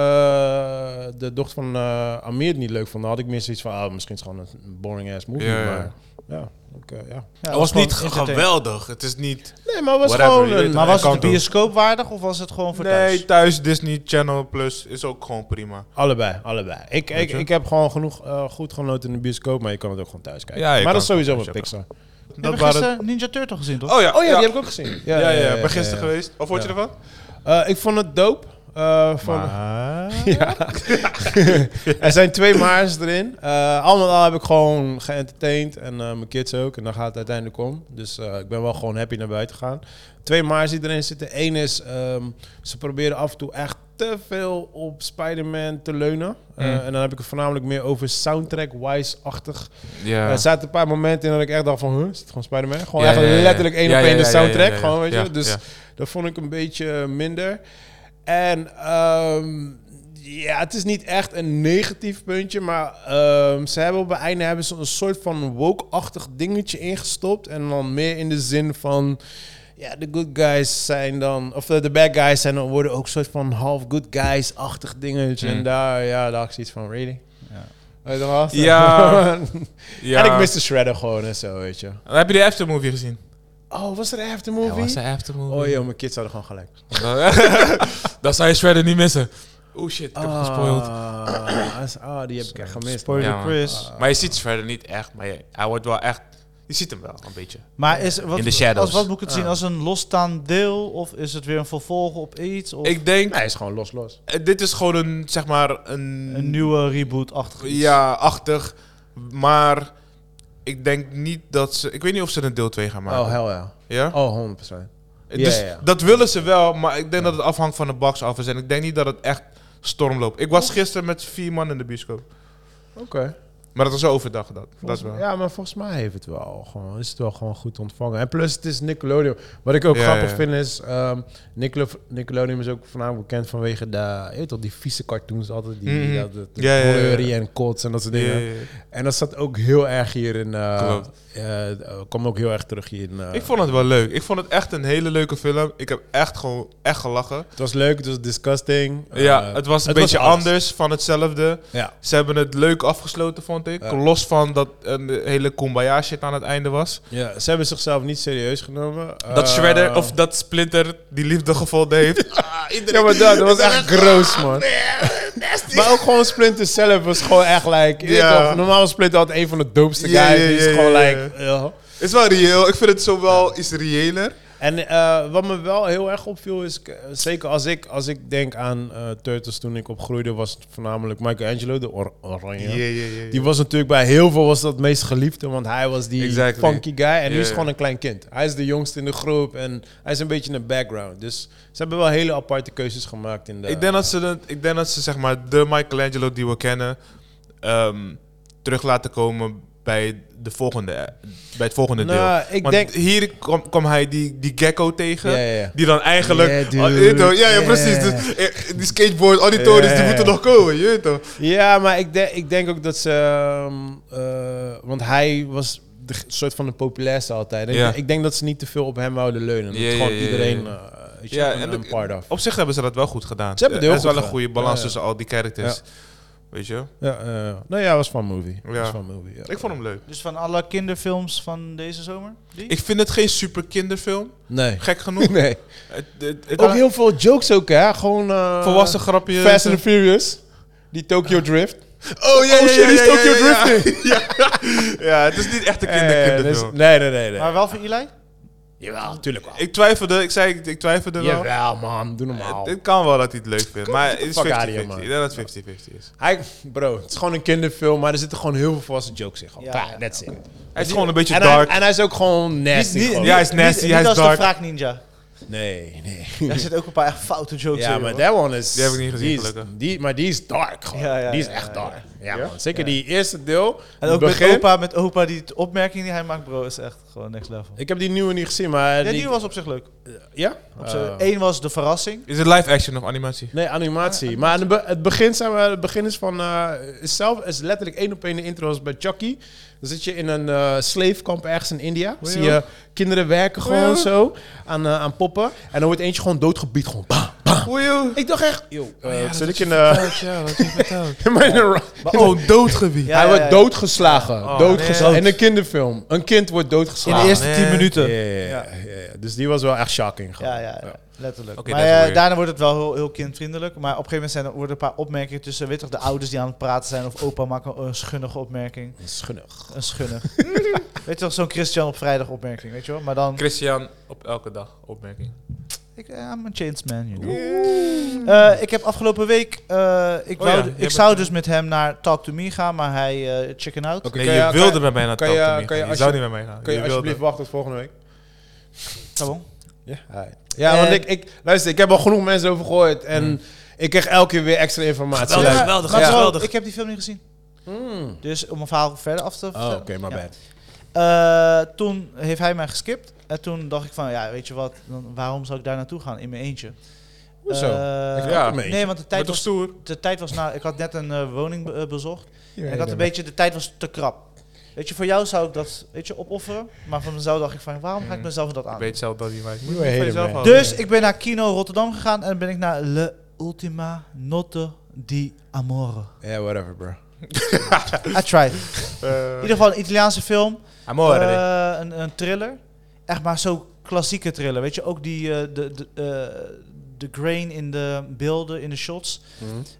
Speaker 2: de dochter van eh, Amir het niet leuk vond. Dan had ik meer zoiets van... ah, misschien is het gewoon een boring-ass movie.
Speaker 4: Ja, ja.
Speaker 2: Maar ja, ik, eh, ja.
Speaker 1: Ja,
Speaker 4: het was
Speaker 1: gewoon
Speaker 4: niet ge-
Speaker 1: entertainment.
Speaker 4: geweldig. Het is niet...
Speaker 2: Nee, maar het was
Speaker 4: Whatever, je
Speaker 2: gewoon
Speaker 4: weet
Speaker 2: een...
Speaker 1: Maar was het
Speaker 4: Kan
Speaker 1: de
Speaker 4: doen.
Speaker 1: bioscoop waardig of was het gewoon voor thuis?
Speaker 4: Nee, thuis Disney Channel Plus is ook gewoon prima.
Speaker 2: Allebei, allebei. Ik, ik,
Speaker 4: je?
Speaker 2: ik heb gewoon genoeg eh, goed genoten in de bioscoop, maar je kan het ook gewoon thuis kijken.
Speaker 4: Ja, je
Speaker 2: maar dat is
Speaker 4: kan het
Speaker 2: sowieso
Speaker 4: gewoon
Speaker 2: wel
Speaker 4: thuis
Speaker 2: Pixar.
Speaker 1: Heb
Speaker 4: Dat
Speaker 1: je
Speaker 4: waren...
Speaker 1: gisteren Ninja Turtle gezien, toch?
Speaker 4: Oh ja,
Speaker 2: Oh ja, die heb ik ook gezien.
Speaker 4: Ja, ja, ja. ben gisteren
Speaker 2: ja.
Speaker 4: geweest. Of vond je
Speaker 2: Ja.
Speaker 4: ervan?
Speaker 2: Eh, ik vond het dope. eh, van,
Speaker 4: Maar...
Speaker 2: ja. er zijn twee maars erin. Eh, allemaal al heb ik gewoon geëntertaind en eh, mijn kids ook. En dan gaat het uiteindelijk om. Dus eh, ik ben wel gewoon happy naar buiten gegaan. Twee maars die erin zitten. Eén is, ehm, ze proberen af en toe echt te veel op Spider-Man te leunen. Eh,
Speaker 4: Mm.
Speaker 2: En dan heb ik het voornamelijk meer over soundtrack-wise-achtig Eh,
Speaker 4: Ja.
Speaker 2: Er zaten een paar momenten in dat ik echt dacht van, huh, is het gewoon Spider-Man? Gewoon
Speaker 4: Ja,
Speaker 2: echt
Speaker 4: ja, ja, ja.
Speaker 2: letterlijk één
Speaker 4: Ja,
Speaker 2: op
Speaker 4: ja,
Speaker 2: één de
Speaker 4: ja, ja, ja,
Speaker 2: soundtrack,
Speaker 4: ja.
Speaker 2: gewoon, weet
Speaker 4: Ja,
Speaker 2: je. Dus
Speaker 4: ja.
Speaker 2: dat vond ik een beetje minder. En ehm, ja, het is niet echt een negatief puntje, maar ehm, ze hebben op het einde hebben ze een soort van woke-achtig dingetje ingestopt. En dan meer in de zin van, ja, de good guys zijn dan, of de de bad guys zijn dan, worden ook een soort van half good guys-achtig dingetje.
Speaker 4: Hmm.
Speaker 2: En daar, ja, daar had ik zoiets van, really?
Speaker 1: Ja.
Speaker 2: Weet je wel?
Speaker 4: Ja. ja.
Speaker 2: En ik miste Shredder gewoon en zo, weet je.
Speaker 4: Heb je de aftermovie gezien?
Speaker 2: Oh, was er Ah. een
Speaker 4: Ja,
Speaker 2: aftermovie?
Speaker 4: was de aftermovie?
Speaker 2: oh joh, mijn kids hadden gewoon gelijk.
Speaker 4: dat zou je Shredder niet missen. Oeh Oh, shit, ik heb het gespoild.
Speaker 2: Ah, als- ah, die heb ik echt gemist.
Speaker 1: Spoiler
Speaker 4: Ja, man. Ah.
Speaker 1: Chris.
Speaker 4: Maar je ziet Shredder niet echt, maar je- hij wordt wel echt... Je ziet hem wel, een beetje.
Speaker 1: Maar is, wat,
Speaker 4: In the shadows.
Speaker 1: Als, wat moet ik het zien?
Speaker 2: Ah.
Speaker 1: Als een losstaand deel? Of is het weer een vervolg op iets? Of
Speaker 4: Ik denk,
Speaker 2: Hij is gewoon los, los.
Speaker 4: eh, dit is gewoon een, zeg maar, een...
Speaker 1: een nieuwe reboot-achtig iets?
Speaker 4: Ja, achtig. Maar ik denk niet dat ze... Ik weet niet of ze een deel 2 gaan maken.
Speaker 2: Oh, hell ja.
Speaker 4: Ja?
Speaker 2: Oh, 100%.
Speaker 4: Dus
Speaker 2: Ja, ja.
Speaker 4: dat willen ze wel, maar ik denk dat het afhangt van de box office. En ik denk niet dat het echt storm loopt. Ik was gisteren met vier man in de bioscoop.
Speaker 2: Oké.
Speaker 4: Maar dat was overdag, dat, dat
Speaker 2: Volgens-
Speaker 4: wel.
Speaker 2: Ja, maar volgens mij heeft het wel gewoon, is het wel gewoon goed ontvangen. En plus, het is Nickelodeon. Wat ik ook
Speaker 4: Ja,
Speaker 2: grappig
Speaker 4: ja.
Speaker 2: vind is, ehm, Nickelo- Nickelodeon is ook voornamelijk bekend vanwege de, je weet toch, die vieze cartoons altijd. Die,
Speaker 4: Mhm.
Speaker 2: dat, dat,
Speaker 4: Ja, ja, ja.
Speaker 2: Fleury en Kots en dat soort dingen.
Speaker 4: Ja, ja, ja.
Speaker 2: En dat zat ook heel erg hier in. eh
Speaker 4: Klopt.
Speaker 2: eh, kwam ook heel erg terug hier in. eh,
Speaker 4: Ik vond het wel leuk. Ik vond het echt een hele leuke film. Ik heb echt gewoon echt gelachen.
Speaker 2: het was leuk, het was disgusting.
Speaker 4: ja,
Speaker 2: Eh,
Speaker 4: het was een
Speaker 2: het was
Speaker 4: beetje
Speaker 2: alles.
Speaker 4: anders van hetzelfde.
Speaker 2: ja.
Speaker 4: Ze hebben het leuk afgesloten, vond ik.
Speaker 2: Ja.
Speaker 4: Los van dat een hele kumbaya shit aan het einde was.
Speaker 2: ja, ze hebben zichzelf niet serieus genomen.
Speaker 4: Dat
Speaker 2: Eh,
Speaker 4: Shredder of dat Splinter die liefde gevonden heeft. Ah,
Speaker 2: Ja,
Speaker 4: iedereen-
Speaker 2: maar dat, dat was echt gross, man. Maar ook gewoon Splinter zelf was gewoon echt like... je weet
Speaker 4: Ja.
Speaker 2: toch, Normaal was Splinter altijd een van de doopste guys.
Speaker 4: Ja, ja,
Speaker 2: die is
Speaker 4: ja,
Speaker 2: gewoon
Speaker 4: ja, ja.
Speaker 2: like... ja.
Speaker 4: Het is wel reëel. Ik vind het zo wel iets reëler.
Speaker 2: En eh, wat me wel heel erg opviel is... k- Zeker als ik, als ik denk aan eh, Turtles toen ik opgroeide... was het voornamelijk Michelangelo, de or- oranje. Die was natuurlijk bij heel veel was dat het meest geliefde, want hij was die
Speaker 4: Exactly.
Speaker 2: funky guy. En nu
Speaker 4: Ja,
Speaker 2: is
Speaker 4: ja.
Speaker 2: gewoon een klein kind. Hij is de jongste in de groep en hij is een beetje een background. Dus ze hebben wel hele aparte keuzes gemaakt in de...
Speaker 4: Ik denk dat ze, de, ik denk dat ze zeg maar, de Michelangelo die we kennen ehm, terug laten komen bij, de volgende, bij het volgende
Speaker 2: Nou,
Speaker 4: deel.
Speaker 2: ik
Speaker 4: Want
Speaker 2: denk-
Speaker 4: hier kwam, kwam hij die, die gecko tegen.
Speaker 2: Ja, ja, ja.
Speaker 4: Die dan eigenlijk...
Speaker 2: Yeah, dude.
Speaker 4: Oh, je weet toch? ja, ja,
Speaker 2: Yeah.
Speaker 4: precies. Dus, eh, die skateboard, al die torens, die
Speaker 2: Yeah.
Speaker 4: moeten nog komen. Je weet toch?
Speaker 2: Ja, maar ik, denk ik denk ook dat ze... ehm, eh, want hij was de g- soort van de populairste altijd. En
Speaker 4: Ja.
Speaker 2: Ik, ik denk dat ze niet te veel op hem wouden leunen. Dat
Speaker 4: Ja, ja,
Speaker 2: gewoon
Speaker 4: ja, ja,
Speaker 2: iedereen
Speaker 4: ja.
Speaker 2: eh, weet je,
Speaker 4: Ja,
Speaker 2: een,
Speaker 4: en
Speaker 2: een
Speaker 4: ook-
Speaker 2: part of.
Speaker 4: Op zich hebben ze dat wel goed gedaan.
Speaker 2: Ze hebben het
Speaker 4: Eh,
Speaker 2: heel
Speaker 4: er is
Speaker 2: goed
Speaker 4: wel een
Speaker 2: gedaan.
Speaker 4: goede balans
Speaker 2: Ja, ja.
Speaker 4: tussen al die characters. Weet je?
Speaker 2: Ja, eh, nou ja, was van movie.
Speaker 4: Ja.
Speaker 2: Was van movie ja.
Speaker 4: Ik vond hem leuk.
Speaker 1: Dus van alle kinderfilms van deze zomer? Die?
Speaker 4: Ik vind het geen super kinderfilm.
Speaker 2: Nee.
Speaker 4: Gek genoeg.
Speaker 2: nee.
Speaker 4: het, het, het,
Speaker 2: Ook heel veel jokes ook, hè? Gewoon... eh, dus,
Speaker 4: volwassen grapje.
Speaker 2: Fast and the Furious. Die Tokyo Drift.
Speaker 4: Oh ja, ja,
Speaker 2: Oh shit,
Speaker 4: ja,
Speaker 2: die is
Speaker 4: ja,
Speaker 2: Tokyo
Speaker 4: ja, ja.
Speaker 2: Drifting.
Speaker 4: Ja, het is niet echt een kinder,
Speaker 2: Eh,
Speaker 4: kinderfilm.
Speaker 2: dus- nee, nee, nee. nee.
Speaker 1: Maar wel voor Eli?
Speaker 2: Jawel, tuurlijk wel.
Speaker 4: Ik twijfelde, ik zei, ik, ik twijfelde wel.
Speaker 2: Jawel, man. Doe normaal.
Speaker 4: Het kan wel dat hij het leuk vindt, maar het is
Speaker 2: fuck
Speaker 4: 50-50.
Speaker 2: out of here, man.
Speaker 4: Ik denk dat het 50-50 is.
Speaker 2: Hij, bro, het is gewoon een kinderfilm, maar er zitten gewoon heel veel volwassen jokes in. Gewoon.
Speaker 1: Ja,
Speaker 2: Klaar,
Speaker 1: ja,
Speaker 2: that's it.
Speaker 4: Hij is gewoon een beetje
Speaker 2: En hij,
Speaker 4: dark.
Speaker 2: en hij is ook gewoon nasty.
Speaker 4: niet-
Speaker 2: gewoon.
Speaker 4: ja, hij is nasty,
Speaker 1: Niet- niet
Speaker 4: hij is
Speaker 1: als de
Speaker 4: dark.
Speaker 1: Vraag Ninja.
Speaker 2: Nee, nee.
Speaker 1: Daar zitten ook een paar echt foute jokes
Speaker 2: Ja,
Speaker 1: in.
Speaker 2: maar
Speaker 1: hoor.
Speaker 2: that one is...
Speaker 4: Die heb ik niet gezien,
Speaker 2: die is-
Speaker 4: gelukkig.
Speaker 2: Die, maar die is dark gewoon.
Speaker 1: Ja, ja,
Speaker 2: die is
Speaker 1: ja,
Speaker 2: echt
Speaker 1: ja,
Speaker 2: dark. Ja, man. Zeker die eerste deel.
Speaker 1: En ook
Speaker 2: begin,
Speaker 1: met opa, met opa, die t- opmerking die hij maakt, bro, is echt gewoon next level.
Speaker 2: Ik heb die nieuwe niet gezien, maar...
Speaker 1: Ja, die was op zich leuk.
Speaker 2: Ja?
Speaker 1: Op zich-
Speaker 4: Ah.
Speaker 2: Eh,
Speaker 1: Eén was de verrassing.
Speaker 4: Is het live action of animatie?
Speaker 2: Nee, animatie. Maar aan de be- het begin, zijn we, het begin is van... eh, is, zelf, is letterlijk één op één de intro als bij Chucky. Dan zit je in een eh slave kamp ergens in India. Zie je kinderen werken gewoon zo aan, eh, aan poppen. En dan wordt eentje gewoon doodgebied. Gewoon bam, bam.
Speaker 4: Oei, joh.
Speaker 2: Ik dacht echt... Yo, eh,
Speaker 4: ja,
Speaker 2: zit
Speaker 4: dat
Speaker 2: ik
Speaker 4: is
Speaker 2: in... eh,
Speaker 4: Ja, dat is verteld.
Speaker 2: in mijn ra-
Speaker 4: Oh, doodgebied.
Speaker 1: Ja,
Speaker 2: Hij
Speaker 1: ja,
Speaker 2: wordt
Speaker 1: ja.
Speaker 2: doodgeslagen. doodgeslagen.
Speaker 1: nee.
Speaker 2: In een kinderfilm. Een kind wordt
Speaker 1: In
Speaker 2: doodgeslagen.
Speaker 1: de eerste
Speaker 4: man.
Speaker 1: tien minuten.
Speaker 2: Ja, ja, ja, ja, ja. Dus die was wel echt shocking. gewoon.
Speaker 1: Ja, ja, ja, letterlijk.
Speaker 4: Oké,
Speaker 1: maar
Speaker 4: dat is
Speaker 1: eh,
Speaker 4: weird.
Speaker 1: daarna wordt het wel heel, heel kindvriendelijk. Maar op een gegeven moment zijn er, worden een paar opmerkingen tussen weet toch, de ouders die aan het praten zijn. Of opa maakt een, een schunnige opmerking.
Speaker 2: Dat is genoeg.
Speaker 1: Een schunnig. weet je wel, zo'n Christian op vrijdag opmerking, weet je wel. Maar dan,
Speaker 4: Christian, op elke dag opmerking.
Speaker 1: ik, eh, I'm a changed man, you know. Eh, ik heb afgelopen week, eh, ik,
Speaker 4: Oh
Speaker 1: wou-
Speaker 4: ja, jij
Speaker 1: ik
Speaker 4: bent-
Speaker 1: zou dus met hem naar Talk to Me gaan, maar hij eh chicken out.
Speaker 2: Oké,
Speaker 4: Nee,
Speaker 2: kan
Speaker 4: je
Speaker 2: je-
Speaker 4: wilde
Speaker 2: kan-
Speaker 4: met mij naar
Speaker 2: kan
Speaker 4: Talk
Speaker 2: je-
Speaker 4: to Me
Speaker 2: kan
Speaker 4: gaan.
Speaker 2: je
Speaker 4: Je,
Speaker 2: alsje-
Speaker 4: zou niet met mij gaan.
Speaker 2: Kun je
Speaker 4: wilde.
Speaker 2: alsjeblieft wachten tot volgende week?
Speaker 1: Pardon?
Speaker 2: Ja, ja want
Speaker 1: En-
Speaker 2: ik, ik, luister, ik heb al genoeg mensen over gehoord. En ik krijg elke keer weer extra informatie.
Speaker 4: Geweldig,
Speaker 2: Ja.
Speaker 4: geweldig,
Speaker 1: maar
Speaker 4: geweldig.
Speaker 1: wel, Ik heb die film niet gezien.
Speaker 2: Mm.
Speaker 1: Dus om mijn verhaal verder af te
Speaker 2: Oh,
Speaker 1: vertellen.
Speaker 2: oké, maar
Speaker 1: Ja.
Speaker 2: bad.
Speaker 1: Eh, toen heeft hij mij geskipt. En toen dacht ik van, ja, weet je wat, dan, waarom zou ik daar naartoe gaan in mijn eentje?
Speaker 2: Hoezo?
Speaker 1: Eh,
Speaker 2: Ik
Speaker 4: ja.
Speaker 2: ja. mee.
Speaker 1: Nee, want de
Speaker 4: Maar
Speaker 1: tijd
Speaker 4: toch
Speaker 1: was,
Speaker 4: stoer?
Speaker 1: de tijd was nou, ik had net een eh, woning be- eh, bezocht. En ik had een beetje, de tijd was te krap. Weet je, voor jou zou ik dat, weet je, opofferen. Maar voor mezelf dacht ik van, waarom ga ik
Speaker 4: Mm.
Speaker 1: mezelf dat aan?
Speaker 4: Ik weet zelf dat niet, maar ik moet
Speaker 2: You a
Speaker 4: het voor
Speaker 2: hater,
Speaker 4: jezelf
Speaker 2: man.
Speaker 4: houden.
Speaker 1: Dus ik ben naar Kino Rotterdam gegaan en ben ik naar Le Ultima Notte di Amore.
Speaker 2: Ja, whatever, bro.
Speaker 1: I tried.
Speaker 4: Eh.
Speaker 1: In ieder geval een Italiaanse film.
Speaker 4: Amore.
Speaker 1: Eh, een, een thriller. Echt maar zo'n klassieke thriller. Weet je, ook die, eh, de, de, eh, de grain in de beelden, in de shots.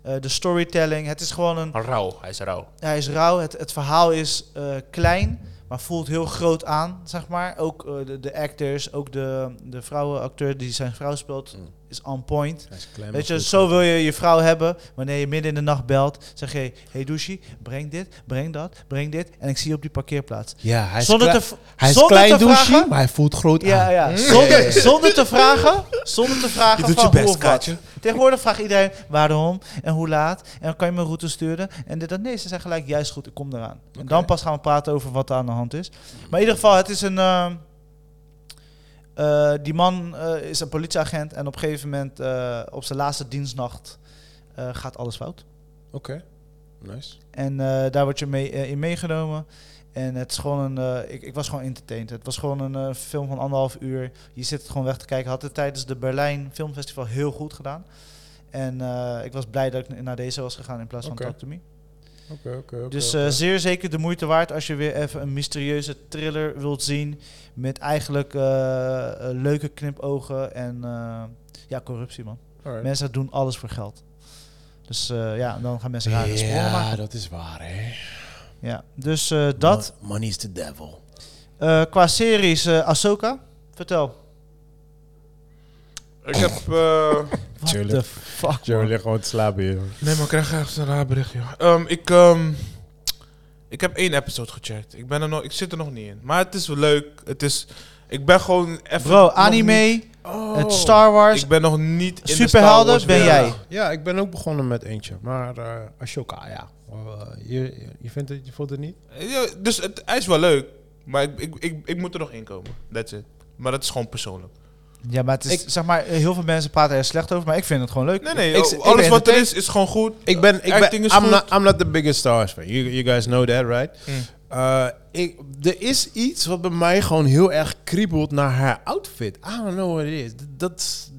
Speaker 1: eh, de storytelling. Het is gewoon een...
Speaker 4: Rauw, hij is rauw.
Speaker 1: Hij is rauw. Het, het verhaal is eh, klein, maar voelt heel groot aan, zeg maar. Ook eh, de, de actors, ook de, de vrouwenacteur die zijn vrouw speelt,
Speaker 2: Mm.
Speaker 1: is on point.
Speaker 2: Hij is klein,
Speaker 1: Weet
Speaker 2: maar
Speaker 1: je,
Speaker 2: goed.
Speaker 1: zo wil je je vrouw hebben. Wanneer je midden in de nacht belt, zeg je: Hey douchie, breng dit, breng dat, breng dit. En ik zie je op die parkeerplaats.
Speaker 2: Ja, hij is,
Speaker 1: Zonder
Speaker 2: klei-
Speaker 1: te, v-
Speaker 2: hij is
Speaker 1: zonder
Speaker 2: klein
Speaker 1: te
Speaker 2: douche,
Speaker 1: vragen.
Speaker 2: maar hij voelt groot
Speaker 1: Ja,
Speaker 2: aan.
Speaker 1: ja. Zonder, zonder te vragen. Zonder te vragen. van hoe of wat. Tegenwoordig vraagt iedereen waarom en hoe laat. En dan kan je me een route sturen. En dit, dat. Nee, ze zijn gelijk juist goed, ik kom eraan. En dan pas gaan we praten over wat er aan de hand is. Maar in ieder geval, het is een. ehm, eh, die man eh, is een politieagent. En op een gegeven moment, eh, op zijn laatste dienstnacht, eh, gaat alles fout.
Speaker 2: Oké, nice.
Speaker 1: En eh, daar word je mee, eh, in meegenomen. En het is gewoon een. eh, ik, ik was gewoon entertained. Het was gewoon een eh, film van anderhalf uur. Je zit het gewoon weg te kijken. Had het tijdens de Berlijn Filmfestival heel goed gedaan. En eh, ik was blij dat ik naar deze was gegaan in plaats van
Speaker 2: Oké.
Speaker 1: Talk to Me.
Speaker 2: Oké, oké, oké,
Speaker 1: Dus
Speaker 2: oké.
Speaker 1: eh, zeer zeker de moeite waard als je weer even een mysterieuze thriller wilt zien. Met eigenlijk eh, eh, leuke knipogen en eh, ja, corruptie man.
Speaker 2: Alright.
Speaker 1: Mensen doen alles voor geld. Dus eh, ja, en dan gaan mensen rare sporen
Speaker 2: Ja,
Speaker 1: maken.
Speaker 2: dat is waar, hè.
Speaker 1: Ja. Dus eh, dat.
Speaker 2: Mo- Money is the devil.
Speaker 1: Eh, qua series, eh Ahsoka, vertel.
Speaker 4: Ik heb... eh,
Speaker 1: What
Speaker 2: Tuurlijk.
Speaker 1: the fuck,
Speaker 2: Joe
Speaker 1: man.
Speaker 2: ligt gewoon te slapen hier. hoor.
Speaker 4: Nee, maar ik krijg echt een raar bericht, joh. Ehm, ik, ehm, ik heb één episode gecheckt. Ik, ben er nog, ik zit er nog niet in. Maar het is wel leuk. Het is, ik ben gewoon even...
Speaker 1: Bro,
Speaker 4: nog niet-
Speaker 1: anime,
Speaker 2: Oh.
Speaker 1: het Star Wars,
Speaker 4: Ik ben nog niet in de Star Wars
Speaker 1: superhelden, ben
Speaker 4: wereld.
Speaker 1: jij.
Speaker 2: Ja, ik ben ook begonnen met eentje. Maar eh Ashoka, ja. Eh, je, je, vindt het, je voelt het niet?
Speaker 4: Ja, dus het, hij is wel leuk. Maar ik, ik, ik, ik moet er nog in komen. That's it. Maar dat is gewoon persoonlijk.
Speaker 1: Ja, maar het is, zeg maar, eh, heel veel mensen praten er slecht over, maar ik vind het gewoon leuk.
Speaker 4: Nee, nee.
Speaker 2: Ik-
Speaker 4: o-
Speaker 2: ik
Speaker 4: alles
Speaker 2: ben
Speaker 4: wat er is, is gewoon goed.
Speaker 2: Ik ben, ik ben
Speaker 4: Acting is
Speaker 2: I'm,
Speaker 4: goed.
Speaker 2: not, I'm not the biggest Star Wars fan. You, you guys know that, right?
Speaker 1: Mm.
Speaker 4: Hmm.
Speaker 2: Eh, ik, er is iets wat bij mij gewoon heel erg kriebelt naar haar outfit. I don't know what it is. D- Dat,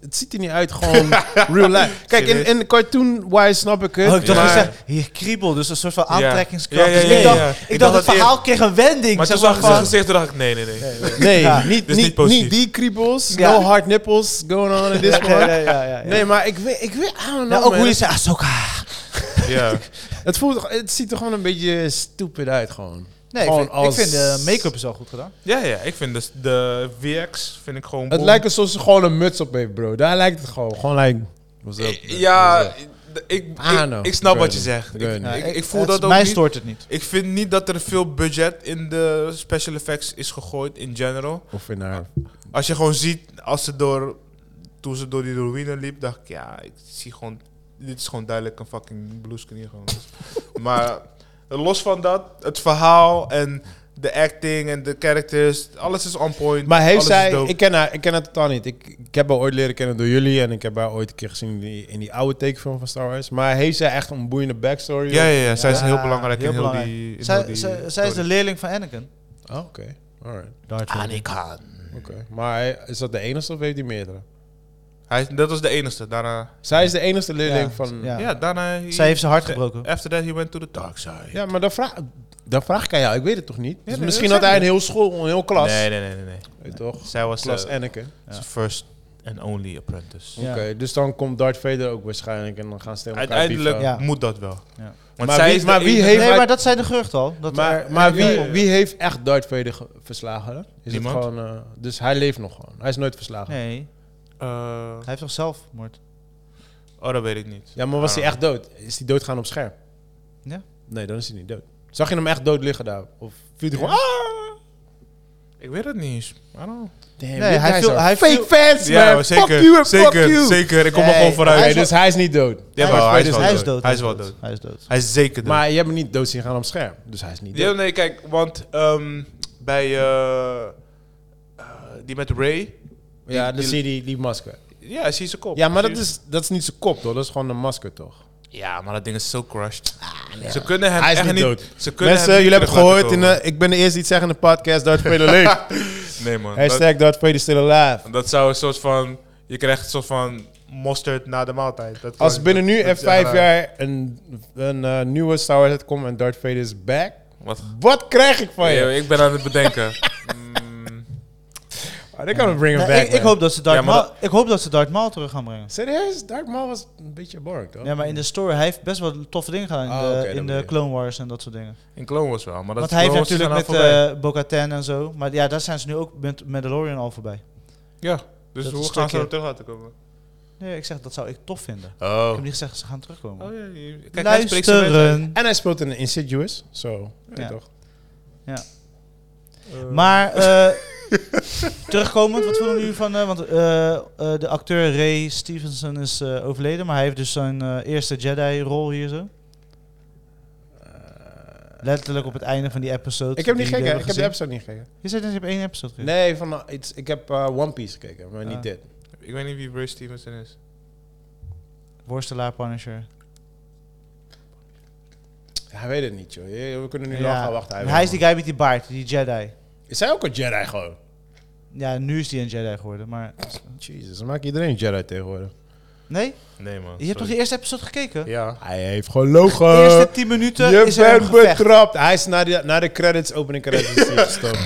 Speaker 2: het ziet er niet uit, gewoon real life. Kijk, in, in cartoon-wise snap ik het.
Speaker 1: Oh, ik dacht
Speaker 2: maar-
Speaker 1: je zei, hier kriebel, dus een soort van aantrekkingskracht.
Speaker 4: Ja, ja,
Speaker 1: Dus
Speaker 4: ja,
Speaker 1: ik
Speaker 4: ja,
Speaker 1: dacht,
Speaker 4: ja.
Speaker 1: Ik dacht, het
Speaker 4: eerst-
Speaker 1: verhaal kreeg een wending.
Speaker 4: Maar toen
Speaker 1: Toen
Speaker 4: zag ik
Speaker 1: van-
Speaker 4: zijn gezicht, toen dacht ik, nee, nee, nee.
Speaker 2: Nee,
Speaker 1: Ja.
Speaker 2: niet,
Speaker 4: Dus
Speaker 2: niet,
Speaker 4: niet
Speaker 2: niet,
Speaker 4: positief.
Speaker 2: die kriebels.
Speaker 1: Ja.
Speaker 2: No hard nipples going on in this
Speaker 1: Ja,
Speaker 2: one.
Speaker 1: ja, ja, ja, ja.
Speaker 2: Nee, maar ik weet, ik weet, I don't know,
Speaker 1: Ja, ook
Speaker 2: man.
Speaker 1: hoe je zei, Ahsoka.
Speaker 4: Ja.
Speaker 2: Het, voelt, het ziet er gewoon een beetje stupid uit, gewoon.
Speaker 1: Nee, ik
Speaker 2: Gewoon
Speaker 1: vind,
Speaker 2: als-
Speaker 1: ik vind de make-up is wel goed gedaan.
Speaker 4: ja, ja, ik vind dus de VX vind ik gewoon...
Speaker 2: Het
Speaker 4: bom.
Speaker 2: lijkt alsof ze gewoon een muts op heeft, bro. Daar lijkt het gewoon. Gewoon like... eh, What's up?
Speaker 4: Ja, ik, ik,
Speaker 2: I don't know.
Speaker 4: ik, snap
Speaker 2: Ik
Speaker 4: wat
Speaker 2: weet
Speaker 4: je
Speaker 2: het.
Speaker 4: zegt.
Speaker 2: Ik
Speaker 4: Ik,
Speaker 2: weet het
Speaker 1: Ja,
Speaker 4: ik, ik
Speaker 1: het-
Speaker 4: voel dat ook
Speaker 1: Mij
Speaker 4: niet.
Speaker 1: stoort het niet.
Speaker 4: Ik vind niet dat er veel budget in de special effects is gegooid in general.
Speaker 2: Of in haar...
Speaker 4: Als je gewoon ziet, als ze door, toen ze door die ruïne liep, dacht ik, ja, ik zie gewoon, dit is gewoon duidelijk een fucking bluescreen gewoon. Dus- maar los van dat, het verhaal en de acting en de characters, alles is on point.
Speaker 2: Maar heeft
Speaker 4: alles is
Speaker 2: zij...
Speaker 4: dope.
Speaker 2: Ik ken, haar, ik ken haar totaal niet. Ik, ik heb haar ooit leren kennen door jullie. En ik heb haar ooit een keer gezien in die, in die oude tekenfilm van Star Wars. Maar heeft zij echt een boeiende backstory?
Speaker 4: ja, ja, ja, zij is
Speaker 1: Ja,
Speaker 4: heel belangrijk
Speaker 1: heel
Speaker 4: in heel
Speaker 1: belangrijk.
Speaker 4: die... in heel
Speaker 1: Zij,
Speaker 4: die
Speaker 1: zij, zij is de
Speaker 4: story.
Speaker 1: leerling van Anakin.
Speaker 2: Oh, oké. Alright.
Speaker 4: Ah,
Speaker 2: Ah,
Speaker 4: Anakin.
Speaker 2: Oké. Maar is dat de enige of heeft die meerdere?
Speaker 4: Hij, is- dat was de enigste. Daarna,
Speaker 2: Zij is de enige leerling
Speaker 1: Ja,
Speaker 2: van...
Speaker 1: ja.
Speaker 2: Ja.
Speaker 4: ja. Eh, daarna... he-
Speaker 1: Zij heeft zijn hart gebroken.
Speaker 4: After that, he went to the dark side.
Speaker 2: maar dan vraag, dan vraag ik aan jou. Ik weet het toch niet? Dus
Speaker 4: nee,
Speaker 2: misschien
Speaker 4: dat
Speaker 2: had hij
Speaker 4: zeg
Speaker 2: een heel school, een heel klas.
Speaker 4: Nee, nee, nee, nee. nee.
Speaker 2: Weet je toch?
Speaker 4: Zij was
Speaker 2: Klas
Speaker 4: eh,
Speaker 2: Anakin.
Speaker 1: Ja.
Speaker 4: first and only apprentice.
Speaker 1: Ja.
Speaker 2: Oké, dus dan komt Darth Vader ook waarschijnlijk en dan gaan ze tegen elkaar
Speaker 4: Uiteindelijk
Speaker 2: beefen.
Speaker 1: Ja.
Speaker 4: moet dat wel.
Speaker 1: Ja.
Speaker 4: Want
Speaker 2: Maar
Speaker 4: zij
Speaker 2: wie-
Speaker 4: is de
Speaker 2: maar wie
Speaker 4: enige-
Speaker 2: heeft-
Speaker 1: Nee,
Speaker 2: maar-
Speaker 1: maar dat zei de gerucht al. Dat
Speaker 2: Maar,
Speaker 1: er-
Speaker 2: maar
Speaker 1: Ja,
Speaker 2: wie,
Speaker 1: ja, ja.
Speaker 2: wie heeft echt Darth Vader ge- verslagen? Is
Speaker 4: Niemand.
Speaker 2: het gewoon, eh, dus hij leeft nog gewoon. Hij is nooit verslagen.
Speaker 1: Nee,
Speaker 4: Eh,
Speaker 1: hij heeft toch zelfmoord?
Speaker 4: oh, dat weet ik niet.
Speaker 2: Ja, maar was
Speaker 4: Ah.
Speaker 2: hij echt dood? Is hij doodgaan op scherm?
Speaker 1: Ja.
Speaker 2: Nee, dan is hij niet dood. Zag je hem echt dood liggen daar? Of viel hij
Speaker 4: Ja.
Speaker 2: gewoon... Ah,
Speaker 4: Ik weet het niet eens. I don't know.
Speaker 2: damn,
Speaker 1: Nee, hij
Speaker 2: dit guys
Speaker 1: viel-
Speaker 2: are
Speaker 1: hij
Speaker 2: fake
Speaker 1: viel-
Speaker 2: fans,
Speaker 4: Ja,
Speaker 2: man.
Speaker 4: maar zeker.
Speaker 2: fuck you en
Speaker 4: zeker,
Speaker 2: fuck you.
Speaker 4: zeker. Ik kom er
Speaker 1: Nee,
Speaker 4: gewoon vooruit.
Speaker 1: hij
Speaker 2: Nee,
Speaker 1: is
Speaker 2: dus hij is niet dood.
Speaker 4: ja,
Speaker 1: hij
Speaker 4: maar, hij, is wel
Speaker 1: hij is
Speaker 4: dood.
Speaker 1: dood.
Speaker 4: Hij is wel dood.
Speaker 1: Hij is dood.
Speaker 4: Hij is zeker dood.
Speaker 2: Maar je hebt hem niet dood zien gaan op scherm. Dus hij is niet
Speaker 4: Ja,
Speaker 2: dood.
Speaker 4: nee, kijk, want ehm, bij eh, eh, die met Ray,
Speaker 2: Ja, dan
Speaker 4: die-
Speaker 2: zie je die, die masker.
Speaker 4: ja, hij ziet zijn kop.
Speaker 2: Ja, maar
Speaker 4: Zie
Speaker 2: dat
Speaker 4: je?
Speaker 2: is, dat is niet zijn kop, toch? Dat is gewoon een masker, toch?
Speaker 4: Ja, maar dat ding is zo crushed.
Speaker 1: Ah,
Speaker 4: Ze kunnen hem
Speaker 2: Hij is
Speaker 4: echt
Speaker 2: niet
Speaker 4: niet...
Speaker 2: dood.
Speaker 4: Ze kunnen
Speaker 2: Mensen,
Speaker 4: hem niet
Speaker 2: jullie hebben het
Speaker 4: terug
Speaker 2: gehoord.
Speaker 4: laten
Speaker 2: In,
Speaker 4: komen.
Speaker 2: eh, ik ben de eerste die het zegt in de podcast. Darth Vader leeft.
Speaker 4: Nee, man. dat-
Speaker 2: Hashtag Darth Vader still alive.
Speaker 4: Dat zou een soort van. Je krijgt een soort van mosterd na de maaltijd. Dat
Speaker 2: Als
Speaker 4: kan-
Speaker 2: binnen nu
Speaker 4: dat-
Speaker 2: en
Speaker 4: dat-
Speaker 2: vijf
Speaker 4: ja,
Speaker 2: jaar een, een eh, nieuwe Star Wars uitkomt en Darth Vader is back.
Speaker 4: Wat?
Speaker 2: Wat krijg ik van
Speaker 4: Ja,
Speaker 2: je?
Speaker 4: ik ben aan het bedenken. Mm,
Speaker 2: Oh, They gonna bring him
Speaker 1: Nee,
Speaker 2: back,
Speaker 1: Nou, ik, ik,
Speaker 2: man.
Speaker 1: hoop dat ze Darth
Speaker 4: Ja, maar
Speaker 1: Maul, ik hoop dat ze Darth Maul terug gaan brengen.
Speaker 2: Serieus? Darth Maul was een beetje boring, toch?
Speaker 1: Ja, maar in de story, hij heeft best wel toffe dingen gedaan in
Speaker 2: Ah,
Speaker 1: de,
Speaker 2: oké, dat
Speaker 1: in
Speaker 2: bedoel
Speaker 1: de
Speaker 2: je.
Speaker 1: Clone Wars en dat soort dingen.
Speaker 4: in Clone Wars wel, maar dat
Speaker 1: Want hij heeft
Speaker 4: Clone Wars
Speaker 1: natuurlijk met
Speaker 4: zijn al voorbij.
Speaker 1: eh Bo-Katan en zo. Maar ja, daar zijn ze nu ook met Mandalorian al voorbij.
Speaker 4: ja, dus
Speaker 1: dat
Speaker 4: hoe gaan
Speaker 1: stukje-
Speaker 4: ze er terug laten komen?
Speaker 1: Nee, ik zeg, dat zou ik tof vinden. Ik
Speaker 4: Oh.
Speaker 1: heb niet gezegd, ze gaan terugkomen.
Speaker 4: Oh ja, je- kijk, hij spreekt eh, zijn mensen.
Speaker 1: Luisteren.
Speaker 2: En hij speelt in Insidious, zo. weet je
Speaker 1: Ja.
Speaker 2: toch?
Speaker 1: Maar, eh terugkomend, wat voelen jullie van... eh, want eh, eh, de acteur Ray Stevenson is eh, overleden, maar hij heeft dus zijn eh, eerste Jedi-rol hier zo. Letterlijk op het einde van die episode.
Speaker 2: Eh, Ik heb niet
Speaker 1: die we
Speaker 2: gekeken, ik
Speaker 1: hebben
Speaker 2: heb de
Speaker 1: gezien.
Speaker 2: episode niet gekeken.
Speaker 1: Je zei net, je hebt één episode gekeken.
Speaker 2: Nee, van, eh, iets, ik heb eh, One Piece gekeken, maar niet
Speaker 1: Ah.
Speaker 2: dit.
Speaker 4: Ik weet niet wie Bruce Stevenson is.
Speaker 1: Worstelaar Punisher.
Speaker 2: Hij weet het niet, joh. Je- We kunnen nu
Speaker 1: Ja.
Speaker 2: lang gaan wachten.
Speaker 1: Hij,
Speaker 2: weet
Speaker 1: is
Speaker 2: het.
Speaker 1: die guy met die baard, die Jedi.
Speaker 2: Is hij ook een Jedi gewoon?
Speaker 1: Ja, nu is die een Jedi geworden, maar...
Speaker 2: Jezus, dan maakt iedereen Jedi tegenwoordig.
Speaker 1: Nee?
Speaker 2: Oh,
Speaker 4: Nee man.
Speaker 1: Je hebt toch de eerste episode gekeken?
Speaker 4: Ja.
Speaker 2: Hij heeft gelogen.
Speaker 1: De eerste 10 minuten
Speaker 2: Je
Speaker 1: is er een
Speaker 2: bent
Speaker 1: gevecht.
Speaker 2: betrapt. Hij is naar de, naar de credits, opening credits is hij gestopt.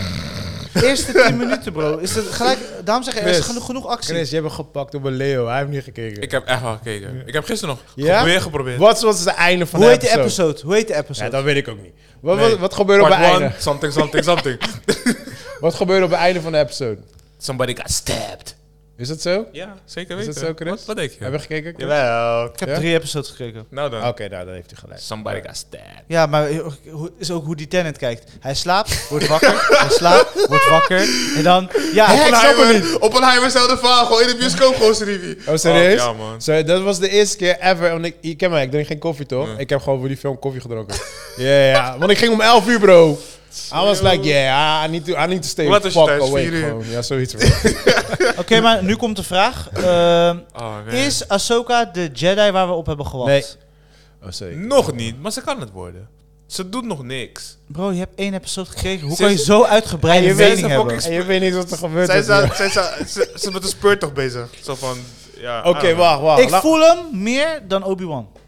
Speaker 1: De eerste 10 minuten, bro. Is dat gelijk, daarom zeg ik, er is
Speaker 2: Chris.
Speaker 1: genoeg, genoeg actie.
Speaker 2: Chris, je hebt hem gepakt op een Leo. Hij heeft niet gekeken.
Speaker 4: Ik heb echt wel gekeken. Ik heb gisteren nog
Speaker 2: Ja?
Speaker 4: weer geprobeerd.
Speaker 2: Wat was het einde van
Speaker 1: Hoe
Speaker 2: de
Speaker 1: heet de episode? Hoe heet de
Speaker 2: Ja,
Speaker 1: episode?
Speaker 2: dat weet ik ook niet. Wat,
Speaker 4: Nee.
Speaker 2: wat, wat gebeurde op het
Speaker 4: Part
Speaker 2: einde?
Speaker 4: one, something, something, something.
Speaker 2: Wat gebeurde op het einde van de episode?
Speaker 4: Somebody got stabbed.
Speaker 2: Is dat zo?
Speaker 4: Ja, zeker
Speaker 2: Is
Speaker 4: weten.
Speaker 2: dat zo, Chris?
Speaker 4: Wat, wat denk je?
Speaker 2: Hebben we gekeken? Chris?
Speaker 4: Jawel.
Speaker 1: ik heb
Speaker 2: Ja?
Speaker 1: drie episodes gekeken.
Speaker 4: Nou
Speaker 2: Oké,
Speaker 4: dan.
Speaker 2: nou, dan heeft hij gelijk.
Speaker 4: Somebody got stabbed.
Speaker 1: Ja, maar eh, hoe- is ook hoe die Tenant kijkt. Hij slaapt, wordt wakker, hij slaapt, wordt wakker. En dan, ja, hij
Speaker 4: Oppenheimer, Oppenheimer zelfde verhaal, gewoon in de bioscoop, gewoon zijn review.
Speaker 2: Oh, serieus?
Speaker 4: ja, man.
Speaker 2: Zo, dat was de eerste keer ever. Want ik, je kent mij, ik drink geen koffie toch? Ik heb gewoon voor die film koffie gedronken. Ja, ja. ja. Want ik ging om 11 uur, bro. I was like, yeah, I need to, I need to stay
Speaker 4: Hoe laat
Speaker 2: fuck
Speaker 4: was je thuis?
Speaker 2: away.
Speaker 4: Vier uur?
Speaker 2: Gewoon. Ja, zoiets. bro.
Speaker 1: Oké, maar nu komt de vraag. Ehm,
Speaker 4: Oh, nee.
Speaker 1: is Ahsoka de Jedi waar we op hebben gewacht?
Speaker 2: Nee. Oh, sorry.
Speaker 4: Nog niet, maar ze kan het worden. Ze doet nog niks.
Speaker 1: Bro, je hebt één episode gekeken. Hoe
Speaker 4: Ze
Speaker 1: kan je
Speaker 4: is-
Speaker 1: zo uitgebreide
Speaker 4: je weet-
Speaker 1: mening
Speaker 4: ze
Speaker 1: hebben?
Speaker 4: fucking-
Speaker 2: En je weet niet wat er gebeurt.
Speaker 4: Zij
Speaker 2: is,
Speaker 4: is, aan- zij is, aan- ze, ze is met de speur toch bezig. Zo van, Ja,
Speaker 2: Oké,
Speaker 4: I don't
Speaker 2: wacht, wacht.
Speaker 1: ik
Speaker 2: Laat-
Speaker 1: voel hem meer dan Obi-Wan.
Speaker 4: know.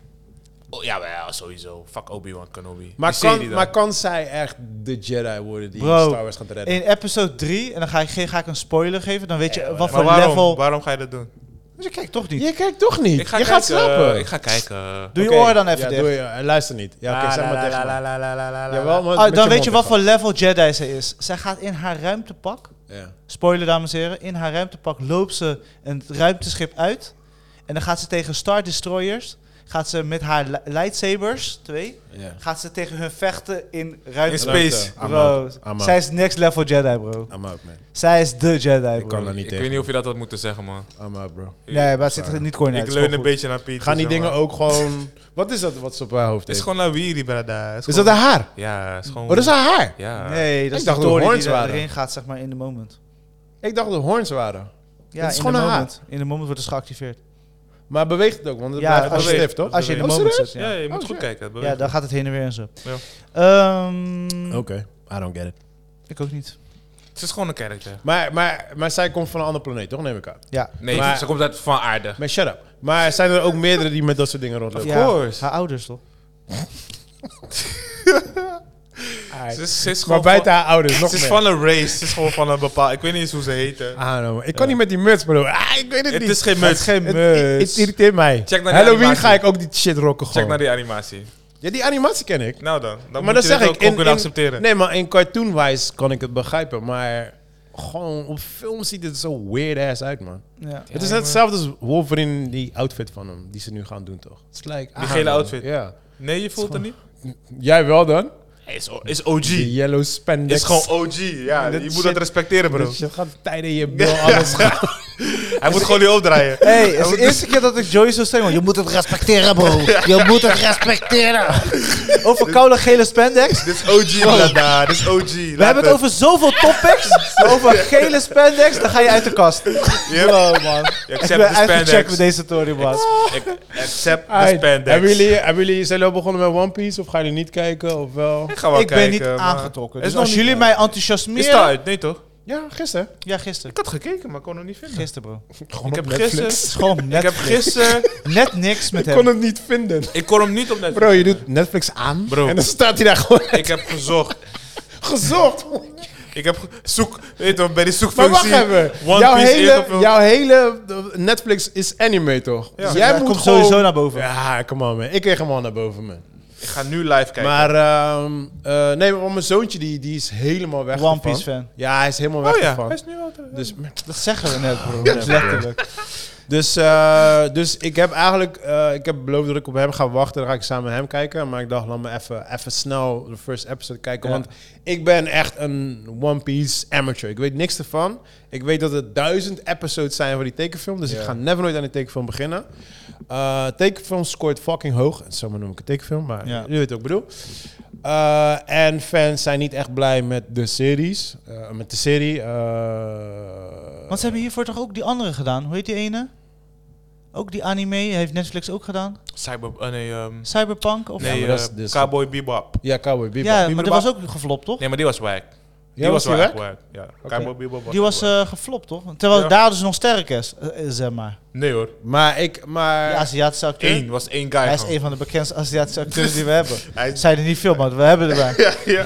Speaker 4: Oh, ja, wel, sowieso. Fuck Obi-Wan Kenobi.
Speaker 2: maar,
Speaker 4: Die serie
Speaker 2: kan,
Speaker 4: dan.
Speaker 2: maar kan zij echt de Jedi worden die
Speaker 1: Bro,
Speaker 2: Star Wars gaat redden?
Speaker 1: In episode 3, en dan ga ik, geen- ga ik een spoiler geven, dan weet je wat
Speaker 4: Maar
Speaker 1: voor
Speaker 4: waarom?
Speaker 1: level...
Speaker 4: Waarom ga je dat doen?
Speaker 1: Dus je kijkt toch niet.
Speaker 2: Je kijkt toch niet.
Speaker 4: Ik ga
Speaker 2: je
Speaker 4: kijken,
Speaker 2: gaat slapen.
Speaker 4: eh, ik ga kijken.
Speaker 1: Doe je
Speaker 2: Oké,
Speaker 1: oren dan even
Speaker 2: ja,
Speaker 1: dicht.
Speaker 2: Doe je, en luister niet. Ja, oké,
Speaker 4: La,
Speaker 2: zeg
Speaker 4: la,
Speaker 2: maar
Speaker 4: la,
Speaker 2: dicht.
Speaker 4: la,
Speaker 2: man.
Speaker 4: la, la, la, la, la, la.
Speaker 2: Jawel, maar
Speaker 1: Ah,
Speaker 2: met
Speaker 1: dan
Speaker 2: je
Speaker 1: weet je wat
Speaker 2: mond
Speaker 1: voor level Jedi ze is. Zij gaat in haar ruimtepak,
Speaker 2: ervan. Ja.
Speaker 1: spoiler dames en heren, in haar ruimtepak loopt ze een ruimteschip uit. En dan gaat ze tegen Star Destroyers, gaat ze met haar li- lightsabers, twee,
Speaker 2: Ja.
Speaker 1: gaat ze tegen hun vechten in
Speaker 4: In
Speaker 1: ruimte.
Speaker 4: space.
Speaker 2: I'm
Speaker 1: Bro,
Speaker 2: out. I'm out.
Speaker 1: zij is next level Jedi, bro.
Speaker 2: I'm out, man.
Speaker 1: Zij is de Jedi,
Speaker 2: Ik
Speaker 1: bro.
Speaker 2: kan daar niet
Speaker 4: Ik weet
Speaker 2: tegen.
Speaker 4: niet of je dat had moeten zeggen, man.
Speaker 2: I'm out, bro.
Speaker 1: Nee, maar het zit er niet coin uit. het
Speaker 4: ik
Speaker 1: is
Speaker 4: leun
Speaker 1: gewoon
Speaker 4: een beetje naar Piet.
Speaker 2: Gaan die
Speaker 4: zeg maar.
Speaker 2: dingen ook gewoon... Wat is dat wat ze op haar hoofd
Speaker 4: Het
Speaker 2: heeft?
Speaker 4: is
Speaker 2: Is,
Speaker 4: gewoon Lawiri, brada. Het
Speaker 2: dat
Speaker 4: gewoon-
Speaker 2: haar haar?
Speaker 4: Ja, het is gewoon...
Speaker 2: Oh, dat is haar haar?
Speaker 4: Ja.
Speaker 1: goed. Nee, dat
Speaker 2: Ik
Speaker 1: is de
Speaker 2: dacht dat het
Speaker 1: story die
Speaker 2: horns
Speaker 1: er-
Speaker 2: waren.
Speaker 1: erin gaat, zeg maar, in de moment.
Speaker 2: Ik dacht dat het horns waren.
Speaker 1: Ja,
Speaker 2: Dat is
Speaker 1: in
Speaker 2: gewoon
Speaker 1: de
Speaker 2: een haat.
Speaker 1: moment. In de moment wordt het dus geactiveerd.
Speaker 2: Maar beweegt het ook, want het
Speaker 1: Ja,
Speaker 2: blijft
Speaker 1: als
Speaker 2: als
Speaker 1: je-
Speaker 2: stift, toch?
Speaker 1: Als je in de
Speaker 2: Oh,
Speaker 1: moment
Speaker 2: serieus?
Speaker 1: zit,
Speaker 4: Ja,
Speaker 1: ja.
Speaker 4: je moet
Speaker 2: Oh,
Speaker 4: goed
Speaker 2: shit.
Speaker 4: kijken. dat
Speaker 1: Ja,
Speaker 4: beweegt.
Speaker 1: dan gaat het heen en weer en zo.
Speaker 4: Ja.
Speaker 1: Ehm,
Speaker 2: Oké, I don't get it.
Speaker 1: Ik ook niet.
Speaker 4: Het is gewoon een karakter.
Speaker 2: Maar, maar, maar zij komt van een andere planeet, toch? Neem ik aan.
Speaker 1: Ja.
Speaker 4: Nee,
Speaker 2: Maar-
Speaker 4: ze komt uit van aarde.
Speaker 2: Maar shut up. Maar zijn er ook meerdere die met dat soort dingen rondlopen?
Speaker 1: Ja,
Speaker 4: course.
Speaker 1: Haar ouders toch?
Speaker 2: Alright.
Speaker 4: Ze is, ze is
Speaker 2: Maar
Speaker 4: gewoon
Speaker 2: buiten
Speaker 4: van,
Speaker 2: haar ouders nog
Speaker 4: ze is
Speaker 2: meer.
Speaker 4: van een race. Ze is gewoon van een bepaald... Ik weet niet eens hoe ze heten.
Speaker 2: Ah, no, maar ik kan niet met die muts, bro. Ah, ik weet het,
Speaker 4: Het
Speaker 2: niet.
Speaker 4: is geen muts.
Speaker 1: geen
Speaker 2: Het, het, het irriteert mij.
Speaker 4: Check naar die
Speaker 2: Halloween
Speaker 4: animatie.
Speaker 2: ga ik ook die shit rocken gewoon.
Speaker 4: Check naar die animatie.
Speaker 2: Ja, die animatie ken ik.
Speaker 4: Nou dan. Dan
Speaker 2: maar
Speaker 4: moet
Speaker 2: dat
Speaker 4: je
Speaker 2: zeg
Speaker 4: dit
Speaker 2: ik.
Speaker 4: ook gewoon kunnen accepteren.
Speaker 2: Nee, maar in cartoonwijs kan ik het begrijpen. Maar gewoon op film ziet het zo weird ass uit, man.
Speaker 1: Ja.
Speaker 2: het is net hetzelfde als Wolverine, die outfit van hem. Die ze nu gaan doen, toch? Het is like,
Speaker 4: Die
Speaker 2: ah,
Speaker 4: gele
Speaker 2: man.
Speaker 4: outfit.
Speaker 2: Ja.
Speaker 4: Nee, je voelt het niet?
Speaker 2: Jij wel dan?
Speaker 4: Is, is OG.
Speaker 2: Die yellow spandex.
Speaker 4: Is gewoon OG. Ja,
Speaker 2: Dit
Speaker 4: je moet
Speaker 2: shit-
Speaker 4: dat respecteren, bro.
Speaker 2: Dat shit gaat tijden in je bil, alles gaat.
Speaker 4: Hij moet gewoon niet opdraaien.
Speaker 1: Hey, het is de eerste keer dat ik Joey zo streng hoor. Je moet het respecteren, bro. Je moet het respecteren. Over koude gele spandex.
Speaker 4: Dit is OG,
Speaker 2: Oh.
Speaker 4: brada. Dit is OG.
Speaker 1: We hebben het over zoveel topics. Over gele spandex, dan ga je uit de kast. Bro, man. Ik
Speaker 4: Accept
Speaker 1: ben
Speaker 4: the
Speaker 1: uitgecheckt met
Speaker 4: spandex.
Speaker 1: deze story, man.
Speaker 4: Ik- Accept the
Speaker 2: Alright, Hebben
Speaker 4: spandex.
Speaker 2: jullie, hebben jullie zijn jullie al begonnen met One Piece? Of gaan jullie niet kijken? Of wel?
Speaker 4: Ik ga wel
Speaker 1: ik ben
Speaker 4: kijken,
Speaker 1: niet
Speaker 4: maar-
Speaker 1: aangetrokken.
Speaker 4: Is
Speaker 1: Dus
Speaker 4: nog
Speaker 1: als
Speaker 4: niet-
Speaker 1: jullie mij
Speaker 4: Is het
Speaker 1: enthousiasmeren...
Speaker 4: uit? Nee, toch?
Speaker 2: Ja, gisteren.
Speaker 1: Ja, gisteren.
Speaker 4: Ik had gekeken, maar kon het niet vinden.
Speaker 1: Gisteren, bro.
Speaker 2: Gewoon
Speaker 4: Ik
Speaker 2: op
Speaker 4: heb
Speaker 2: Netflix.
Speaker 4: gisteren...
Speaker 1: Het is gewoon
Speaker 4: Ik heb
Speaker 1: net,
Speaker 4: gisteren...
Speaker 1: net niks met
Speaker 2: Ik kon
Speaker 1: hem.
Speaker 2: het niet vinden.
Speaker 4: Ik kon hem niet op Netflix.
Speaker 2: Bro, je doet Netflix aan.
Speaker 4: Bro.
Speaker 2: En dan staat hij daar gewoon
Speaker 4: Ik heb gezocht.
Speaker 2: gezocht.
Speaker 4: Ik heb ge- zoek... Weet je, wel, bij die
Speaker 2: Maar
Speaker 4: zoekfunctie...
Speaker 2: wacht even.
Speaker 4: One
Speaker 2: Jouw
Speaker 4: Piece
Speaker 2: hele,
Speaker 4: ingevuld.
Speaker 2: jouw hele eh, Netflix is anime, toch? Dus
Speaker 4: Ja.
Speaker 1: Ja, komt sowieso naar boven.
Speaker 2: Ja, come on, man. Ik kreeg hem al naar boven, man.
Speaker 4: Ik ga nu live kijken.
Speaker 2: Maar, ehm, eh, nee, want mijn zoontje die, die is helemaal weg
Speaker 1: One Piece fan.
Speaker 2: Ja, hij is helemaal weg
Speaker 4: oh ja,
Speaker 2: ervan.
Speaker 4: hij is nu al... terug.
Speaker 2: Dus,
Speaker 1: Dat zeggen we net, bro. Letterlijk.
Speaker 2: dus, eh, dus ik heb eigenlijk eh, ik heb beloofd dat ik op hem ga wachten. Dan ga ik samen met hem kijken. Maar ik dacht, laat me even, even snel de first episode kijken.
Speaker 1: Ja.
Speaker 2: Want ik ben echt een One Piece amateur. Ik weet niks ervan. Ik weet dat er duizend episodes zijn van die tekenfilm. Dus ik ga never nooit aan die tekenfilm beginnen. Eh, tekenfilm scoort fucking hoog. Zo noem ik een tekenfilm, maar
Speaker 1: Ja.
Speaker 2: jullie weten wat ik bedoel. Eh, en fans zijn niet echt blij met de series. eh, met de serie. eh,
Speaker 1: Want ze hebben hiervoor toch ook die andere gedaan? Hoe heet die ene? Ook die anime heeft Netflix ook gedaan.
Speaker 4: Cyber... eh, nee, ehm
Speaker 1: Cyberpunk? Of
Speaker 4: nee
Speaker 2: maar
Speaker 4: eh,
Speaker 2: dat is- dit is-
Speaker 4: Cowboy Bebop.
Speaker 2: Ja, Cowboy Bebop.
Speaker 1: ja, maar
Speaker 4: Bebop.
Speaker 1: die was ook geflopt, toch?
Speaker 4: Nee, maar die was wack. Die
Speaker 2: Ja,
Speaker 4: was
Speaker 2: die
Speaker 4: wel
Speaker 2: weg?
Speaker 4: echt wack. Ja, Cowboy Bebop was
Speaker 1: Die was
Speaker 4: wel
Speaker 1: eh, geflopt, toch? Terwijl
Speaker 4: Ja.
Speaker 1: daar hadden ze nog sterker is, eh, eh, zeg maar.
Speaker 4: wack. Nee hoor.
Speaker 2: Maar ik, maar...
Speaker 1: De Aziatische acteur.
Speaker 4: Eén. was één guy
Speaker 1: Hij is
Speaker 4: gewoon.
Speaker 1: een van de bekendste Aziatische acteurs die we hebben.
Speaker 4: Hij
Speaker 1: Het zijn er niet veel, maar we hebben er maar.
Speaker 4: Ja, ja.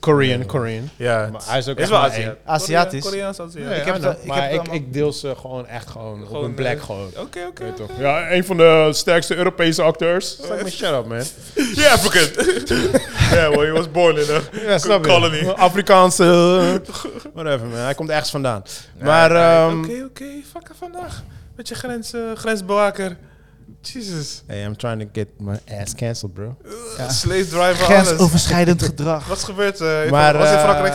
Speaker 2: Korean, Korean.
Speaker 4: Ja,
Speaker 2: Maar hij is ook
Speaker 4: is
Speaker 2: echt
Speaker 4: wel
Speaker 2: maar
Speaker 4: Aziat.
Speaker 2: één.
Speaker 4: Korea-
Speaker 1: Aziatisch.
Speaker 4: Koreaans Aziat.
Speaker 2: ik
Speaker 1: heb
Speaker 2: heb
Speaker 1: dat- ik
Speaker 2: maar
Speaker 1: heb
Speaker 2: ik,
Speaker 1: dat-
Speaker 2: ik deel ze gewoon echt gewoon, op een plek
Speaker 4: eh,
Speaker 2: gewoon.
Speaker 4: Oké, oké.
Speaker 2: Weet toch? Ja, een van de sterkste Europese acteurs. Zeg maar, shut up, man.
Speaker 4: Yeah, African. yeah, well, he was born in a
Speaker 2: Ja, snap je?
Speaker 4: colony.
Speaker 2: Afrikaanse... Whatever, man. Hij komt ergens vandaan. maar...
Speaker 4: Oké,
Speaker 2: ehm,
Speaker 4: oké, fuck er vandaag. Met je grens, eh, grensbewaker. Jesus.
Speaker 2: Hey, I'm trying to get my ass cancelled, bro.
Speaker 1: Ja.
Speaker 4: Slave driver, alles.
Speaker 1: Grensoverschrijdend gedrag.
Speaker 4: Wat is gebeurd? eh, in
Speaker 2: Maar,
Speaker 4: Fran- wat is in
Speaker 2: eh,
Speaker 4: Frankrijk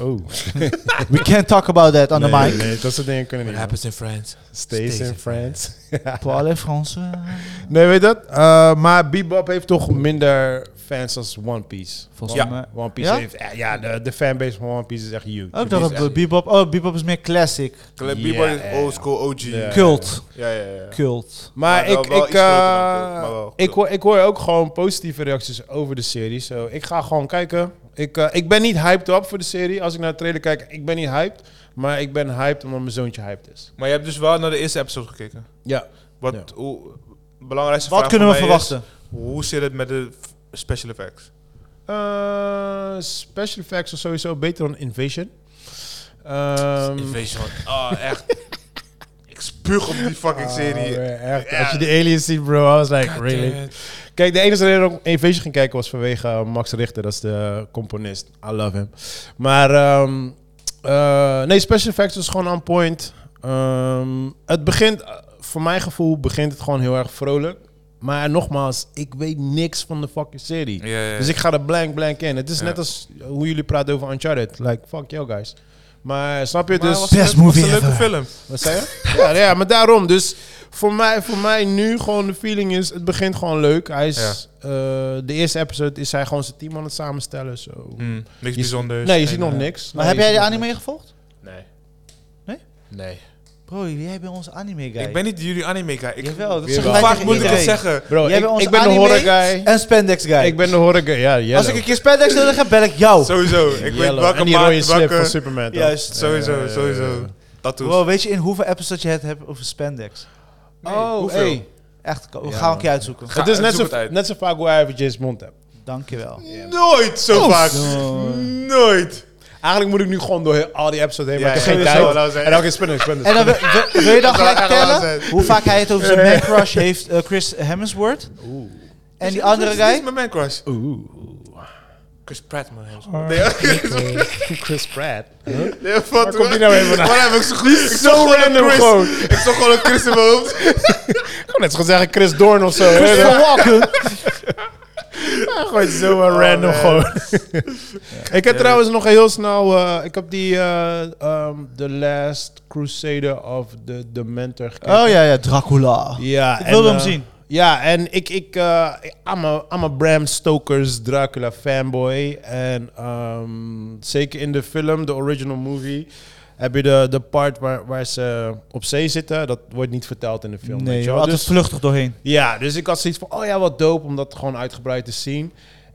Speaker 2: oh.
Speaker 1: We can't talk about that on the
Speaker 2: nee,
Speaker 1: mic.
Speaker 2: nee, dat soort dingen kunnen niet. man.
Speaker 4: in France.
Speaker 2: Stays,
Speaker 4: Stays
Speaker 2: in
Speaker 4: in
Speaker 2: France.
Speaker 1: Paul en Franse.
Speaker 2: nee, weet dat? Eh, maar Bebop heeft toch minder fans als One Piece.
Speaker 1: Volgens
Speaker 4: Ja.
Speaker 1: mij.
Speaker 2: One Piece
Speaker 1: Ja?
Speaker 2: heeft... eh, Ja, de, de fanbase van One Piece is echt huge. eh,
Speaker 1: Ook
Speaker 2: Die
Speaker 1: dat
Speaker 2: is echt-
Speaker 1: op Bebop. Oh, Bebop is meer classic.
Speaker 4: Club
Speaker 2: Ja,
Speaker 4: B-boy
Speaker 2: ja,
Speaker 4: is
Speaker 2: ja.
Speaker 4: old school OG.
Speaker 2: Ja.
Speaker 1: Cult.
Speaker 4: Ja, ja, ja.
Speaker 1: Cult.
Speaker 2: Maar,
Speaker 4: Maar wel-
Speaker 2: ik,
Speaker 4: wel
Speaker 2: ik,
Speaker 4: iets groter dan
Speaker 2: eh,
Speaker 4: Cult, maar wel
Speaker 2: ik,
Speaker 4: Cult.
Speaker 2: hoor, ik hoor ook gewoon positieve reacties over de serie. Zo, ik ga gewoon kijken. Ik, eh, ik ben niet hyped up voor de serie. Als ik naar de trailer kijk, ik ben niet hyped. Maar ik ben hyped omdat mijn zoontje hyped is.
Speaker 4: Maar je hebt dus wel naar de eerste episode gekeken.
Speaker 2: Ja.
Speaker 4: Wat,
Speaker 2: Ja.
Speaker 4: hoe, belangrijkste
Speaker 1: Wat
Speaker 4: vraag
Speaker 1: kunnen we
Speaker 4: voor mij is,
Speaker 1: verwachten?
Speaker 4: hoe zit het met de f- special effects?
Speaker 2: Eh, special effects is sowieso beter dan Invasion. Ehm,
Speaker 4: Invasion. Oh, echt. ik spuug op die fucking serie.
Speaker 2: Ah, man, echt.
Speaker 4: Ja.
Speaker 2: Als je de aliens ziet, bro, I was like, really? Kijk, de enige reden dat ik Invasion ging kijken was vanwege eh, Max Richter. Dat is de componist. I love him. Maar ehm, eh, nee, special effects is gewoon on point. Ehm, het begint, eh, voor mijn gevoel, begint het gewoon heel erg vrolijk. Maar nogmaals, ik weet niks van de fucking serie.
Speaker 4: Ja, ja, ja.
Speaker 2: Dus ik ga er blank blank in. Het is
Speaker 4: Ja.
Speaker 2: net als hoe jullie praten over Uncharted. Like, fuck you guys. Maar snap je?
Speaker 4: Maar
Speaker 2: dus
Speaker 4: was een
Speaker 1: Best
Speaker 4: leuk- was
Speaker 1: movie
Speaker 4: een leuke
Speaker 1: ever.
Speaker 4: film.
Speaker 2: wat zei je? ja, ja, maar daarom. Dus voor mij, voor mij nu gewoon de feeling is, het begint gewoon leuk. Hij is, eh, de eerste episode is hij gewoon zijn team aan het samenstellen. zo.
Speaker 4: Hmm, niks
Speaker 2: Je-
Speaker 4: bijzonders.
Speaker 2: Nee, je ziet
Speaker 4: Geen,
Speaker 2: nog
Speaker 4: eh,
Speaker 2: niks.
Speaker 1: Maar
Speaker 2: Nee,
Speaker 1: heb
Speaker 2: je
Speaker 1: jij de
Speaker 2: ziet nog
Speaker 1: anime gevolgd?
Speaker 4: Nee.
Speaker 1: Nee?
Speaker 4: Nee.
Speaker 1: Bro, jij bent onze anime guy.
Speaker 4: Ik ben niet jullie anime guy. Ik,
Speaker 1: Jawel, dat
Speaker 4: Hoe
Speaker 1: zeggen
Speaker 2: wij
Speaker 4: vaak
Speaker 2: tegen
Speaker 4: moet ik het
Speaker 1: iedereen.
Speaker 4: zeggen?
Speaker 2: niks. Bro,
Speaker 1: Jij
Speaker 2: ik,
Speaker 1: bent onze
Speaker 2: ik ben de
Speaker 1: anime
Speaker 2: horror guy.
Speaker 1: En spandex guy.
Speaker 2: Ik ben de horror guy. Ja, yellow.
Speaker 1: Als ik een keer spandex nodig heb, bel ik jou.
Speaker 4: Sowieso. Ik weet
Speaker 2: Yellow.
Speaker 4: welke
Speaker 2: En die rode
Speaker 4: maat,
Speaker 2: slip van
Speaker 4: welke...
Speaker 2: Superman. toch?
Speaker 1: Juist.
Speaker 2: Ja, ja,
Speaker 4: Sowieso,
Speaker 2: ja, ja,
Speaker 4: sowieso.
Speaker 2: ja.
Speaker 4: Tattoos.
Speaker 1: Bro, weet je in hoeveel episodes je het hebt over spandex?
Speaker 2: Oh,
Speaker 4: hoeveel?
Speaker 2: hey.
Speaker 1: Echt, we
Speaker 2: Ja,
Speaker 1: gaan we
Speaker 2: man.
Speaker 1: een keer uitzoeken.
Speaker 4: Ga-
Speaker 2: Het is net
Speaker 4: zoek
Speaker 2: zo,
Speaker 4: het uit.
Speaker 2: net zo vaak hoe hij over James Bond hebt.
Speaker 1: Dankjewel.
Speaker 4: Nooit zo vaak. Nooit.
Speaker 2: Eigenlijk moet ik nu gewoon door heel- al die episodes heen, maar ik heb geen
Speaker 4: sowieso.
Speaker 2: tijd.
Speaker 4: Laten we zeggen.
Speaker 2: En ook in Spanish. Spanish.
Speaker 1: En dan, wil- wil- wil je dan
Speaker 4: Dat zou
Speaker 1: gelijk
Speaker 4: echt wel
Speaker 1: tellen
Speaker 4: zijn.
Speaker 1: hoe vaak hij het over zijn man crush heeft, eh, Chris Hemsworth? En die andere
Speaker 4: Dit is
Speaker 1: guy?
Speaker 4: mijn man crush.
Speaker 2: Oeh.
Speaker 4: Chris Pratt, man.
Speaker 2: Chris Pratt.
Speaker 4: Nee, wat
Speaker 2: komt die nou even vandaan?
Speaker 4: Waarom heb ik zo goed?
Speaker 2: Zo random gewoon.
Speaker 4: Ik zag gewoon een Chris in mijn hoofd.
Speaker 2: Ik kon net zo goed zeggen Chris Doorn of zo.
Speaker 1: Christopher Walken.
Speaker 2: Gewoon zo
Speaker 1: Oh,
Speaker 2: maar random gewoon. ik heb trouwens nog heel snel... eh, ik heb die eh, ehm, The Last Crusader of the Dementor gekeken.
Speaker 1: Oh ja, ja, Dracula.
Speaker 2: Ja,
Speaker 1: Ik wilde
Speaker 2: en,
Speaker 1: hem
Speaker 2: eh,
Speaker 1: zien.
Speaker 2: Ja, en ik... ik eh I'm, a, I'm a Bram Stoker's Dracula fanboy. En ehm, zeker in de film, de original movie... Heb je de, de part waar, waar ze op zee zitten? Dat wordt niet verteld in de film. weet
Speaker 1: Nee,
Speaker 2: je
Speaker 1: je
Speaker 2: wel.
Speaker 1: had
Speaker 2: Dus-
Speaker 1: het vluchtig doorheen.
Speaker 2: Ja, dus ik had zoiets van, oh ja, wat dope om dat gewoon uitgebreid te zien.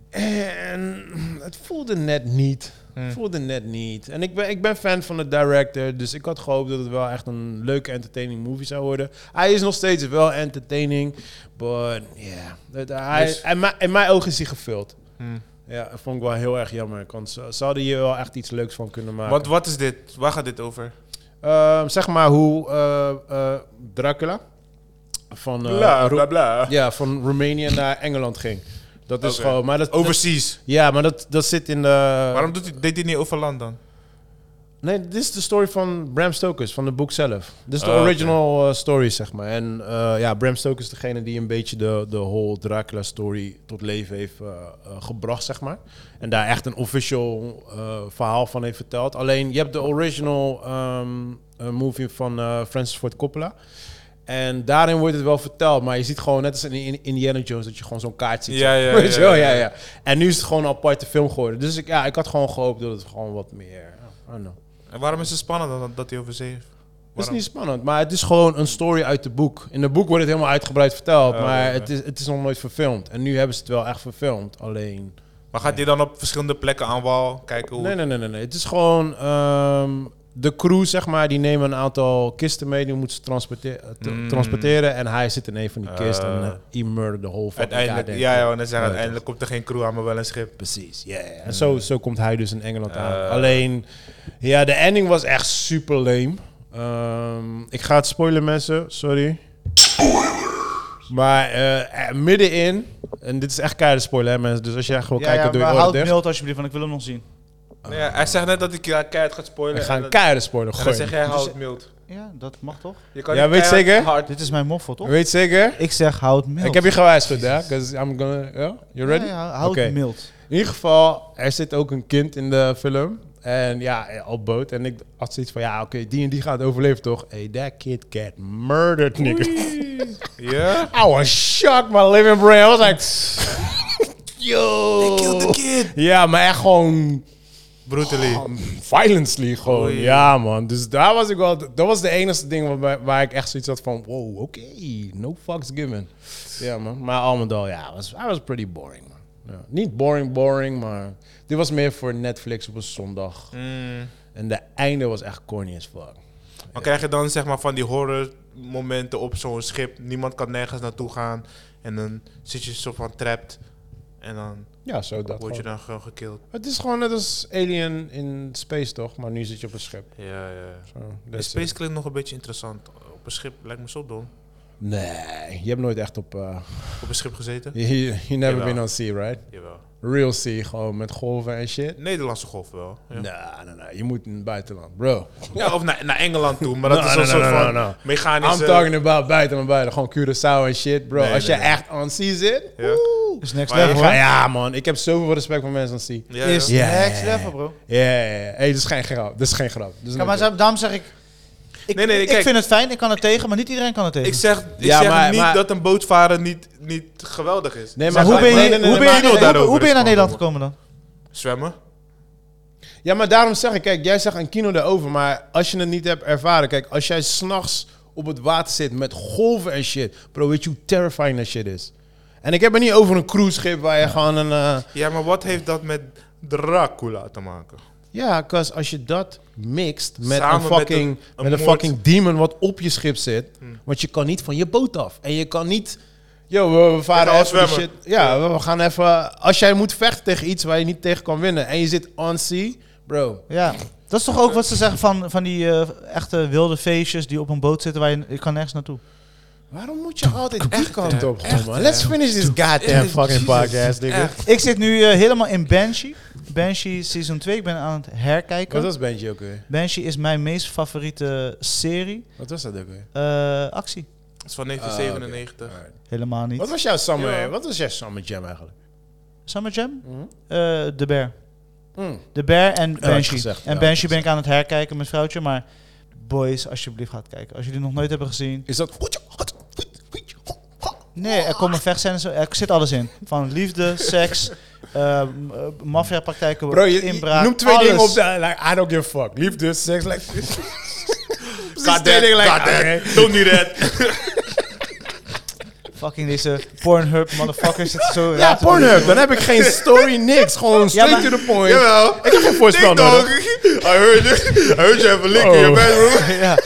Speaker 2: En het voelde net niet.
Speaker 4: Hmm.
Speaker 2: Het voelde net niet. En ik ben, ik ben fan van de director, dus ik had gehoopt dat het wel echt een leuke entertaining movie zou worden. Hij is nog steeds wel entertaining, but yeah. Het- Hij,
Speaker 4: Dus-
Speaker 2: in, mijn, in mijn ogen is hij gevuld.
Speaker 4: Hmm.
Speaker 2: Ja, dat vond ik wel heel erg jammer. Want ze, ze hadden hier wel echt iets leuks van kunnen maken.
Speaker 4: Want wat is dit? Waar gaat dit over?
Speaker 2: Ehm, zeg maar hoe eh, eh, Dracula van eh, Ro-
Speaker 4: bla bla.
Speaker 2: ja, van Roemenië naar Engeland ging. Dat is
Speaker 4: Oké.
Speaker 2: gewoon. Maar dat, dat-
Speaker 4: Overseas.
Speaker 2: ja, maar dat, dat zit in de.
Speaker 4: Eh, Waarom doet hij, deed hij niet over land dan?
Speaker 2: Nee, dit is de story van Bram Stokers, van het boek zelf. Dit is de
Speaker 4: Oh, oké.
Speaker 2: original eh, story, zeg maar. En eh, ja, Bram Stokers is degene die een beetje de, de whole Dracula-story tot leven heeft eh, eh, gebracht, zeg maar. En daar echt een official eh, verhaal van heeft verteld. Alleen, je hebt de original ehm, eh, movie van eh, Francis Ford Coppola. En daarin wordt het wel verteld, maar je ziet gewoon net als in- in Indiana Jones dat je gewoon zo'n kaart ziet. zeg
Speaker 4: Ja,
Speaker 2: maar.
Speaker 4: ja,
Speaker 2: Weet je
Speaker 4: ja,
Speaker 2: wel?
Speaker 4: ja,
Speaker 2: ja,
Speaker 4: ja.
Speaker 2: ja. En nu is het gewoon een aparte film geworden. Dus ik, ja, ik had gewoon gehoopt dat het gewoon wat meer. I don't know.
Speaker 4: En waarom is het spannend dan dat- dat hij over zee
Speaker 2: Het is
Speaker 4: Waarom?
Speaker 2: niet spannend, maar het is gewoon een story uit het boek. In het boek wordt het helemaal uitgebreid verteld,
Speaker 4: Oh,
Speaker 2: maar
Speaker 4: ja, ja.
Speaker 2: Het, is, het is nog nooit verfilmd. En nu hebben ze het wel echt verfilmd, alleen...
Speaker 4: Maar gaat hij dan op verschillende plekken aan wal kijken hoe...
Speaker 2: Nee, nee, nee, nee. nee. Het is gewoon... ehm, de crew, zeg maar, die nemen een aantal kisten mee. Die moeten ze transporte- eh, tra-
Speaker 4: Mm.
Speaker 2: transporteren. En hij zit in een van die kisten.
Speaker 4: Eh.
Speaker 2: en eh, he murdered the whole fucking
Speaker 4: Uiteindelijk,
Speaker 2: goddamn
Speaker 4: ja,
Speaker 2: thing.
Speaker 4: ja, want dan zeggen
Speaker 2: Ja,
Speaker 4: uiteindelijk komt er geen crew aan, maar wel een schip.
Speaker 2: Precies, ja. ja, ja. En zo, zo komt hij dus in Engeland aan.
Speaker 4: Eh.
Speaker 2: Alleen, ja, de ending was echt super lame. Ehm, ik ga het spoilen, mensen. Sorry. Maar eh, eh, middenin, en dit is echt keiharde spoiler, hè, mensen. Dus als jij echt wil
Speaker 1: Ja,
Speaker 2: kijken,
Speaker 1: ja,
Speaker 2: doe je
Speaker 1: maar
Speaker 2: oren
Speaker 1: houd
Speaker 2: dicht.
Speaker 1: mild alsjeblieft, want ik wil hem nog zien.
Speaker 4: Nee, hij zegt net dat ik Nou ja, keihard gaat spoilen.
Speaker 2: Ik ga
Speaker 4: en
Speaker 2: een
Speaker 4: dat-
Speaker 2: keiharde spoiler
Speaker 4: en dan
Speaker 2: gooien.
Speaker 4: zeg jij, hou het mild.
Speaker 1: Ja, dat mag toch?
Speaker 4: Je kan
Speaker 2: Ja,
Speaker 4: niet
Speaker 2: weet je
Speaker 4: keihard
Speaker 2: zeker?
Speaker 4: hard-
Speaker 1: Dit is mijn moffel, toch?
Speaker 2: Weet zeker?
Speaker 1: Ik zeg, houd mild.
Speaker 2: Ik heb je gewaarschuwd, hè? Because I'm gonna... yeah? You ready?
Speaker 1: Ja, ja, houd
Speaker 2: Oké.
Speaker 1: mild.
Speaker 2: In ieder geval, er zit ook een kind in de film. En ja, op boot. En ik had zoiets van, ja, oké, die en die gaat overleven, toch? Hey, that kid get murdered, nigga.
Speaker 4: Ja?
Speaker 2: I was shocked, my living brain. I was like, yo.
Speaker 4: kid!
Speaker 2: Ja, maar echt gewoon
Speaker 4: Brutally.
Speaker 2: um, violently gewoon.
Speaker 4: Oei.
Speaker 2: Ja, man. Dus daar was ik wel... Dat was de enige ding waarbij- waar ik echt zoiets had van... Wow, oké. no fucks given. Ja, man. Maar al met al, ja, was, I was pretty boring, man. Ja. Niet boring, boring, maar dit was meer voor Netflix op een zondag.
Speaker 4: Mm.
Speaker 2: En de einde was echt corny as fuck.
Speaker 4: Maar krijg je dan zeg maar van die horror momenten op zo'n schip. Niemand kan nergens naartoe gaan. En dan zit je zo van trapped. En dan
Speaker 2: Ja, zo dat.
Speaker 4: word je
Speaker 2: gewoon.
Speaker 4: dan gewoon gekild.
Speaker 2: Het is gewoon net als Alien in space toch, maar nu zit je op een schip. Oh,
Speaker 4: Ja, ja.
Speaker 2: Zo,
Speaker 4: De
Speaker 2: that's it.
Speaker 4: space klinkt nog een beetje interessant. Op een schip lijkt me zo dom.
Speaker 2: Nee, je hebt nooit echt op. eh,
Speaker 4: Op een schip gezeten?
Speaker 2: you, you never
Speaker 4: Jawel.
Speaker 2: been on sea, right?
Speaker 4: Jawel.
Speaker 2: Real sea, gewoon met golven en shit.
Speaker 4: Nederlandse golf wel. Ja.
Speaker 2: Nee, nee, nee. Je moet in het buitenland, bro.
Speaker 4: Ja, of naar, naar Engeland toe, maar dat
Speaker 2: No,
Speaker 4: is een
Speaker 2: no, no,
Speaker 4: soort
Speaker 2: no, no,
Speaker 4: van eh,
Speaker 2: no.
Speaker 4: mechanische...
Speaker 2: I'm talking about buitenland, buiten. Gewoon Curaçao en shit, bro.
Speaker 4: Nee,
Speaker 2: Als
Speaker 4: nee,
Speaker 2: je
Speaker 4: nee.
Speaker 2: echt on sea zit.
Speaker 4: Ja.
Speaker 2: woe.
Speaker 1: Is next
Speaker 4: Maar je
Speaker 1: level,
Speaker 2: Ja,
Speaker 1: hoor.
Speaker 2: ja, man. Ik heb zoveel respect voor mensen on sea.
Speaker 4: Ja,
Speaker 1: Is
Speaker 4: ja.
Speaker 2: Ja.
Speaker 1: next level, bro.
Speaker 2: Ja, ja, ja. Hey, dit is geen grap. Dit is geen grap. Dit is
Speaker 1: Ja,
Speaker 2: een
Speaker 1: maar
Speaker 2: joke.
Speaker 1: zo- daarom zeg ik... Ik,
Speaker 4: Nee, nee,
Speaker 1: ik
Speaker 4: kijk.
Speaker 1: vind het fijn, ik kan het tegen, maar niet iedereen kan het tegen.
Speaker 4: Ik zeg, ik
Speaker 2: Ja,
Speaker 4: zeg
Speaker 2: maar-
Speaker 4: niet
Speaker 2: maar-
Speaker 4: dat een bootvarer niet, niet geweldig is.
Speaker 2: Nee,
Speaker 1: maar
Speaker 2: maar
Speaker 1: hoe
Speaker 2: gelijk-
Speaker 1: ben
Speaker 2: nee,
Speaker 1: je,
Speaker 2: nee, nee,
Speaker 1: hoe
Speaker 2: nee,
Speaker 1: ben je,
Speaker 4: maar-
Speaker 1: hoe-
Speaker 4: daarover
Speaker 1: hoe ben je
Speaker 4: is
Speaker 1: naar
Speaker 4: gewoon
Speaker 1: Nederland gekomen dan?
Speaker 4: Zwemmen?
Speaker 2: Ja, maar daarom zeg ik, kijk, jij zegt een kino daarover, maar als je het niet hebt ervaren, kijk, als jij s'nachts op het water zit met golven en shit, bro, weet je hoe terrifying dat shit is? En ik heb het niet over een cruiseschip waar je gewoon een... eh,
Speaker 4: Ja, maar wat heeft dat met Dracula te maken?
Speaker 2: ja, cause als je dat mixt met
Speaker 4: Samen
Speaker 2: een fucking, met
Speaker 4: met een-
Speaker 2: een, Hmm.
Speaker 4: een moord.
Speaker 2: fucking demon wat op je schip zit, want je kan niet van je boot af. En je kan niet... Yo, we, we varen
Speaker 4: gaan
Speaker 2: even die shit.
Speaker 4: zwemmen.
Speaker 2: Ja, we- we gaan even... Als jij moet vechten tegen iets waar je niet tegen kan winnen en je zit on sea, bro.
Speaker 1: Ja, dat is toch ook wat ze zeggen van, van die eh, echte wilde feestjes die op een boot zitten waar je, je kan nergens naartoe.
Speaker 2: Waarom moet je altijd die kant op gaan, man? Let's finish this goddamn fucking podcast, nigga.
Speaker 4: Echt.
Speaker 1: Ik zit nu eh, helemaal in Banshee. Banshee season 2, ik ben aan het herkijken.
Speaker 2: Wat was Benji ook weer?
Speaker 1: Banshee is mijn meest favoriete serie.
Speaker 2: Wat was dat ook weer?
Speaker 1: Eh, actie.
Speaker 4: Dat is van 1997.
Speaker 2: Ah, Alright.
Speaker 1: Helemaal
Speaker 2: Wat
Speaker 1: niet.
Speaker 2: was jouw summer,
Speaker 4: Ja.
Speaker 2: wat was jouw summer jam eigenlijk?
Speaker 1: Summer Jam?
Speaker 2: Mhm.
Speaker 1: Eh, De Bear.
Speaker 2: Mm.
Speaker 1: De Bear en
Speaker 2: had je
Speaker 1: Banshee.
Speaker 2: gezegd, ja,
Speaker 1: en
Speaker 2: had je
Speaker 1: Banshee ben ik aan het herkijken met vrouwtje, maar boys, alsjeblieft gaat kijken. Als jullie nog nooit hebben gezien.
Speaker 2: Is dat...
Speaker 1: Nee, er komen vechtscènes, er zit alles in. Van liefde, seks, eh maffiapraktijken,
Speaker 2: Bro, je, je
Speaker 1: inbraak.
Speaker 2: noemt twee
Speaker 1: alles.
Speaker 2: dingen op de... Like, I don't give a fuck. Liefde, seks, like... Precies
Speaker 4: God
Speaker 2: twee
Speaker 4: damn,
Speaker 2: dingen, like...
Speaker 4: God damn,
Speaker 2: okay.
Speaker 4: Don't do that.
Speaker 1: Fucking deze Pornhub motherfuckers zitten zo
Speaker 2: Ja,
Speaker 1: raar te
Speaker 2: Pornhub. Dan heb ik geen story, niks. Gewoon straight
Speaker 1: maar-
Speaker 2: to the point.
Speaker 4: Jawel.
Speaker 2: Ik heb geen voorspel
Speaker 4: Ding dong.
Speaker 2: nodig.
Speaker 4: I heard you. I heard you have a lick in your
Speaker 2: Oh.
Speaker 4: bedroom.
Speaker 1: doen. ja.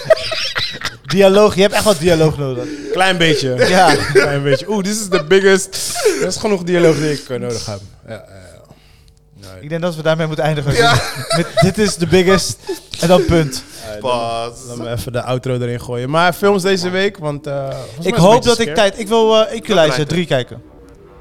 Speaker 1: Dialoog, je hebt echt wat dialoog nodig.
Speaker 2: Klein beetje.
Speaker 1: Ja.
Speaker 2: Klein beetje. Oeh, dit is de biggest. Dat is genoeg dialoog die ik eh, nodig heb. Ja, ja, ja.
Speaker 1: Ik denk dat we daarmee moeten eindigen. Met, dit is de biggest. En dan punt.
Speaker 4: Pas.
Speaker 2: Laten we even de outro erin gooien. Maar films deze week, want... eh, volgens mij is
Speaker 1: Ik
Speaker 2: het
Speaker 1: hoop
Speaker 2: een
Speaker 1: dat
Speaker 2: beetje
Speaker 1: ik tijd. Ik wil eh Equalizer
Speaker 4: lijkt
Speaker 1: 3 kijken.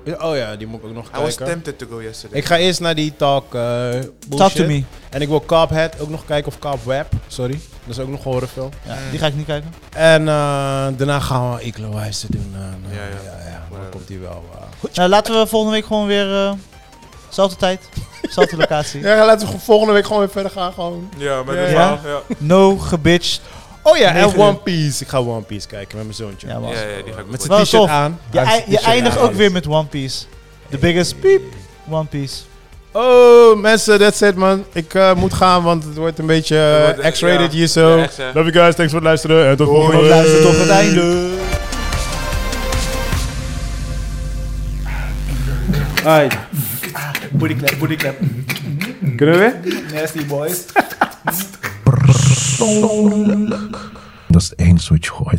Speaker 2: scherp. Oh ja, die moet ik ook nog
Speaker 4: I was
Speaker 2: kijken.
Speaker 4: tempted to go yesterday.
Speaker 2: Ik ga eerst naar die talk. eh,
Speaker 1: Talk
Speaker 2: bullshit.
Speaker 1: to me.
Speaker 2: En ik wil Cophead ook nog kijken. Of Cobweb, sorry. Dat is ook nog een horrorfilm.
Speaker 1: Ja, die ga ik niet kijken.
Speaker 2: En eh, daarna gaan we Equalizer doen. eh,
Speaker 4: Ja, ja.
Speaker 2: ja, ja. Dan
Speaker 4: Whatever.
Speaker 2: komt die wel. eh,
Speaker 1: Nou, laten we volgende week gewoon weer. eh, Zelfde tijd, zelfde locatie.
Speaker 2: Ja, laten we volgende week gewoon weer verder gaan. Gewoon.
Speaker 4: Ja, met
Speaker 2: Ja.
Speaker 4: een verhaal. Ja.
Speaker 1: No gebitched.
Speaker 2: Oh ja, en
Speaker 1: Negen uur.
Speaker 2: One Piece. Ik ga One Piece kijken met mijn zoontje.
Speaker 1: Ja, man.
Speaker 4: Ja, ja, die ga ik
Speaker 2: Met
Speaker 4: ook
Speaker 1: Wel
Speaker 2: zijn t-shirt
Speaker 1: tof.
Speaker 2: aan.
Speaker 1: Je,
Speaker 2: Hij heeft
Speaker 1: ei-
Speaker 2: zijn
Speaker 1: je
Speaker 2: t-shirt
Speaker 1: eindigt
Speaker 2: aan.
Speaker 1: ook weer met One Piece. The biggest piep. One Piece.
Speaker 2: Oh, mensen, that's it, man. Ik eh, moet gaan, want het wordt een beetje eh,
Speaker 4: Het wordt, eh,
Speaker 2: X-rated
Speaker 4: ja.
Speaker 2: hier zo.
Speaker 4: Ja, echt, hè.
Speaker 2: Love you guys, thanks voor het luisteren. En tot volgende
Speaker 1: Tot
Speaker 2: week.
Speaker 1: luister tot het einde. Booty clap, booty clap.
Speaker 2: Kunnen we weer?
Speaker 1: Nasty boys.
Speaker 6: Dat is één switch gooi.